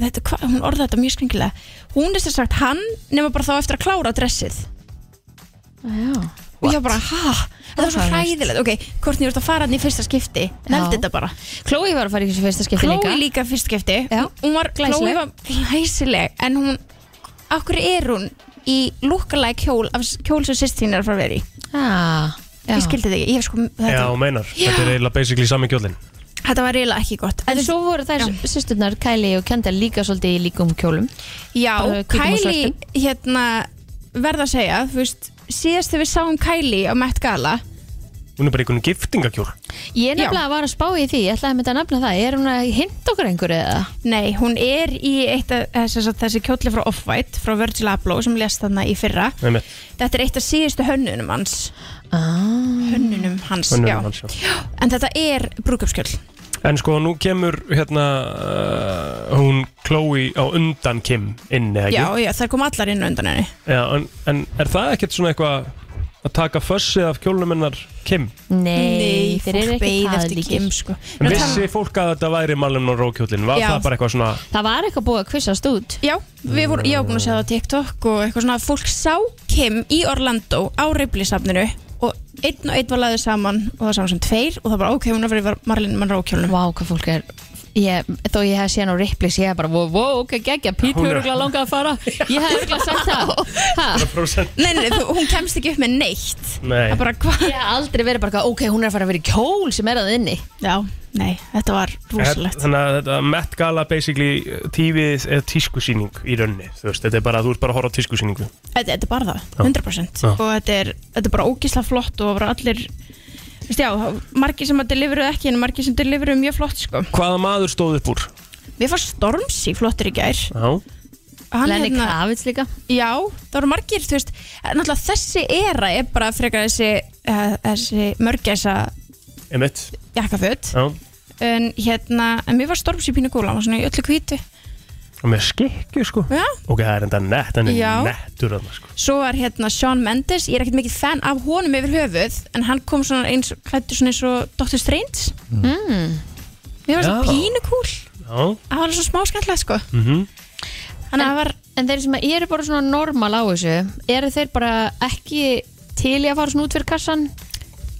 [SPEAKER 13] þetta, hva, hún orðaði þetta mjög skringilega hún er sem sagt hann nema bara þá eftir að klára dressið
[SPEAKER 3] Já
[SPEAKER 13] og ég bara, ha, þetta var
[SPEAKER 3] Það
[SPEAKER 13] svo
[SPEAKER 3] var
[SPEAKER 13] hræðilegt ok, hvort niður ert að fara hann í fyrsta skipti nefndi þetta bara
[SPEAKER 3] Chloe var að fara í þessu fyrsta skipti
[SPEAKER 13] Chloe
[SPEAKER 3] líka
[SPEAKER 13] líka fyrst skipti hún var,
[SPEAKER 3] Glæsileg.
[SPEAKER 13] Chloe var glæsileg en hún, af hverju er hún í lúkalæg kjól af s- kjól sem sýstín er að fara að vera í
[SPEAKER 3] ah,
[SPEAKER 13] ég skildi þetta ekki, ég hef sko þetta,
[SPEAKER 5] Já, hún meinar, þetta er eiginlega basically sami kjólinn
[SPEAKER 13] þetta var eiginlega ekki gott
[SPEAKER 3] En svo voru þær sýsturnar Kylie og Kendall líka svolítið í líkum kjólum
[SPEAKER 13] já,
[SPEAKER 3] Bara hvítum og
[SPEAKER 13] Kylie hérna, verða að segja þú veist, síðast þegar við sáum Kylie á Met Gala
[SPEAKER 5] hún er bara í einhvern giftingakjól
[SPEAKER 3] Ég nefnilega var að spá í því, ég ætlaði að mynda að nefna það Er hún að hinda okkur einhverju eða?
[SPEAKER 13] nei, hún er í eitt af þessi, þessi kjóli frá Off-White, frá Virgil Abloh sem lest þarna í fyrra
[SPEAKER 5] Einmitt.
[SPEAKER 13] þetta er eitt af síðustu hönnunum hans
[SPEAKER 3] ah.
[SPEAKER 13] hönnunum hans,
[SPEAKER 5] Hönnunum
[SPEAKER 13] já.
[SPEAKER 5] hans, já.
[SPEAKER 13] en þetta er brúkupskjöld
[SPEAKER 5] En sko, nú kemur hérna uh, hún Chloe á undan Kim inn, eða ekki?
[SPEAKER 13] já, já, það kom allar inn á undan henni
[SPEAKER 5] Já, en, en er það ekkert svona eitthvað að taka fössið af kjólnum hennar Kim
[SPEAKER 3] Nei, þeir eru
[SPEAKER 13] fólk
[SPEAKER 3] ekki
[SPEAKER 13] beið eftir
[SPEAKER 3] taðlíkir.
[SPEAKER 13] Kim sko
[SPEAKER 3] En
[SPEAKER 5] Vissi fólk að þetta væri Marlon og Rókjólin? Var
[SPEAKER 13] Já.
[SPEAKER 5] það bara eitthvað svona
[SPEAKER 3] Það var eitthvað búið að kvissast út
[SPEAKER 13] Já, við vorum, ég var búin að sjá það á TikTok og eitthvað svona að fólk sá Kim í Orlando á reyflisafninu og einn og einn var laðið saman og það var saman sem tveir og það bara ok, hún er verið Marlin Monroe kjólnum
[SPEAKER 3] Vá, hvað fólk er Ég, þó ég hef séð á Ripley's, ég hef bara wow, wow, ok, geggja, Pete
[SPEAKER 13] Hún er-
[SPEAKER 3] hefur ekki langað að fara ég hef ekki sagt það Ha?
[SPEAKER 13] Nei, nei, þú, hún kemst ekki upp með neitt
[SPEAKER 5] Nei.
[SPEAKER 13] Það bara hvað
[SPEAKER 3] Ég hef aldrei verið bara, eitthvað, ok, hún er að fara að vera í kjól sem er að inni
[SPEAKER 13] Já, nei, þetta var rosalegt
[SPEAKER 5] Þannig að þetta Met Gala basically tífið eða tískusýning í raunni Þú veist, þetta er bara, þú ert bara að horfa á tískusýningu
[SPEAKER 13] Þetta, þetta er bara það,
[SPEAKER 5] Já.
[SPEAKER 13] 100%
[SPEAKER 5] Já.
[SPEAKER 13] og þetta er, þetta er bara ógísla flott og bara allir veist, já, margir sem að deliveruðu ekki en margir sem deliveruðu mjög flott sko.
[SPEAKER 5] Hvaða maður stóð upp úr?
[SPEAKER 13] Við fannst Stormzy flottur í gær
[SPEAKER 5] Já,
[SPEAKER 3] Lenny
[SPEAKER 13] hérna-
[SPEAKER 3] Kravitz líka
[SPEAKER 13] Já, það voru margir, þú veist náttúrulega þessi era er bara frekar þessi, uh, þessi mörgæsa
[SPEAKER 5] emitt
[SPEAKER 13] jakkaföt
[SPEAKER 5] Já,
[SPEAKER 13] en hérna, en mér var Stormzy pínu góla hann var svona í öllu hvítu
[SPEAKER 5] og með skikku sko
[SPEAKER 13] Já.
[SPEAKER 5] Ok, það er enda nett, hann
[SPEAKER 13] Já.
[SPEAKER 5] er nettur þarna sko
[SPEAKER 13] Svo var hérna Shawn Mendes, ég er ekkert mikið fan af honum yfir höfuð, en hann kom svona eins, klættur svona eins og Dr. Strange mm. Mér var
[SPEAKER 3] Já.
[SPEAKER 13] svona pínu kúl
[SPEAKER 5] Já
[SPEAKER 13] Það var svo smá skemmtilegt sko
[SPEAKER 5] mm -hmm.
[SPEAKER 3] en, en þeir sem eru bara svona normal á þessu eru þeir bara ekki til í að fara svona út fyrir kassan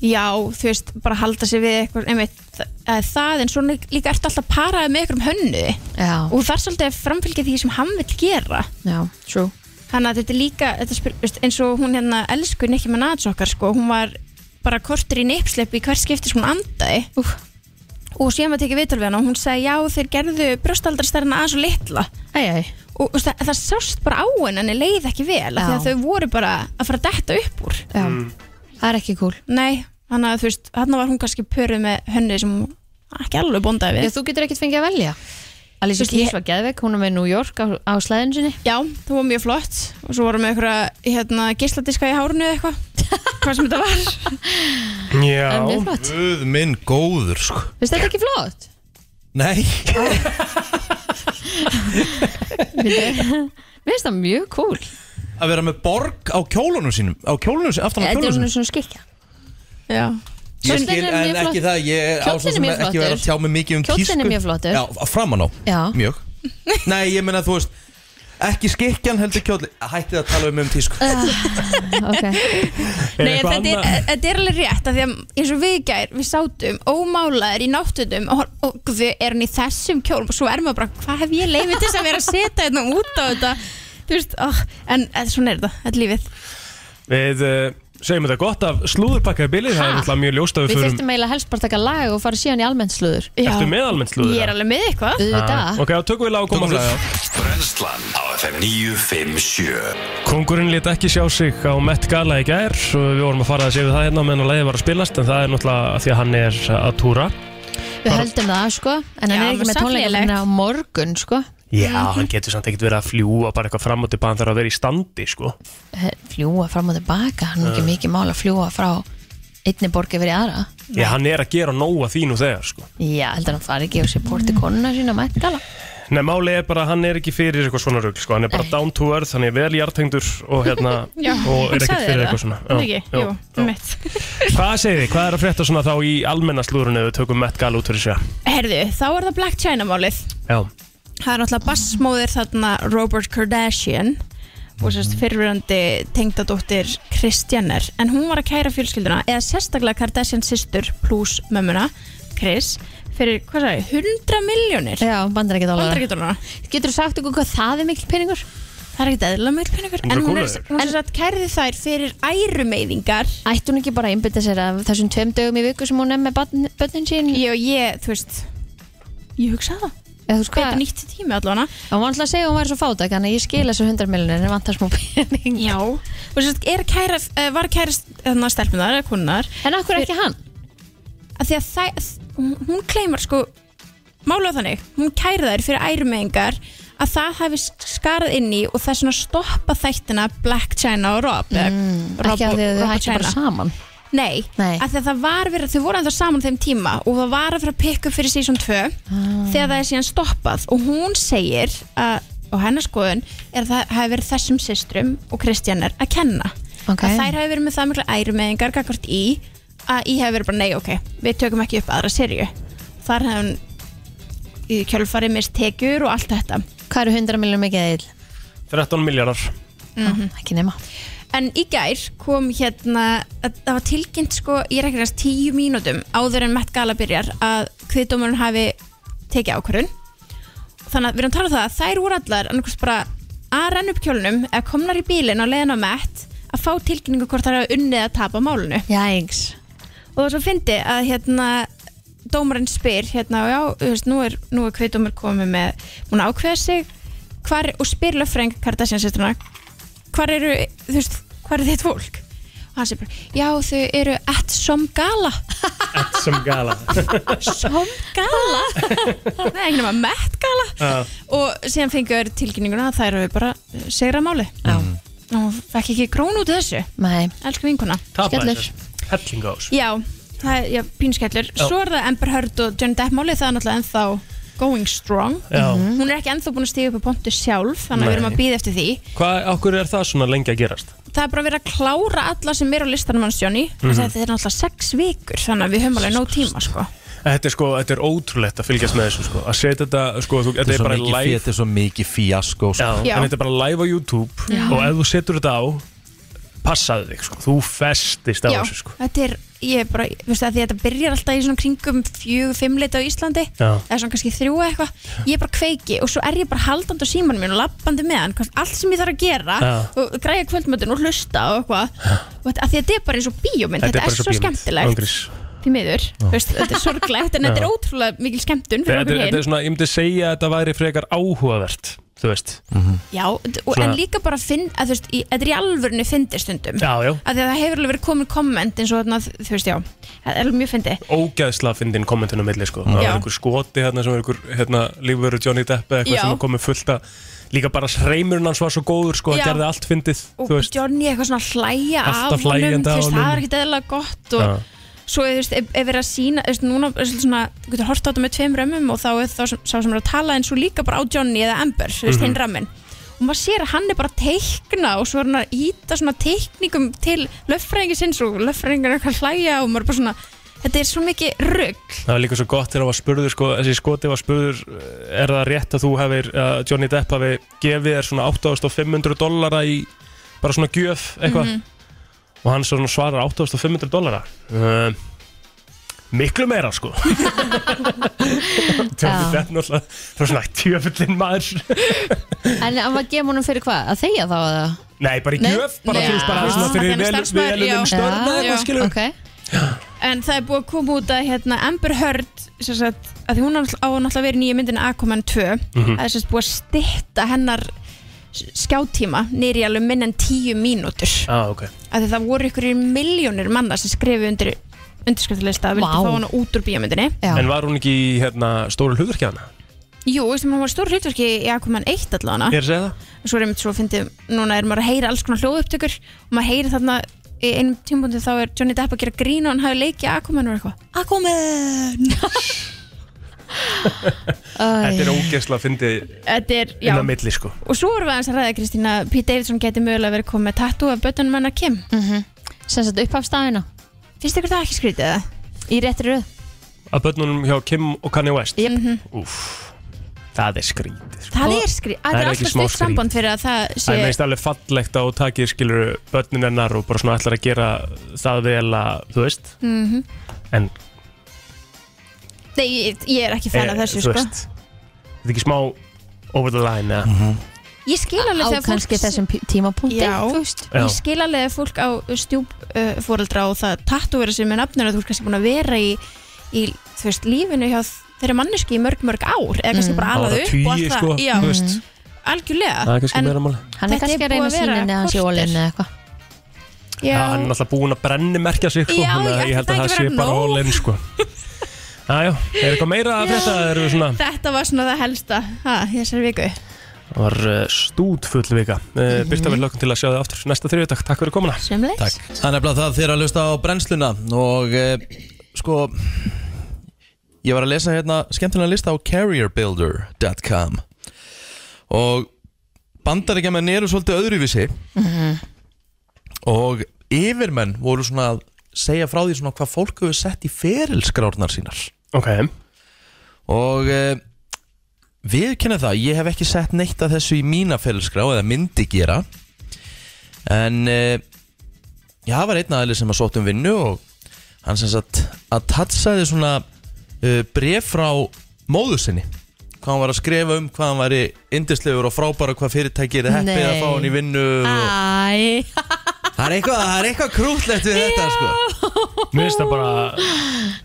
[SPEAKER 13] Já, þú veist, bara halda sig við eitthvað, einmitt, það, það en svona líka ertu alltaf paraðið með einhverjum hönnu
[SPEAKER 3] Já.
[SPEAKER 13] og það er svolítið að framfylgja því sem hann vil gera
[SPEAKER 3] Já, true
[SPEAKER 13] Þannig að þetta er líka, þetta spyr, veist, eins og hún hérna elsku Nicki Minaj okkar sko, hún var bara kortur í neipslepp í hver skipti sem hún andaði
[SPEAKER 3] Úf.
[SPEAKER 13] og síðan maður tekið viðtal við hana og hún sagði já þeir gerðu brjóstaldrastærna aðeins og litla
[SPEAKER 3] ei, ei.
[SPEAKER 13] og veist, það, það sást bara á henni henni leið ekki vel af því að
[SPEAKER 3] Já.
[SPEAKER 13] þau voru bara að fara að detta upp úr
[SPEAKER 3] Já, það er ekki cool
[SPEAKER 13] Nei, þannig að þú veist, hann var hún kannski pöruð með hönni sem hún ekki alveg bondaði við
[SPEAKER 3] Já, þú getur ekkert fengið að velja Alicia
[SPEAKER 13] Þú veist, ég-
[SPEAKER 3] Keys var geðveik, hún er með New York á, á slæðinu sinni
[SPEAKER 13] Já, það var mjög flott og svo vorum við einhverja hérna, geisladiska í hárunu eða eitthvað hvað sem þetta var
[SPEAKER 4] Já,
[SPEAKER 3] mjög flott.
[SPEAKER 4] guð minn góður sko
[SPEAKER 3] Finnst þetta ekki flott?
[SPEAKER 4] Nei
[SPEAKER 3] Finnst það mjög cool
[SPEAKER 4] Að vera með borg á kjólunum sínum Á kjólunum sínum, aftan á
[SPEAKER 3] Þetta er
[SPEAKER 4] kjólunum sínum
[SPEAKER 3] svona svona skikja
[SPEAKER 13] Já
[SPEAKER 4] Ég skil en ekki það, ég er á svo sem
[SPEAKER 3] mjög
[SPEAKER 4] ekki verið að
[SPEAKER 3] flottur
[SPEAKER 4] tjá mig mikið um tísku
[SPEAKER 3] Kjóllinn er mjög flottur.
[SPEAKER 4] Já, á- framan á,
[SPEAKER 3] Já.
[SPEAKER 4] mjög Nei, ég meina þú veist Ekki skikjan heldur kjóllin Hættið að tala um um tísku
[SPEAKER 3] Ah, ok.
[SPEAKER 13] Nei, en þetta er, eh, þetta er alveg rétt af því að eins og við í gær, við sátum ómálaðir í náttutum og, hor- og við erum í þessum kjólum og svo erum við bara, hvað hef ég leifið til þess að vera að setja þetta út á þetta þú veist, oh, en eh, svona er þetta, þetta er lífið
[SPEAKER 5] Við uh, segjum þetta gott af slúðurpakkaði bilið Það er náttúrulega mjög ljóst að
[SPEAKER 3] Við
[SPEAKER 5] við förum
[SPEAKER 3] þurftum eiginlega helst bara að taka lag og fara síðan í almennt slúður
[SPEAKER 5] Ertu með almennt slúður?
[SPEAKER 13] Ég er alveg með eitthvað
[SPEAKER 5] Ah, Ok, þá tökum við lág og koma
[SPEAKER 2] Tökum
[SPEAKER 5] aftur.
[SPEAKER 2] Brennslan á FM 957
[SPEAKER 5] Kongurinn lét ekki sjá sig á Met Gala í gær og við vorum að fara að segja við það hérna meðan að leiði var að spilast en það er náttúrulega af því að hann er að túra
[SPEAKER 3] Við höldum það sko En hann
[SPEAKER 13] Já,
[SPEAKER 3] er ekki
[SPEAKER 13] með
[SPEAKER 3] með tónleikum hérna á morgun sko
[SPEAKER 5] Já, hann getur samt ekkert verið að fljúa bara eitthvað fram og tilbaka, hann þarf að vera í standi sko
[SPEAKER 3] He- Fljúga fram og tilbaka Hann er ekki
[SPEAKER 5] Já.
[SPEAKER 3] mikið mál að fljúga frá einni borgi verið aðra
[SPEAKER 5] Já, hann er að gera nóga þínu þegar sko
[SPEAKER 3] Já, heldur hann fari ekki og supporti
[SPEAKER 13] Mm.
[SPEAKER 3] konuna sína að mettgala
[SPEAKER 5] Nei, málið er bara að hann er ekki fyrir eitthvað svona rugl sko, hann er bara down to earth, hann er vel jartengdur og hérna,
[SPEAKER 13] Já,
[SPEAKER 5] og
[SPEAKER 13] hann
[SPEAKER 5] er ekkert
[SPEAKER 13] sagði
[SPEAKER 5] fyrir
[SPEAKER 13] það.
[SPEAKER 5] eitthvað svona
[SPEAKER 13] Er ekki? Jú, einmitt.
[SPEAKER 5] Hvað segir þið, hvað er að frétta svona þá í almenna slúrunni ef við tökum Met Gala út fyrir sig
[SPEAKER 13] Herðu, þá er það Black China málið
[SPEAKER 5] Já,
[SPEAKER 13] Það er náttúrulega bassmóðir þarna Robert Kardashian og sérst fyrirverandi tengdadóttir Kris Jenner, en hún var að kæra fjölskylduna eða sérstaklega Kardashian systur pluss mömmuna, Kris fyrir, hvað sagði, 100 miljónir
[SPEAKER 3] Já, bandar ekki dólar
[SPEAKER 13] Getur þú sagt ykkur hvað það er mikil peningur? Það er ekkert eðla mikil peningur
[SPEAKER 3] Hundrað
[SPEAKER 13] en hún er,
[SPEAKER 3] kúlur.
[SPEAKER 13] hún er sérst kærði þær fyrir ærumeyðingar
[SPEAKER 3] Ætti hún ekki bara að einbytta sér af þessum tveim dögum í viku sem hún er með barn- börnin sín?
[SPEAKER 13] Jó, ég, þú veist Ég hugsa það
[SPEAKER 3] Eða, þú veist,
[SPEAKER 13] Betur nýtt tími allavega
[SPEAKER 3] Hún var alltaf að segja að hún væri svo fátæk Þannig að ég skil þessu 100 miljonir en vantar smá pening
[SPEAKER 13] Já Og sérst, er kæra, eh, var kæra þarna stelpunar eða konunar
[SPEAKER 3] En af hverju ekki hann?
[SPEAKER 13] Af því að það, hún kleimar sko Mála þannig, hún kæra þær fyrir ærumengar að það hafi skarað inn í og það er svona stoppa þættina Black China og Rob eða Rob
[SPEAKER 3] Mm, Ekki
[SPEAKER 13] og-
[SPEAKER 3] að þau
[SPEAKER 13] Rob og
[SPEAKER 3] hættu bara
[SPEAKER 13] China.
[SPEAKER 3] saman
[SPEAKER 13] Nei,
[SPEAKER 3] Nei.
[SPEAKER 13] af því að það var verið, þau voru ennþá saman þeim tíma og það var að fara að pikka upp fyrir season 2
[SPEAKER 3] Ah.
[SPEAKER 13] þegar það er síðan stoppað og hún segir að, og hennar skoðun er að það hafi verið þessum systrum og Kristján er að kenna
[SPEAKER 3] Ok.
[SPEAKER 13] að þær hafi verið með það mikla ærumeðingar gagvart í að í hafi verið bara nei ok, við tökum ekki upp aðra serju þar hefði hún í kjölfari mist tekjur og allt þetta
[SPEAKER 3] Hvað eru 100 miljónum ekki eðil?
[SPEAKER 5] 13 miljardar
[SPEAKER 13] Mhm.
[SPEAKER 3] Ekki nema
[SPEAKER 13] En í gær kom hérna, að- það var tilkynnt sko í reknast tíu mínútum áður en Matt Gala byrjar að kviðdómurinn hafi tekið ákvörðun. Þannig að við erum að tala um það að þær voru allar annarkvist bara að renna upp kjólnum eða komnar í bílinn og leiðin á Matt að fá tilkynningu hvort þær hafa unnið að tapa málunu.
[SPEAKER 3] Jægs.
[SPEAKER 13] Og svo fyndi að hérna dómarinn spyr hérna og já, þú veist, nú er, nú er kviðdómur komið með, búin að ákveða sig hvar, og spyr löffreng Kardashian sýstruna hvar eru, þú veist, hvar er þitt fólk? Og hann sér bara, já þau eru at some gala
[SPEAKER 5] sem gala
[SPEAKER 13] Some gala? Nei, ekki nema met gala
[SPEAKER 5] Já.
[SPEAKER 13] Og síðan fengið þau tilkynninguna að þær eru bara eh, sigra máli Já Og hún fekk ekki krón út af þessu
[SPEAKER 3] Nei
[SPEAKER 13] Elsku vinkuna
[SPEAKER 5] Tapaði þessu. Helling á þessu
[SPEAKER 13] Já, það er, já, pínskellur
[SPEAKER 5] Já.
[SPEAKER 13] Svo er það Amber Heard og Johnny Depp málið Það er náttúrulega ennþá going strong
[SPEAKER 5] Já.
[SPEAKER 13] Hún er ekki ennþá búin að stíga upp á pontu sjálf Þannig að við erum
[SPEAKER 5] Nei.
[SPEAKER 13] að býða eftir því
[SPEAKER 5] Hvað, okkur er það svona lengi að gerast?
[SPEAKER 13] það er bara verið að klára alla sem er á listanum hans Johnny mm
[SPEAKER 5] Mhm.
[SPEAKER 13] -hmm. þetta er náttúrulega sex vikur þannig að við höfum alveg nóg tíma sko.
[SPEAKER 5] Þetta er sko, þetta er ótrúlegt að fylgjast með þessu sko Að setja þetta, sko, þú,
[SPEAKER 4] er
[SPEAKER 5] þetta er
[SPEAKER 4] svo
[SPEAKER 5] bara
[SPEAKER 4] mikið
[SPEAKER 5] live
[SPEAKER 4] fé- þetta er svo mikið fíasko sko.
[SPEAKER 5] Já. En þetta er bara live á YouTube
[SPEAKER 13] Já.
[SPEAKER 5] Og ef þú setur þetta á Passaðu þig, sko, þú festist á
[SPEAKER 13] Já,
[SPEAKER 5] þessu sko
[SPEAKER 13] þetta er, ég er bara veistu, að því að þetta byrjar alltaf í svona kringum fjög, fimm leita á Íslandi
[SPEAKER 5] Já.
[SPEAKER 13] eða svona kannski þrjú eða eitthvað, ég er bara kveiki og svo er ég bara haldandi á símanum minn og lappandi með hann hvort allt sem ég þarf að gera
[SPEAKER 5] Já.
[SPEAKER 13] og græja kvöldmötun og hlusta og eitthvað og þetta, að því að þetta er bara eins og bíómynd þetta,
[SPEAKER 5] bara
[SPEAKER 13] er svo
[SPEAKER 5] bíómynd.
[SPEAKER 13] skemmtilegt
[SPEAKER 5] Ángriðs.
[SPEAKER 13] því miður,
[SPEAKER 5] Já.
[SPEAKER 13] veistu, þetta er sorglegt en þetta er
[SPEAKER 5] Já.
[SPEAKER 13] ótrúlega mikil skemmtun fyrir
[SPEAKER 5] Þetta
[SPEAKER 13] okkur
[SPEAKER 5] er, þetta
[SPEAKER 13] hinn
[SPEAKER 5] er svona, ég myndi segja að þetta væri frekar áhugavert Þú veist
[SPEAKER 13] Já, og,
[SPEAKER 5] Svona-
[SPEAKER 13] en líka bara finn, að þú veist, í, þetta er í alvörinu fyndi stundum.
[SPEAKER 5] Já, já.
[SPEAKER 13] Að því að það hefur alveg verið komin komment eins og þarna, þú veist, já, það er alveg mjög fyndi.
[SPEAKER 5] ógæðsla að fyndin kommentinu milli sko. það
[SPEAKER 13] Já.
[SPEAKER 5] var einhver skoti hérna sem var einhver hérna, lífveru Johnny Depp eða eitthvað
[SPEAKER 13] Já.
[SPEAKER 5] sem var komið fullt að líka bara hreimurinn hans var svo góður sko,
[SPEAKER 13] Já.
[SPEAKER 5] að gerði allt fyndið
[SPEAKER 13] Og
[SPEAKER 5] þú veist
[SPEAKER 13] Johnny eitthvað svona að hlæja
[SPEAKER 5] Alltaf
[SPEAKER 13] af honum,
[SPEAKER 5] hlæjandi
[SPEAKER 13] þú
[SPEAKER 5] að
[SPEAKER 13] veist, það
[SPEAKER 5] honum.
[SPEAKER 13] er ekkert eðlilega gott og
[SPEAKER 5] Já.
[SPEAKER 13] svo, þú veist, ef, ef er að sína, þú veist, núna, er svolítið svona, þú getur hort á þetta með tveim römmum og þá er þá sem, sá sem er að tala eins og líka bara á Johnny eða Amber, þú veist,
[SPEAKER 5] Mhm.
[SPEAKER 13] hinn römmin. Og maður sér að hann er bara að teikna og svo er hann að íta svona teikningum til löffræðingisins og löffræðingar er eitthvað að hlæja og maður er bara svona, þetta er svo mikið rugg
[SPEAKER 5] það var líka svo gott þegar hann var spurður sko, þessi skoti var spurður eh, er það rétt að þú hefur að Johnny Depp hafi gefið þér svona 8500 dollara í bara svona gjöf eitthvað
[SPEAKER 13] Mhm.
[SPEAKER 5] og hann svona svarar 8500 dollara uh, miklu meira sko Johnny Depp náttúrulega það var svona tjöfullin maður
[SPEAKER 3] En hann var að gefa honum fyrir hvað? Að þegja þá að það?
[SPEAKER 5] Nei, bara í
[SPEAKER 3] Nei.
[SPEAKER 5] gjöf, bara
[SPEAKER 3] Nei.
[SPEAKER 5] þú veist, bara
[SPEAKER 3] Já.
[SPEAKER 5] svona
[SPEAKER 3] Því
[SPEAKER 5] fyrir
[SPEAKER 3] hann er
[SPEAKER 5] vel,
[SPEAKER 13] starfsmaður,
[SPEAKER 5] vel
[SPEAKER 13] já.
[SPEAKER 5] um störna
[SPEAKER 13] Já.
[SPEAKER 5] eitthvað, skilur
[SPEAKER 3] okay.
[SPEAKER 13] En það er búið að koma út að hérna, Amber Heard sem sagt, að því hún á á náttúrulega verið nýja myndin Aquaman 2
[SPEAKER 5] Mhm.
[SPEAKER 13] það er sem sagt búið að stytta hennar s- skjátíma nýri alveg minn en 10 mínútur
[SPEAKER 5] ah, okay.
[SPEAKER 13] að því það voru ykkur miljónir manna sem skrifu undir undirskriftalista að vildi
[SPEAKER 5] Vá.
[SPEAKER 13] fá hana út úr bíómyndinni
[SPEAKER 5] En var hún ekki í hérna, stóru hlutverkjana?
[SPEAKER 13] Jú, veistu, hún var stór hlutverki í Aquaman 1 allavega
[SPEAKER 5] Ég er að segja það
[SPEAKER 13] og svo er einmitt svo að fyndi, núna er maður að heyra alls konar hljóðupptökur og maður heyri þarna í einum tímbúndi þá er Johnny Depp að gera grín og hann hafi leikið Aquaman og eitthvað Aquaman
[SPEAKER 5] Þetta er ógeðsla að fyndi
[SPEAKER 13] Þetta er, já
[SPEAKER 5] inn á milli sko
[SPEAKER 13] Og svo erum við aðeins að ræða Kristína Pete Davidson geti mögulega verið komið með tattoo af bötunum hennar Kim mm -hmm.
[SPEAKER 3] mhm. Sem sagt upphafstafina
[SPEAKER 13] Finnst ykkur það ekki skrítið eða?
[SPEAKER 3] Í réttri röð
[SPEAKER 5] Að börnunum hjá Kim og Kanye West
[SPEAKER 13] yep.
[SPEAKER 5] Úf, það er skrítið sko.
[SPEAKER 13] Mhm. Það er skrítið, það
[SPEAKER 5] Það
[SPEAKER 13] er
[SPEAKER 5] er ekki
[SPEAKER 13] alltaf
[SPEAKER 5] smá
[SPEAKER 13] stutt
[SPEAKER 5] skrítið.
[SPEAKER 13] samband fyrir að það
[SPEAKER 5] Það er
[SPEAKER 13] sé
[SPEAKER 5] meðist alveg fallegt á takið skilur börnin hennar og bara svona ætlar að gera það vel að, þú veist
[SPEAKER 13] Mhm.
[SPEAKER 5] En
[SPEAKER 13] Nei, ég, ég er ekki fan af
[SPEAKER 5] eh,
[SPEAKER 13] þessu
[SPEAKER 5] þú
[SPEAKER 13] sko
[SPEAKER 5] veist, Þetta er ekki smá over the line eða
[SPEAKER 13] Ég skil alveg
[SPEAKER 3] Á
[SPEAKER 13] þegar fólk
[SPEAKER 3] kannski þessum pí- tímapunkti
[SPEAKER 13] Já,
[SPEAKER 3] þú veist.
[SPEAKER 13] ég skil alveg að fólk á stjúbfóreldra uh, og það tattóvera sér með nafninu þú ert kannski búin að vera í, í þú veist, lífinu hjá þeirra manneski í mörg mörg ár eða kannski
[SPEAKER 5] Mm.
[SPEAKER 13] bara alveg upp
[SPEAKER 5] Áratugi,
[SPEAKER 13] og allt
[SPEAKER 5] sko,
[SPEAKER 13] það já,
[SPEAKER 5] þú veist.
[SPEAKER 13] algjörlega
[SPEAKER 5] Það er kannski
[SPEAKER 13] En
[SPEAKER 5] meira máli.
[SPEAKER 3] Hann er
[SPEAKER 13] þetta
[SPEAKER 3] kannski að
[SPEAKER 13] búið
[SPEAKER 3] reyna að sína
[SPEAKER 13] vera
[SPEAKER 3] henni að hann sé
[SPEAKER 13] korter.
[SPEAKER 3] ólinn eða eitthvað
[SPEAKER 13] Já.
[SPEAKER 5] Já, hann er náttúrulega búinn að brenni merkja sig sko,
[SPEAKER 13] Já,
[SPEAKER 5] þannig að
[SPEAKER 13] ég
[SPEAKER 5] ég held
[SPEAKER 13] ætli
[SPEAKER 5] að
[SPEAKER 13] það
[SPEAKER 5] það
[SPEAKER 13] ekki
[SPEAKER 5] sé
[SPEAKER 13] vera
[SPEAKER 5] bara
[SPEAKER 13] nóg.
[SPEAKER 5] all in sko. Jájá, er eitthvað meira að frétta eða erum við svona
[SPEAKER 13] Þetta var svona það helsta ha, þessar viku
[SPEAKER 5] Það var uh, stútfull vika uh, Byrta við lökum til að sjá þið aftur næsta þriðutak Takk fyrir komuna
[SPEAKER 13] Sjömleik
[SPEAKER 4] Takk. Það er nefnilega það þegar að hlusta á brennsluna og e, sko ég var að lesa hérna skemmtilega lista á carrierbuilder.com og bandaríkja menn eru svolítið öðruvísi og yfirmenn voru svona að segja frá því svona hvað fólk hefur sett í ferilskrárnar sínar
[SPEAKER 5] ok
[SPEAKER 4] og e, við kennum það ég hef ekki sett neitt af þessu í mína ferilskrá eða myndi gera en e, ég hafa einn aðeins sem að sótt um vinnu og hann sem sagt að tatsaði svona e, bref frá móðu sinni hvað hann var að skrifa um, hvað hann væri yndislegur og frábæra hvað fyrirtæki er heppið að
[SPEAKER 3] Nei. Ah.
[SPEAKER 4] fá hann í vinnu og...
[SPEAKER 3] Æ,
[SPEAKER 4] það er eitthvað, það er eitthvað krútlegt við þetta sko
[SPEAKER 5] Mér finnst það bara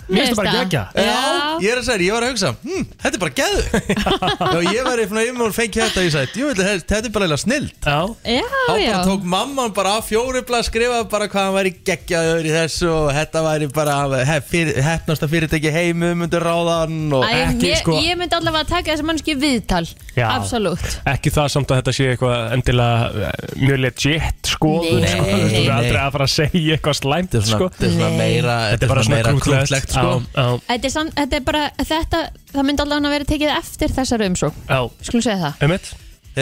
[SPEAKER 5] Mér finnst það bara
[SPEAKER 4] Mér
[SPEAKER 5] gegja
[SPEAKER 4] finnst það. Já, ég er að segja, ég var að hugsa hm, Þetta er bara geðu Já, ég var eitthvað yfir og fengi þetta og Ég sagði, jú, þetta er bara eða snilt
[SPEAKER 5] Já
[SPEAKER 3] já,
[SPEAKER 4] Þá
[SPEAKER 3] já
[SPEAKER 4] bara tók mamman bara á fjórubla skrifaði bara hvað hann væri geggjaður í þessu og þetta væri bara hef, fyrir, hefnasta fyrirtæki í heimum undir ráðan og
[SPEAKER 3] Æ, ég, ég myndi allavega að taka þessi mannski viðtal
[SPEAKER 5] Já.
[SPEAKER 3] Absolutt
[SPEAKER 5] Ekki það samt að þetta sé eitthvað endilega eh, mjög legit skoðun
[SPEAKER 3] Nei,
[SPEAKER 5] sko. Þú
[SPEAKER 4] nei.
[SPEAKER 5] veist aldrei að fara að segja eitthvað slæmt
[SPEAKER 4] svona-
[SPEAKER 5] sko.
[SPEAKER 4] þetta er svona Nei. meira-
[SPEAKER 5] Þetta er bara
[SPEAKER 4] þetta er
[SPEAKER 5] svona
[SPEAKER 4] meira krúttlegt,
[SPEAKER 5] krútlegt
[SPEAKER 4] sko.
[SPEAKER 5] Já,
[SPEAKER 3] Þetta er, samt, þetta er bara, þetta, það myndi allavega að vera tekið eftir þessar umsók
[SPEAKER 5] já,
[SPEAKER 3] Skulum segja það
[SPEAKER 5] já Emmett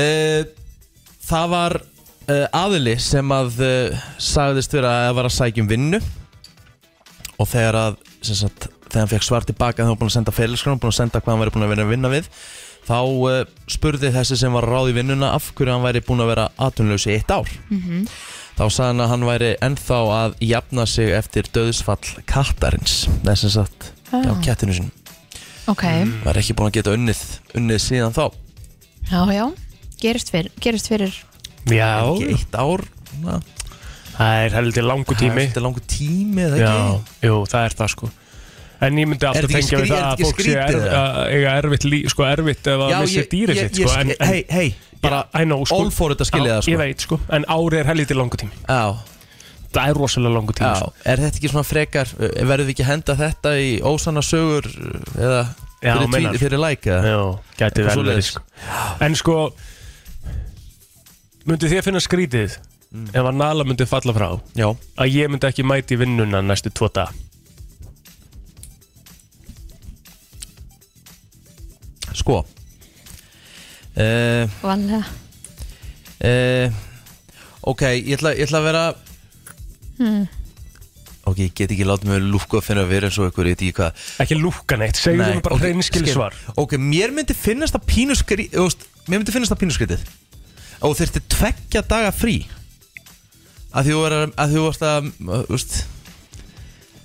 [SPEAKER 4] Eh, Það var uh, aðili sem að uh, sagðist vera að var að sækja um vinnu og þegar að sem sagt, þegar hann fekk svar tilbaka þegar hann var búin að senda félagskrann búin að senda hvað hann væri búin að vera að vinna við þá uh, spurði þessi sem var ráð í vinnuna af hverju hann væri búin að vera atvinnlaus í eitt ár
[SPEAKER 14] Mhm.
[SPEAKER 4] þá sagði hann að hann væri ennþá að jafna sig eftir döðsfall kattarins þess að sagt á
[SPEAKER 3] Ah.
[SPEAKER 4] kettinu sinum
[SPEAKER 3] Ok,
[SPEAKER 4] var ekki búin að geta unnið, unnið síðan þá
[SPEAKER 3] já, já Gerist fyrir, gerist fyrir
[SPEAKER 5] Já
[SPEAKER 4] Ekki eitt ár svona.
[SPEAKER 5] Það er heldur langu tími
[SPEAKER 4] Heldur langu tími eða
[SPEAKER 5] Já,
[SPEAKER 4] ekki?
[SPEAKER 5] jú, það er það sko En ég myndi
[SPEAKER 4] Er
[SPEAKER 5] alltaf
[SPEAKER 4] þetta ekki skrý- er þetta
[SPEAKER 5] tengja við það að
[SPEAKER 4] ekki
[SPEAKER 5] fólk sé
[SPEAKER 4] skrýtið
[SPEAKER 5] erf,
[SPEAKER 4] eða?
[SPEAKER 5] að eiga erfitt, lí, sko, erfitt ef að
[SPEAKER 4] Já,
[SPEAKER 5] missa
[SPEAKER 4] ég-
[SPEAKER 5] dýrið
[SPEAKER 4] ég-
[SPEAKER 5] sitt
[SPEAKER 4] ég
[SPEAKER 5] sko, en,
[SPEAKER 4] skil- hey, hey,
[SPEAKER 5] bara I know, sko,
[SPEAKER 4] all for it að skilja
[SPEAKER 5] Já,
[SPEAKER 4] það, sko.
[SPEAKER 5] Ég veit sko, en ári er helviti langu tími
[SPEAKER 4] Já
[SPEAKER 5] Það er rosalega langu tími
[SPEAKER 4] Já,
[SPEAKER 5] sko.
[SPEAKER 4] er þetta ekki svona frekar uh, verðum við ekki að henda þetta í ósanna sögur uh, eða
[SPEAKER 5] Já,
[SPEAKER 4] fyrir,
[SPEAKER 5] meinar.
[SPEAKER 4] fyrir like eða?
[SPEAKER 5] Já, gæti
[SPEAKER 4] Eitthvað
[SPEAKER 5] vel verið
[SPEAKER 4] svoleiðis.
[SPEAKER 5] sko. En sko Myndi þið finna skrítið
[SPEAKER 4] Mm.
[SPEAKER 5] Ef að Nala myndi falla frá
[SPEAKER 4] Já.
[SPEAKER 5] Að ég myndi ekki mæti vinnuna næstu tvo dag
[SPEAKER 4] sko uh,
[SPEAKER 3] Vanlega
[SPEAKER 4] uh, ok, ég ætla, ég ætla að vera
[SPEAKER 3] hmm.
[SPEAKER 4] ok, ég get ekki látið mig lúkka að finna að vera eins og ykkur, ég veit ekki hvað
[SPEAKER 5] Ekki lúkka neitt, segðu
[SPEAKER 4] Nei,
[SPEAKER 5] mér bara
[SPEAKER 4] ok,
[SPEAKER 5] hreinskilið
[SPEAKER 4] skil.
[SPEAKER 5] svar.
[SPEAKER 4] ok, mér myndi finnast það pínuskrið mér myndi finnast það pínuskrið og þurfti tveggja daga frí að því þú er að að því þú varst að uh, úst,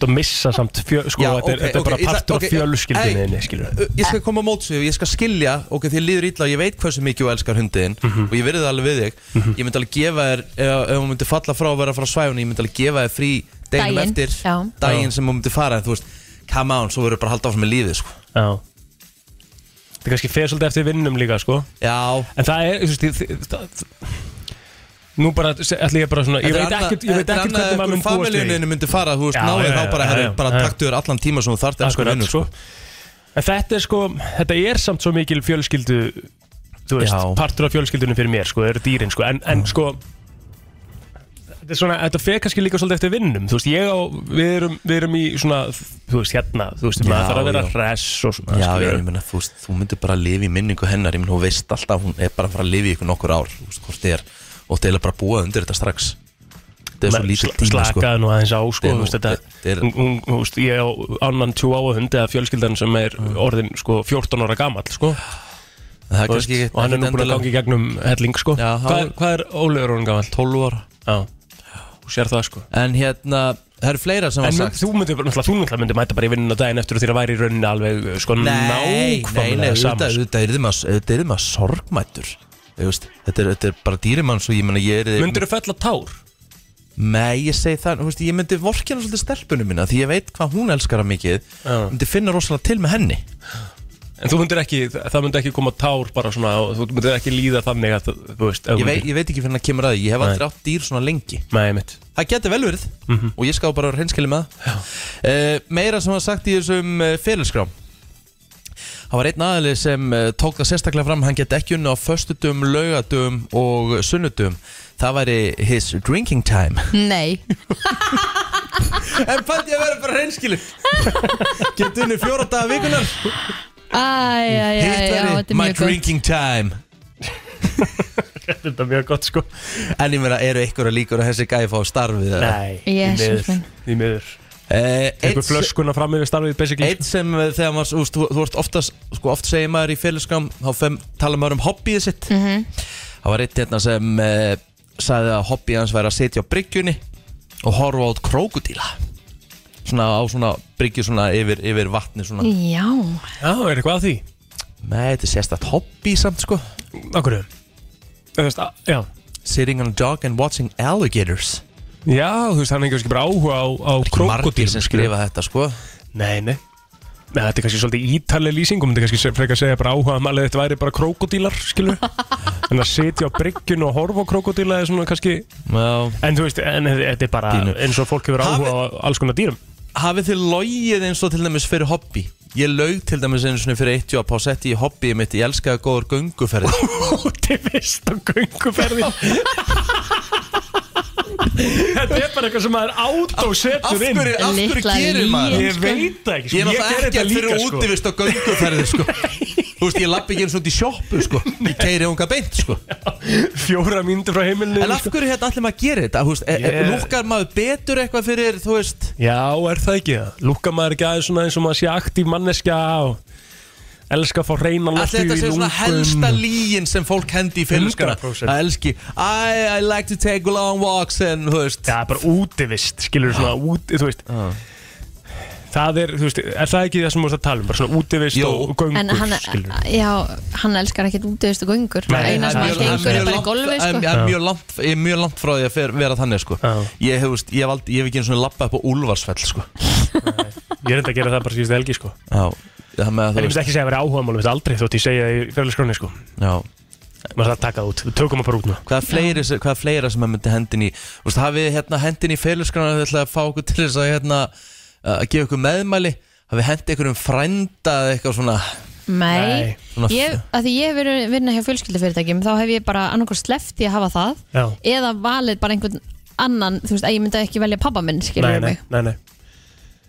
[SPEAKER 5] Þú missa samt fjö, sko,
[SPEAKER 4] Já,
[SPEAKER 5] þetta, er,
[SPEAKER 4] ok,
[SPEAKER 5] þetta
[SPEAKER 4] ok,
[SPEAKER 5] er bara
[SPEAKER 4] ég ætla- ok,
[SPEAKER 5] partur af fjölskyldinni
[SPEAKER 4] ei,
[SPEAKER 5] þinni, skilur
[SPEAKER 4] uh, ég skal koma á mótsvið ég skal skilja, ok, þér líður illa og ég veit hversu mikið þú elskar hundiðin
[SPEAKER 5] Mhm.
[SPEAKER 4] og ég verði það alveg við þig ég myndi alveg gefa þér ef, ef hún myndi falla frá að vera frá svæfun ég myndi alveg gefa þér frí deginum
[SPEAKER 3] Daginn,
[SPEAKER 4] eftir
[SPEAKER 3] já.
[SPEAKER 4] daginn sem hún myndi fara en þú veist, come on, svo verður bara að halda áfram með lífið sko.
[SPEAKER 5] Já Það kannski fer svolítið eftir vinnum líka, sko
[SPEAKER 4] Já
[SPEAKER 5] En það er, þú veist, þið- þið- það- nú bara, se- ætla ég bara svona Ég veit ekkert, ég veit ekkert hvernig maður mun búast við
[SPEAKER 4] familjuninni myndi fara, þú veist,
[SPEAKER 5] Já,
[SPEAKER 4] náðið
[SPEAKER 5] já,
[SPEAKER 4] þá
[SPEAKER 5] já,
[SPEAKER 4] bara,
[SPEAKER 5] já,
[SPEAKER 4] herri,
[SPEAKER 5] já,
[SPEAKER 4] bara
[SPEAKER 5] já.
[SPEAKER 4] taktu þér allan tíma sem þú þarft elsku
[SPEAKER 5] Akkurat,
[SPEAKER 4] vinnu,
[SPEAKER 5] sko.
[SPEAKER 4] sko.
[SPEAKER 5] En þetta er sko, þetta er samt svo mikil fjölskyldu Þú veist,
[SPEAKER 4] Já.
[SPEAKER 5] partur af fjölskyldunum fyrir mér, sko, eru dýrin, sko En, en sko Þetta er svona, þetta fer kannski líka svolítið eftir vinnum Þú veist, ég á, við erum, við erum í svona Þú veist, hérna, þú veist, maður þarf að vera hress og svona
[SPEAKER 4] Já,
[SPEAKER 5] skilur.
[SPEAKER 4] ég meina, þú veist, þú myndir bara að lifa í minningu hennar, ég meina, hún veist alltaf, hún er bara að fara að lifa í ykkur nokkur ár, þú veist, hvort þið er, og þið er bara að búa undir þetta strax. Þetta er svo
[SPEAKER 5] Men
[SPEAKER 4] lítið
[SPEAKER 5] sl-
[SPEAKER 4] tíma, sko.
[SPEAKER 5] slakaðu nú aðeins á
[SPEAKER 4] Þetta
[SPEAKER 5] sko,
[SPEAKER 4] er
[SPEAKER 5] þú
[SPEAKER 4] nú-
[SPEAKER 5] veist, þetta,
[SPEAKER 4] þetta er-
[SPEAKER 5] hún, hún, þú veist, ég á annan tjú á hundi eða fjölskyldan sem er orðin sko, 14 ára gamall sko.
[SPEAKER 4] Það er
[SPEAKER 5] Þú
[SPEAKER 4] kannski
[SPEAKER 5] veist,
[SPEAKER 4] ekkert-
[SPEAKER 5] og hann er nú
[SPEAKER 4] ekkert
[SPEAKER 5] búin að
[SPEAKER 4] endilega-
[SPEAKER 5] gangi í gegnum helling sko.
[SPEAKER 4] Já,
[SPEAKER 5] hvað,
[SPEAKER 4] hann-
[SPEAKER 5] er- hvað er Ólegur orðin gamall?
[SPEAKER 4] 12 ára
[SPEAKER 5] Já, þú sér það sko
[SPEAKER 4] En hérna, það eru fleira sem var
[SPEAKER 5] En
[SPEAKER 4] sagt.
[SPEAKER 5] þú myndir, náttúrulega, þú náttúrulega myndir mæta bara í vinnuna daginn eftir og þér væri í rauninni alveg sko
[SPEAKER 4] Nei, nei, nei,
[SPEAKER 5] nákvæmlega
[SPEAKER 4] auðvitað,
[SPEAKER 5] saman sko.
[SPEAKER 4] auðvitað yrði maður- auðvitað yrði maður sorgmættur, þú veist, þetta er, þetta er bara dýrimann, svo ég meina, ég er...
[SPEAKER 5] Myndirðu fella tár?
[SPEAKER 4] Nei, ég segi það, þú veist, ég myndi vorkjana svolítið stelpunum mína því ég veit hvað hún elskar að mikið myndi finna rosalega til með henni
[SPEAKER 5] En þú myndir ekki, það myndir ekki koma tár bara svona og þú myndir ekki líða þannig að þú- þú veist
[SPEAKER 4] ég, vei, ég veit ekki fyrir hann að kemur að því, ég hef aldrei átt dýr svona lengi
[SPEAKER 5] Nei, mitt
[SPEAKER 4] Það getur vel verið
[SPEAKER 5] Mhm.
[SPEAKER 4] og ég skal bara reynskili með það uh, Meira sem var sagt í þessum uh, fyrirskrám Það var einn aðli sem uh, tók það sérstaklega fram hann geti ekki unna á föstudum, laugadum og sunnudum Það væri his drinking time
[SPEAKER 3] Nei
[SPEAKER 4] En pælt ég að vera bara reynskili Geti unni fjóra daga vikunar
[SPEAKER 3] Æ, já, já,
[SPEAKER 4] Hitt
[SPEAKER 3] já,
[SPEAKER 4] væri
[SPEAKER 3] þetta er
[SPEAKER 4] my
[SPEAKER 3] mjög gott
[SPEAKER 4] drinking time
[SPEAKER 5] Þetta er mjög gott sko
[SPEAKER 4] En ég meina, eru einhverja líkur að þessi gæði fá starfið? eða?
[SPEAKER 5] Nei, því
[SPEAKER 3] Jesús
[SPEAKER 5] miður,
[SPEAKER 3] minn.
[SPEAKER 5] Því miður
[SPEAKER 4] Einhver
[SPEAKER 5] flöskuna fram yfir starfið basically
[SPEAKER 4] Eh,
[SPEAKER 5] sko.
[SPEAKER 4] Eitt sem eh, þegar maður, þú, veist, þú, þú ert oftast, sko oft segir maður í félagsgam Þá fem, tala maður um hobbyið sitt
[SPEAKER 3] Mhm.
[SPEAKER 4] Það var eitt hérna sem uh, sagði að hobbyið hans væri að sitja á bryggjunni Og horfa át krókudíla Svona á svona bryggju svona yfir, yfir vatni svona
[SPEAKER 3] Já,
[SPEAKER 5] Já, er eitthvað að því?
[SPEAKER 4] Nei, þetta er sérstætt hobby samt sko
[SPEAKER 5] Akkur veist, að- Já
[SPEAKER 4] Sitting on a dog and watching alligators
[SPEAKER 5] Já, þú veist, hann er kannski bara áhuga á, á
[SPEAKER 4] margir
[SPEAKER 5] krokodil
[SPEAKER 4] sem skrifa þetta sko
[SPEAKER 5] Nei, nei Nei, þetta er kannski svolítið ítaleg lýsingum Þetta er kannski se- frekar að segja bara áhuga að þetta væri bara krokodílar, skilur En að sitja á bryggjun og horfa á krokodíla er svona kannski
[SPEAKER 4] Já.
[SPEAKER 5] En þú veist, en þetta er bara eins og fólk hefur áhuga á alls konar dýrum
[SPEAKER 4] Hafið þið logið eins og til dæmis fyrir hobby? Ég laug til dæmis eins og fyrir eitt jobb á setti í hobby mitt, ég elskaði góður gönguferði
[SPEAKER 5] Óttivist á gönguferðin Þetta er bara eitthvað sem maður
[SPEAKER 4] Af
[SPEAKER 5] autosetur inn
[SPEAKER 4] hverju, af hverju gerir maður?
[SPEAKER 5] Ég veit það ekki sko.
[SPEAKER 4] Ég er náttúrulega
[SPEAKER 5] gerði þetta
[SPEAKER 4] ekkert fyrir
[SPEAKER 5] líka, sko.
[SPEAKER 4] útivist á gönguferði sko Þú veist, ég lappi ekki eins og út í sjoppu sko Ég keiri unga beint sko
[SPEAKER 5] Fjóra mínútur frá heimilinu sko.
[SPEAKER 4] En af hverju hérna allir maður gerir þetta? Þú veist, yeah.
[SPEAKER 5] Ég-
[SPEAKER 4] lúkkar maður betur eitthvað fyrir, þú veist
[SPEAKER 5] Já, er það ekki það? Lúka maður ekki aðeins svona eins og maður sé aktív manneskja og elska að fá reyna
[SPEAKER 4] Allir þetta sé svona helsta lígin sem fólk hendi í félagskara
[SPEAKER 5] 100%.
[SPEAKER 4] Það elski I, I like to take long walks and, þú veist
[SPEAKER 5] Já, bara útivist, skilur svona út, þú veist Það er, þú veist, er það ekki það sem þú veist að tala um, bara svona útivist
[SPEAKER 4] Jó.
[SPEAKER 5] og göngur,
[SPEAKER 3] en hann,
[SPEAKER 5] skilur
[SPEAKER 3] já, hann elskar ekkert útöðust og göngur
[SPEAKER 4] Nei,
[SPEAKER 3] eina
[SPEAKER 4] það er
[SPEAKER 3] sem hann
[SPEAKER 4] mjög-
[SPEAKER 3] gengur
[SPEAKER 4] það
[SPEAKER 3] er bara í
[SPEAKER 4] mjög
[SPEAKER 3] golfi
[SPEAKER 4] langt-
[SPEAKER 3] sko.
[SPEAKER 4] það er mjög langt, Ég er mjög langt frá því að fer, vera þannig sko. ég, hef, veist, ég, hef aldrei, ég hef ekki einu svona lappa upp á Úlfarsfell sko.
[SPEAKER 5] Ég er enda að gera það bara síðust helgi, sko
[SPEAKER 4] Já, það með að
[SPEAKER 5] En
[SPEAKER 4] þú
[SPEAKER 5] ég myndi
[SPEAKER 4] veist
[SPEAKER 5] ekki segja að vera áhuga málum, aldrei þótt ég segja það í fyrirlskróni, sko
[SPEAKER 4] Já
[SPEAKER 5] Maður það taka það út, við tökum það bara út nú
[SPEAKER 4] Hvað fleira, hvað fleira sem að myndi hendin í Þú veist, hafið þið, hérna, hendin í félagskrána Þið ætlaði að fá okkur til þess að hérna, að gefa okkur meðmæli Hafið hendi ykkur um frænda eða eitthvað svona
[SPEAKER 3] Nei,
[SPEAKER 4] Svona-
[SPEAKER 3] ég, að því ég hef verið vinna hjá fjölskyldufyrirtækjum þá hef ég bara annarkoð sleft í að hafa það
[SPEAKER 5] Já.
[SPEAKER 3] eða valið bara einhvern annan þú veist að ég myndi ekki velja pabba minn skilur
[SPEAKER 5] nei, nei,
[SPEAKER 3] mig
[SPEAKER 5] nei, nei.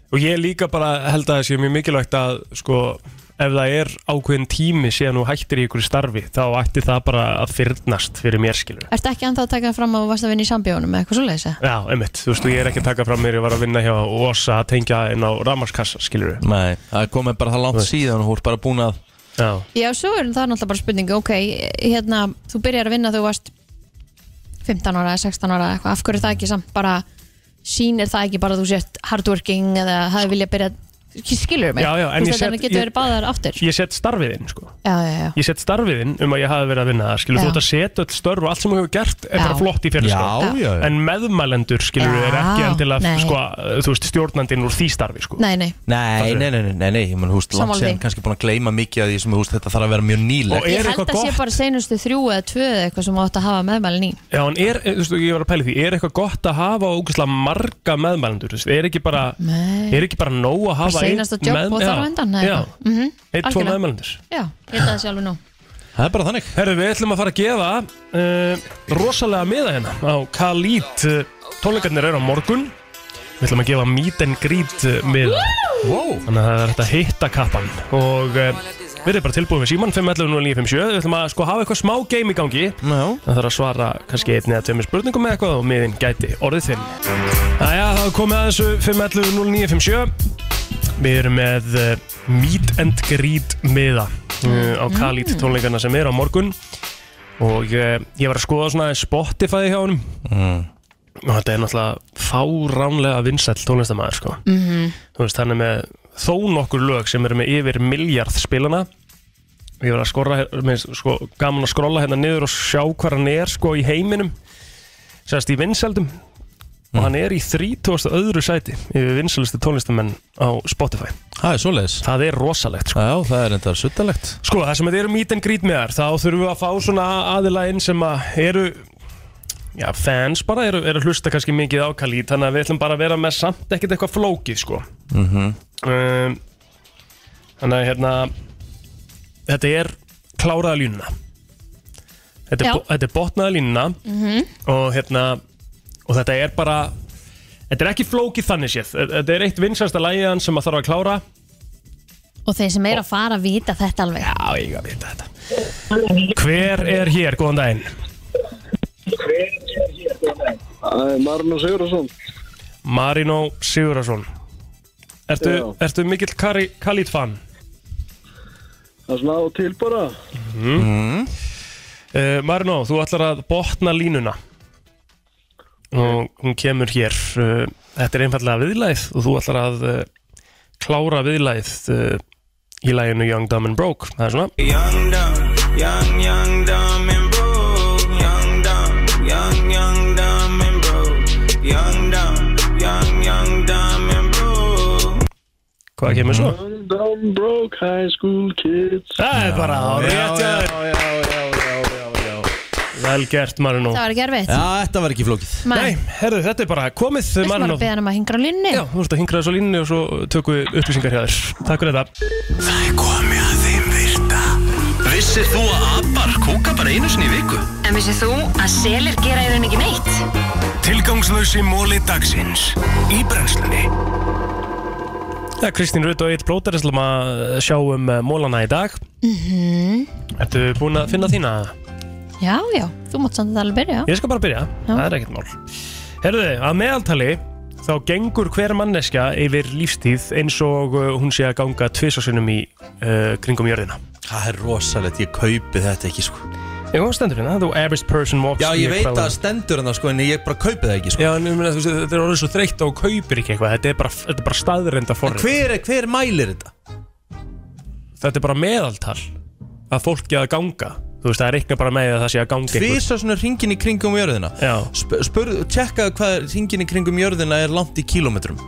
[SPEAKER 5] Og ég líka bara held að það sé mjög mikilvægt að sko, ef það er ákveðin tími síðan þú hættir í ykkur starfi þá ætti það bara að fyrnast fyrir mér skilur
[SPEAKER 3] Ertu ekki anþá að taka fram að þú varst að vinna í sambjónum eða eitthvað svoleiðis eða?
[SPEAKER 5] Já, einmitt, þú veist, og ég er ekki að taka fram mér ég var að vinna hjá OSA að tengja inn á ramarskassa skilur
[SPEAKER 4] Nei, það komið bara það langt síðan og þú ert bara búin að
[SPEAKER 5] Já,
[SPEAKER 3] Já, svo er það náttúrulega bara spurning ok, hérna, þú byrjar að vinna þegar þú varst 15 ára, eða 16 ára eða eitthvað, af hverju er það ekki samt bara sýnir það ekki bara að þú sért hardworking eða hafi viljað byrja skilur mig,
[SPEAKER 5] já, já
[SPEAKER 3] þú veist þetta
[SPEAKER 5] set-
[SPEAKER 3] getur verið báðar áttir
[SPEAKER 5] Ég set starfið inn, sko
[SPEAKER 3] Já, já, já,
[SPEAKER 5] Ég set starfið inn um að ég hafi verið að vinna það skilur,
[SPEAKER 3] Já.
[SPEAKER 5] þú ert að setja öll störf og allt sem þú hefur gert er bara
[SPEAKER 3] Já.
[SPEAKER 5] flott í
[SPEAKER 4] Já,
[SPEAKER 5] fyrirskap
[SPEAKER 4] já, já.
[SPEAKER 5] en meðmælendur skilur er ekki
[SPEAKER 3] Já,
[SPEAKER 5] endilega
[SPEAKER 3] nei.
[SPEAKER 5] sko, þú veist, stjórnandinn úr því starfi sko.
[SPEAKER 3] nei, nei
[SPEAKER 4] Nei, nei, nei, nei, nei, nei, ég mun, húst, langt
[SPEAKER 3] Sammála
[SPEAKER 4] síðan
[SPEAKER 3] því.
[SPEAKER 4] kannski búin að gleyma mikið af því sem, húst, þetta þarf að vera mjög nýlegt
[SPEAKER 3] ég held að sé bara seinustu þrjú eða tvö eða eitthvað sem þú átt að hafa meðmælin í
[SPEAKER 5] Já, en er, þú veist, ég var að pæla í því, er eitthvað gott að hafa ógæslega marga meðmælendur, þú veist, er ekki bara,
[SPEAKER 3] Nei.
[SPEAKER 5] er ekki bara nóg að hafa
[SPEAKER 3] bara seinast og jobb og þar á endan eða
[SPEAKER 5] Já,
[SPEAKER 3] eitthvað. Mhm,
[SPEAKER 5] einn, tvo
[SPEAKER 3] algjörlega.
[SPEAKER 5] meðmælendur.
[SPEAKER 3] já, ég held að það sé alveg nú
[SPEAKER 4] Það er bara þannig.
[SPEAKER 5] Herru, við ætlum að fara að gefa uh, rosalega miða hérna á Khalid, uh, tónleikarnir eru á morgun, við ætlum að gefa meet and greet uh, miða.
[SPEAKER 4] Wow.
[SPEAKER 5] Þannig að það er hægt að hitta kappan og uh, við erum bara tilbúin með síman 511-0957, við ætlum að sko hafa eitthvað smá game í gangi.
[SPEAKER 4] Já.
[SPEAKER 5] Það þarf að svara kannski einni eða tveimur spurningum með eitthvað og miðin gæti orðið þinn. Æja, það er komið að þessu 511-0957. Við erum með uh, Meet and Greet miða uh, á Khalid tónleikana sem er á morgun og uh, ég var að skoða svona Spotify hjá honum
[SPEAKER 4] mm.
[SPEAKER 5] og þetta er náttúrulega fáránlega vinsæll tónlistamæður sko.
[SPEAKER 14] Mhm.
[SPEAKER 5] Þú veist, hann er með þó nokkur lög sem eru með yfir miljard spilana Ég var að skorra, mér finnst, sko, gaman að skrolla hérna niður og sjá hvað hann er sko í heiminum Sérst í vinsældum Og hann er í 30. öðru sæti yfir vinsælustu tónlistamenn á Spotify
[SPEAKER 4] Það er svoleiðis
[SPEAKER 5] Það er rosalegt sko
[SPEAKER 4] Já, það er enda suttalegt
[SPEAKER 5] Sko, það sem þetta eru meet and greet með þar Þá þurfum við að fá svona aðila inn sem að eru Já, fans bara eru, eru að hlusta kannski mikið ákall í Þannig að við ætlum bara að vera með samt ekkert eitthvað flókið sko
[SPEAKER 4] Mhm.
[SPEAKER 5] um, Þannig að hérna Þetta er kláraða línuna Þetta er,
[SPEAKER 3] Já.
[SPEAKER 5] bo- þetta er botnaða línuna
[SPEAKER 3] Mhm.
[SPEAKER 5] og hérna og þetta er bara Þetta er ekki flókið þannig séð Þetta er eitt vinsænsta lægiðan sem að þarf að klára
[SPEAKER 3] og þeir sem er að fara að vita þetta alveg
[SPEAKER 5] já, ég að vita þetta Hver er hér, góðan daginn?
[SPEAKER 14] Marno Sigurðarsson
[SPEAKER 5] Marino Sigurðarsson Ertu, ertu mikill Kari, Khalid fan?
[SPEAKER 14] Það er svona á og til bara
[SPEAKER 5] Mm. Uh, Marino, þú ætlar að botna línuna og hún kemur hér uh, þetta er einfallega viðlæð og þú ætlar að uh, klára viðlæð uh, í læginu Young Dumb and Broke það er svona
[SPEAKER 1] Young dumb, young, young dumb and broke. Young dumb, young, young dumb and broke. Young dumb, young, young dumb and broke.
[SPEAKER 5] Hvað kemur svo?
[SPEAKER 14] Down broke high school kids
[SPEAKER 5] Það er bara á rétt hjá þér. vel gert Marino
[SPEAKER 3] Það var ekki erfitt. Já,
[SPEAKER 5] þetta var ekki flókið
[SPEAKER 3] Nei.
[SPEAKER 5] Nei, herðu, þetta er bara komið
[SPEAKER 3] Þess maður
[SPEAKER 5] Marino
[SPEAKER 3] að beða hann um að hingra á linni
[SPEAKER 5] Já, þú ert að hingra þessu á línni og svo tökum við upplýsingar hjá þér Takk fyrir þetta
[SPEAKER 2] Það er komið að þeim virta Vissir þú að abar kúka bara einu sinni í viku?
[SPEAKER 12] En vissið þú að selir gera í raun ekki neitt?
[SPEAKER 2] Tilgangslösi móli dagsins Í brennslunni
[SPEAKER 5] Já, Kristín Rutt og Eitt Blóter Það slum að sjá um eh, mólana í dag
[SPEAKER 3] Mhm.
[SPEAKER 5] Ertu búin að finna þína?
[SPEAKER 3] Já, já, þú mátt samt að alveg byrja
[SPEAKER 5] Ég skal bara byrja, það er ekkert mál Herðu, að meðaltali þá gengur hver manneska yfir lífstíð eins og uh, hún sé að ganga tvisasinnum í uh, kringum jörðina
[SPEAKER 4] Það er rosalegt, ég kaupi þetta ekki sko
[SPEAKER 5] Ég kom stendur hérna, þú average person walks
[SPEAKER 4] Já, ég
[SPEAKER 5] the
[SPEAKER 4] veit að
[SPEAKER 5] equivalent-
[SPEAKER 4] það stendur en það sko en ég bara kaupi það ekki sko
[SPEAKER 5] Já, en ég meina, þú veist, þetta er orðið svo þreytt og kaupir ekki eitthvað Þetta er bara, þetta er bara staðrenda forrið
[SPEAKER 4] Hver, er- hver mælir þetta?
[SPEAKER 5] Þetta er bara meðaltal að fólk geða að ganga Þú veist, það er ekki bara með að það sé að ganga einhver.
[SPEAKER 4] Tvísa svona ringin í kringum jörðina Sp spur, Tjekkaðu hvað ringin í kringum jörðina er langt í kílómetrum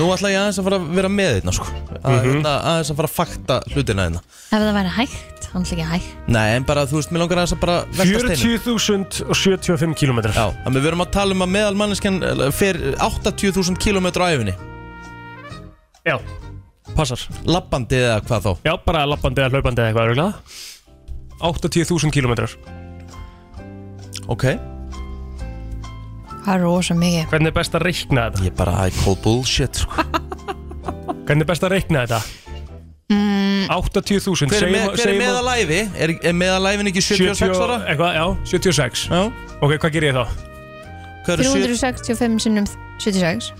[SPEAKER 4] Nú ætla ég aðeins að fara að vera með þetta sko að,
[SPEAKER 5] Mhm.
[SPEAKER 4] hérna, Aðeins að fara að fakta hlutina þetta
[SPEAKER 3] Ef það væri hægt, hann ekki hægt
[SPEAKER 4] Nei, en bara, þú veist, mér langar aðeins að bara velta steinu
[SPEAKER 5] 40.075 km
[SPEAKER 4] Já, að við verum að tala um að meðal manneskjan eh, fer 80.000 km á æfinni
[SPEAKER 5] Já, passar
[SPEAKER 4] Lappandi eða hvað þá?
[SPEAKER 5] Já, bara lappandi eða hlaupandi eða eitthvað örugglega. 80.000 km
[SPEAKER 4] Ok
[SPEAKER 3] Það er rosa mikið
[SPEAKER 5] Hvernig er best að reikna þetta?
[SPEAKER 4] Ég er bara, I call bullshit sko.
[SPEAKER 5] Hvernig er best að reikna þetta?
[SPEAKER 3] mm,
[SPEAKER 5] 80.000
[SPEAKER 4] Hver er, með,
[SPEAKER 5] segjum-
[SPEAKER 4] hver er
[SPEAKER 5] segjum-
[SPEAKER 4] meðalæfi? Er, er meðalæfin ekki 76 ára?
[SPEAKER 5] 70 Eitthvað, já, 76
[SPEAKER 4] Já
[SPEAKER 5] Ok, hvað ger ég þá?
[SPEAKER 4] Hvað
[SPEAKER 3] 365 sinnum 76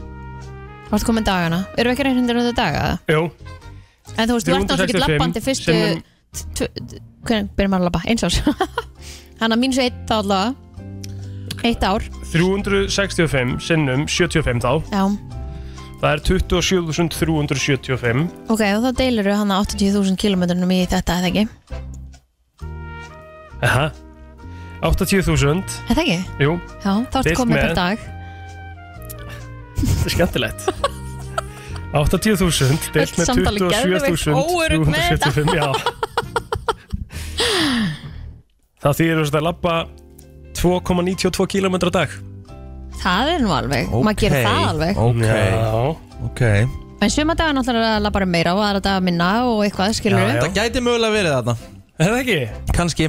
[SPEAKER 3] Þú ert komin dagana Erum við ekki reyndir um þetta daga?
[SPEAKER 5] Jú
[SPEAKER 3] En þú veist, þú ert náttúrulega ekki
[SPEAKER 5] 365
[SPEAKER 3] lappandi fyrstu
[SPEAKER 5] sinnum-
[SPEAKER 3] t- tvö- Hvernig byrjum maður að lappa? Eins árs Þannig að mínus eitt þá allavega Eitt ár
[SPEAKER 5] 365 sinnum 75 þá
[SPEAKER 3] Já,
[SPEAKER 5] Það er 27.375
[SPEAKER 3] ok, og þá deilur við hann 80.000 kilometrunum í þetta, eða ekki?
[SPEAKER 5] Aha 80.000
[SPEAKER 3] Eða ekki?
[SPEAKER 5] Jú,
[SPEAKER 3] Já, þá ertu
[SPEAKER 5] Deilt
[SPEAKER 3] komin
[SPEAKER 5] með-
[SPEAKER 3] per dag
[SPEAKER 5] þetta er skemmtilegt 80.000 deilt
[SPEAKER 3] Öll samtalið geðveikt óörugg með þetta.
[SPEAKER 5] 27.375 Já Það þýðir þú veist að labba 2,92 km á dag
[SPEAKER 3] Það er nú alveg, maður gerir það alveg
[SPEAKER 5] Já
[SPEAKER 4] Ok
[SPEAKER 3] En suma dagar náttúrulega er það bara meira og aðra dagar minna og eitthvað, skilur við
[SPEAKER 4] Það gæti mögulega verið þarna
[SPEAKER 5] Er það ekki?
[SPEAKER 4] Kanski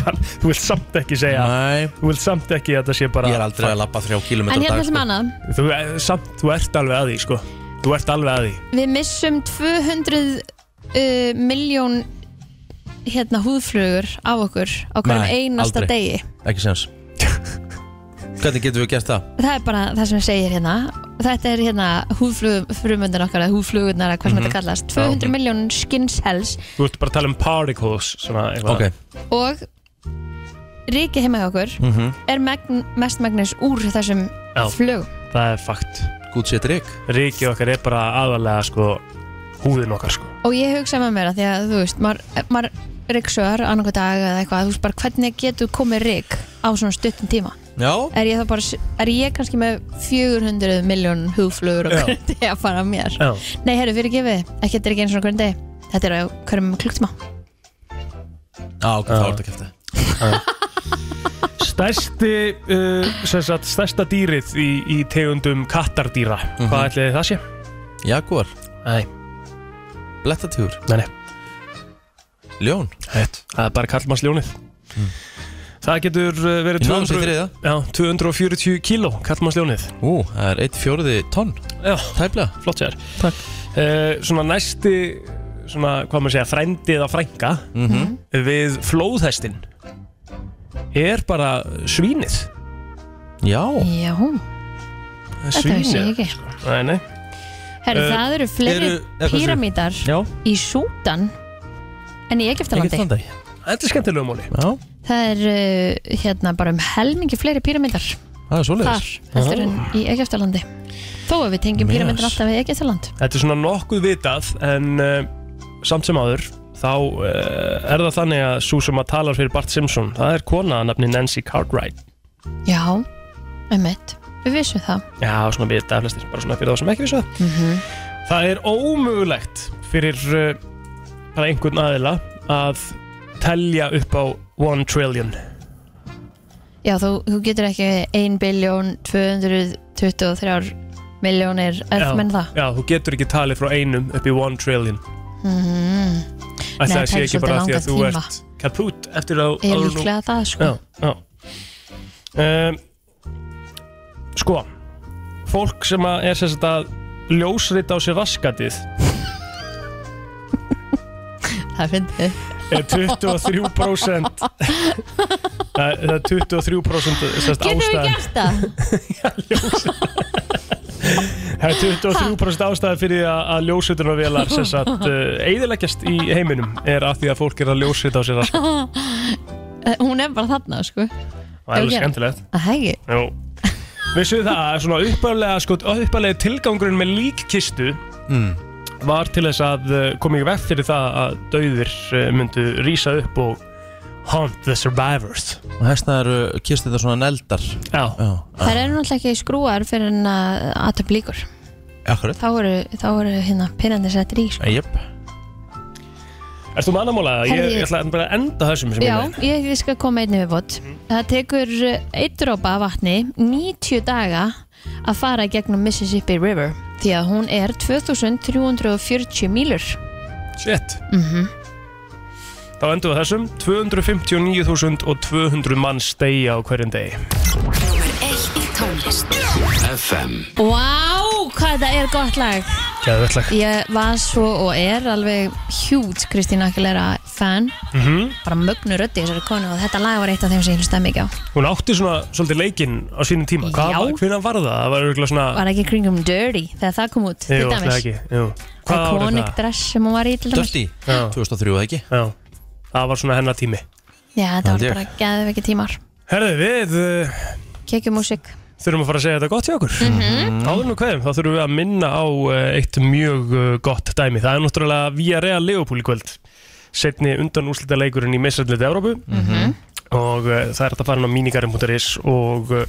[SPEAKER 5] kan, Þú vilt samt ekki segja
[SPEAKER 4] Nei
[SPEAKER 5] Þú vilt samt ekki að þetta sé bara
[SPEAKER 4] Ég er aldrei að lappa 3 km
[SPEAKER 3] En hérna sem
[SPEAKER 5] sko.
[SPEAKER 3] annað,
[SPEAKER 5] Þú, eh, samt, þú ert alveg að því sko Þú ert alveg að því
[SPEAKER 3] við missum 200 uh, miljón hérna húðflugur af okkur á hverjum einasta degi
[SPEAKER 4] Ekki séns Hvernig getum við gert það?
[SPEAKER 3] Það er bara það sem ég segir hérna Þetta er hérna húðflugumöndin okkar eða húðflugurnar, eða hvað sem
[SPEAKER 5] Mhm.
[SPEAKER 3] þetta kallast 200
[SPEAKER 5] Já.
[SPEAKER 3] miljón skin cells
[SPEAKER 5] Þú ert bara að tala um particles svona, Ok
[SPEAKER 3] og ríkið heima hjá okkur
[SPEAKER 5] Mhm.
[SPEAKER 3] er megn, mest megnis úr þessum
[SPEAKER 5] Já.
[SPEAKER 3] flugum
[SPEAKER 5] Það er fakt
[SPEAKER 4] Gútt sétt rík
[SPEAKER 5] Ríkið okkar er bara aðalega sko Húðin okkar sko
[SPEAKER 3] Og ég hugsa með mér að því að þú veist maður mað ryggsöðar annarkoð dag eða eitthvað, þú veist bara hvernig getur komið rygg á svona stuttum tíma
[SPEAKER 4] Já
[SPEAKER 3] er ég, þá bara, s- er ég kannski með 400 miljón hugflugur og
[SPEAKER 4] Já.
[SPEAKER 3] hvernig degi að fara mér
[SPEAKER 5] Já.
[SPEAKER 3] Nei, herru, fyrir gefið, ekki þetta er ekki eins og hvernig degi Þetta er á hverjum klukktíma
[SPEAKER 4] Já, Ah, ok, þá ertu að kæfta
[SPEAKER 5] Stærsti uh, sem sagt, Stærsta dýrið í, í tegundum kattardýra Hvað ætli það sé?
[SPEAKER 4] Jaguar
[SPEAKER 5] Mhm. Nei
[SPEAKER 4] Blettatífur
[SPEAKER 5] Nei, nei
[SPEAKER 4] Ljón
[SPEAKER 5] Hætt Það er bara kallmannsljónið Mm. Það getur uh, verið
[SPEAKER 4] Ég náði þessu í
[SPEAKER 5] 200
[SPEAKER 4] þriðja.
[SPEAKER 5] já, 240 kíló kallmannsljónið
[SPEAKER 4] Ú, það er 1 fjóruði tonn
[SPEAKER 5] Já,
[SPEAKER 4] tæplega
[SPEAKER 5] Flott sér Takk Uh, Svona næsti, svona, hvað maður segja, frændið að frænga
[SPEAKER 4] Mhm.
[SPEAKER 5] Við flóðhestin er bara svínið Já
[SPEAKER 3] Já, þetta
[SPEAKER 5] Svínið
[SPEAKER 3] veist ég ekki
[SPEAKER 5] Nei, nei
[SPEAKER 3] Herru,
[SPEAKER 5] Eh,
[SPEAKER 3] það eru fleiri
[SPEAKER 5] eru- eða hvað segirðu?
[SPEAKER 3] píramítar
[SPEAKER 5] Já.
[SPEAKER 3] í Súdan en í Egiptalandi
[SPEAKER 5] Egyptalandi. Þetta er skemmtilega móli Já,
[SPEAKER 3] Það er uh, hérna bara um helmingi fleiri píramítar
[SPEAKER 5] það er
[SPEAKER 3] þar heldur en í Egiptalandi Þó að við tengjum
[SPEAKER 5] Yes.
[SPEAKER 3] píramítar alltaf við Egiptaland
[SPEAKER 5] Þetta er svona nokkuð vitað en uh, samt sem áður þá uh, er það þannig að svo sem að talar fyrir Bart Simpson það er kona að nafni Nancy Cartwright
[SPEAKER 3] Já, einmitt, við vissum það
[SPEAKER 5] Já, svona vitað flestir, bara svona fyrir þá sem ekki vissu það
[SPEAKER 3] mm -hmm.
[SPEAKER 5] Það er ómögulegt fyrir uh, bara einhvern aðila að telja upp á 1 trillion
[SPEAKER 3] Já, þú, þú getur ekki 1 biljón 223 miljónir
[SPEAKER 5] Já,
[SPEAKER 3] erfmenn það
[SPEAKER 5] Já, þú getur ekki talið frá einum upp í 1 trillion
[SPEAKER 3] mm -hmm.
[SPEAKER 5] Ætli Það sé ekki bara af því að þú ert kaput eftir að
[SPEAKER 3] Ég er
[SPEAKER 5] áður nú-
[SPEAKER 3] líklega það, sko
[SPEAKER 5] Já, já. Um, sko, fólk sem að er sem sagt að ljósrita á sér raskatið
[SPEAKER 3] Það finnir
[SPEAKER 5] er 23% það er það er 23% sem sagt
[SPEAKER 3] Getur við
[SPEAKER 5] ástæðan
[SPEAKER 3] gert það?
[SPEAKER 5] það er 23% ástæðan fyrir því að, að ljósritunarvélar sem sagt uh, eigðileggjast í heiminum er af því að fólk er að ljósrita á sér raskatið
[SPEAKER 3] Eh, Hún er bara þarna, sko
[SPEAKER 5] það er
[SPEAKER 3] Ef við
[SPEAKER 5] alveg
[SPEAKER 3] gerum-
[SPEAKER 5] skemmtilegt
[SPEAKER 3] Að hegi
[SPEAKER 5] Jú. Vissuð það að svona uppalega sko, uppalega tilgangurinn með líkkistu var til þess að uh, koma í veg fyrir það að dauðir uh, myndu rísa upp og haunt the survivors
[SPEAKER 4] Og hérna eru kist þetta svona neldar Já.
[SPEAKER 5] Já, Ah.
[SPEAKER 3] Það eru náttúrulega ekki skrúar fyrir en að aðtöp líkur
[SPEAKER 4] Akkurat
[SPEAKER 3] Þá eru, þá eru hérna pinnandi settir í, sko
[SPEAKER 4] Jep
[SPEAKER 5] Erst þú með annar mála? Ég,
[SPEAKER 3] Herði-
[SPEAKER 5] ég ætla bara að enda þessum sem Mhm.
[SPEAKER 3] Já,
[SPEAKER 5] ég
[SPEAKER 3] ég, ég skal koma einni við bót Það tekur eh, einn drópa af vatni 90 daga að fara gegnum Mississippi River því að hún er 2340 mílur
[SPEAKER 5] með Shit,
[SPEAKER 3] mm -hmm.
[SPEAKER 5] þá endum við þessum 259.200 mann steigja á hverjum degi
[SPEAKER 12] Eitt í tónlist
[SPEAKER 5] FM
[SPEAKER 3] Vá, hvað þetta er gott lag
[SPEAKER 5] Gæðvöldlag
[SPEAKER 3] Ég var svo og er alveg hjút Kristín Akilera fan
[SPEAKER 5] mm
[SPEAKER 3] bara mögnu röddi í þessari konu og þetta lag var eitt af þeim sem ég hlustaði mikið á
[SPEAKER 5] Hún átti svona svolítið leikinn á sínum tíma Hvað
[SPEAKER 3] Já.
[SPEAKER 5] var, hvenær var það? Það var örugglega svona
[SPEAKER 3] Var ekki kringum Dirty þegar það kom út
[SPEAKER 5] Jú, ætli það ekki Jú. Hvað ár er
[SPEAKER 3] Iconic
[SPEAKER 5] það?
[SPEAKER 3] dress sem hún var í til dæmis
[SPEAKER 5] 2003 eða ekki Já, það var svona hennar tími
[SPEAKER 3] Já,
[SPEAKER 5] Held
[SPEAKER 3] þetta var
[SPEAKER 5] ég.
[SPEAKER 3] bara geðveiki tímar
[SPEAKER 5] Herðu, við uh,
[SPEAKER 3] Kekjumúsík
[SPEAKER 5] þurfum að fara að segja þetta gott hjá okkur mm -hmm. Áður nú hverjum, þá þurfum við að minna á uh, eitt mjög uh, gott dæmi Það er náttúrulega Via Real Leopold í kvöld Setni undan úslita leikurinn í missalliti Evrópu
[SPEAKER 3] Mhm.
[SPEAKER 5] Og uh, það er hægt að fara inn á minigarum.is og uh,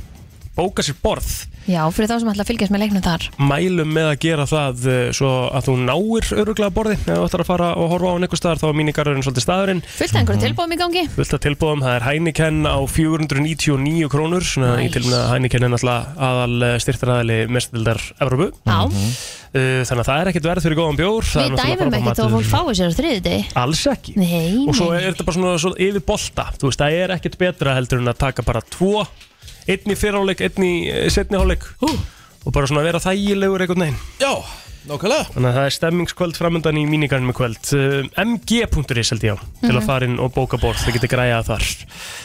[SPEAKER 5] bóka sér borð
[SPEAKER 3] Já, fyrir þá sem ætla að fylgjast með leiknum þar
[SPEAKER 5] mælum með að gera það eh, svo að þú náir öruglega borði ef þú ætlar að fara og horfa á hann einhver staðar þá er mínigarðurinn svolítið staðurinn
[SPEAKER 3] Fullt af einhverju tilbúðum í gangi
[SPEAKER 5] fullt af tilbúðum, það er Heineken á 499 krónur svona nice. í
[SPEAKER 3] Nice.
[SPEAKER 5] tilfellinu að Heineken er náttúrulega aðal eh, styrtaræðali mestildar Evropu
[SPEAKER 3] Já.
[SPEAKER 5] Eh, þannig að það er ekkert verð fyrir góðan bjór það er
[SPEAKER 3] Við
[SPEAKER 5] náttúrulega frábær
[SPEAKER 3] dæmum ekki þó að
[SPEAKER 5] matur.
[SPEAKER 3] fólk fái sér á þriði degi
[SPEAKER 5] alls ekki
[SPEAKER 3] Nei,
[SPEAKER 5] og svo
[SPEAKER 3] nei.
[SPEAKER 5] er þetta bara svona, svona yfir bolta þú veist, það er ekkert betra heldur en að taka bara tvo einn í fyrrháleik, einn í setni háleik og bara svona vera þægilegur einhvern veginn já, nokkulega þannig að það er stemmingskvöld framöndan í mínigarnum í kvöld uh, mg.is held ég á til að
[SPEAKER 3] Mhm.
[SPEAKER 5] fara inn og bóka borð, þið getur græjað þar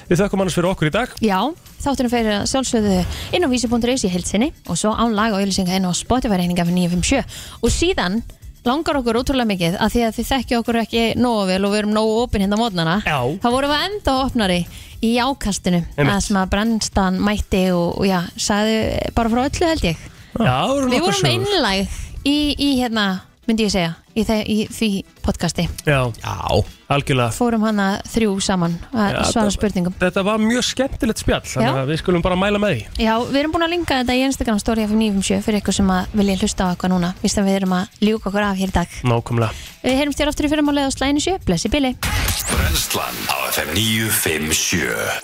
[SPEAKER 5] við þökkum annars fyrir okkur í dag
[SPEAKER 3] Já, þáttunum fyrir að sjálfsögðu inn á vísi.is í heilsinni og svo án laga og ylisenga inn á Spotify reyninga fyrir 957 og síðan langar okkur ótrúlega mikið að því að þið þekkja okkur ekki nógu vel og við erum nógu opinn hérna á mótnana
[SPEAKER 5] Já.
[SPEAKER 3] þá vorum við enda opnari í ákastinu
[SPEAKER 5] Einmitt.
[SPEAKER 3] að sem að brennstan mætti og, og já, sagði bara frá öllu held ég
[SPEAKER 5] já,
[SPEAKER 3] Við vorum einlæg í, í hérna, myndi ég segja í, þe- í því podcasti
[SPEAKER 5] já. já, algjörlega
[SPEAKER 3] fórum hana þrjú saman að
[SPEAKER 5] Já,
[SPEAKER 3] svara
[SPEAKER 5] þetta-
[SPEAKER 3] spurningum
[SPEAKER 5] þetta var mjög skemmtilegt spjall þannig
[SPEAKER 3] Já.
[SPEAKER 5] að við skulum bara mæla með því
[SPEAKER 3] Já, við erum búin að linka þetta í Instagram story af 957 fyrir ykkur sem að vilja hlusta á eitthvað núna víst að við erum að ljúka okkur af hér í dag
[SPEAKER 5] nákvæmlega
[SPEAKER 3] Við heyrumst þér aftur í fyrramálið á slæðinu sjö Blessi Billy
[SPEAKER 2] Brennslan á FM 957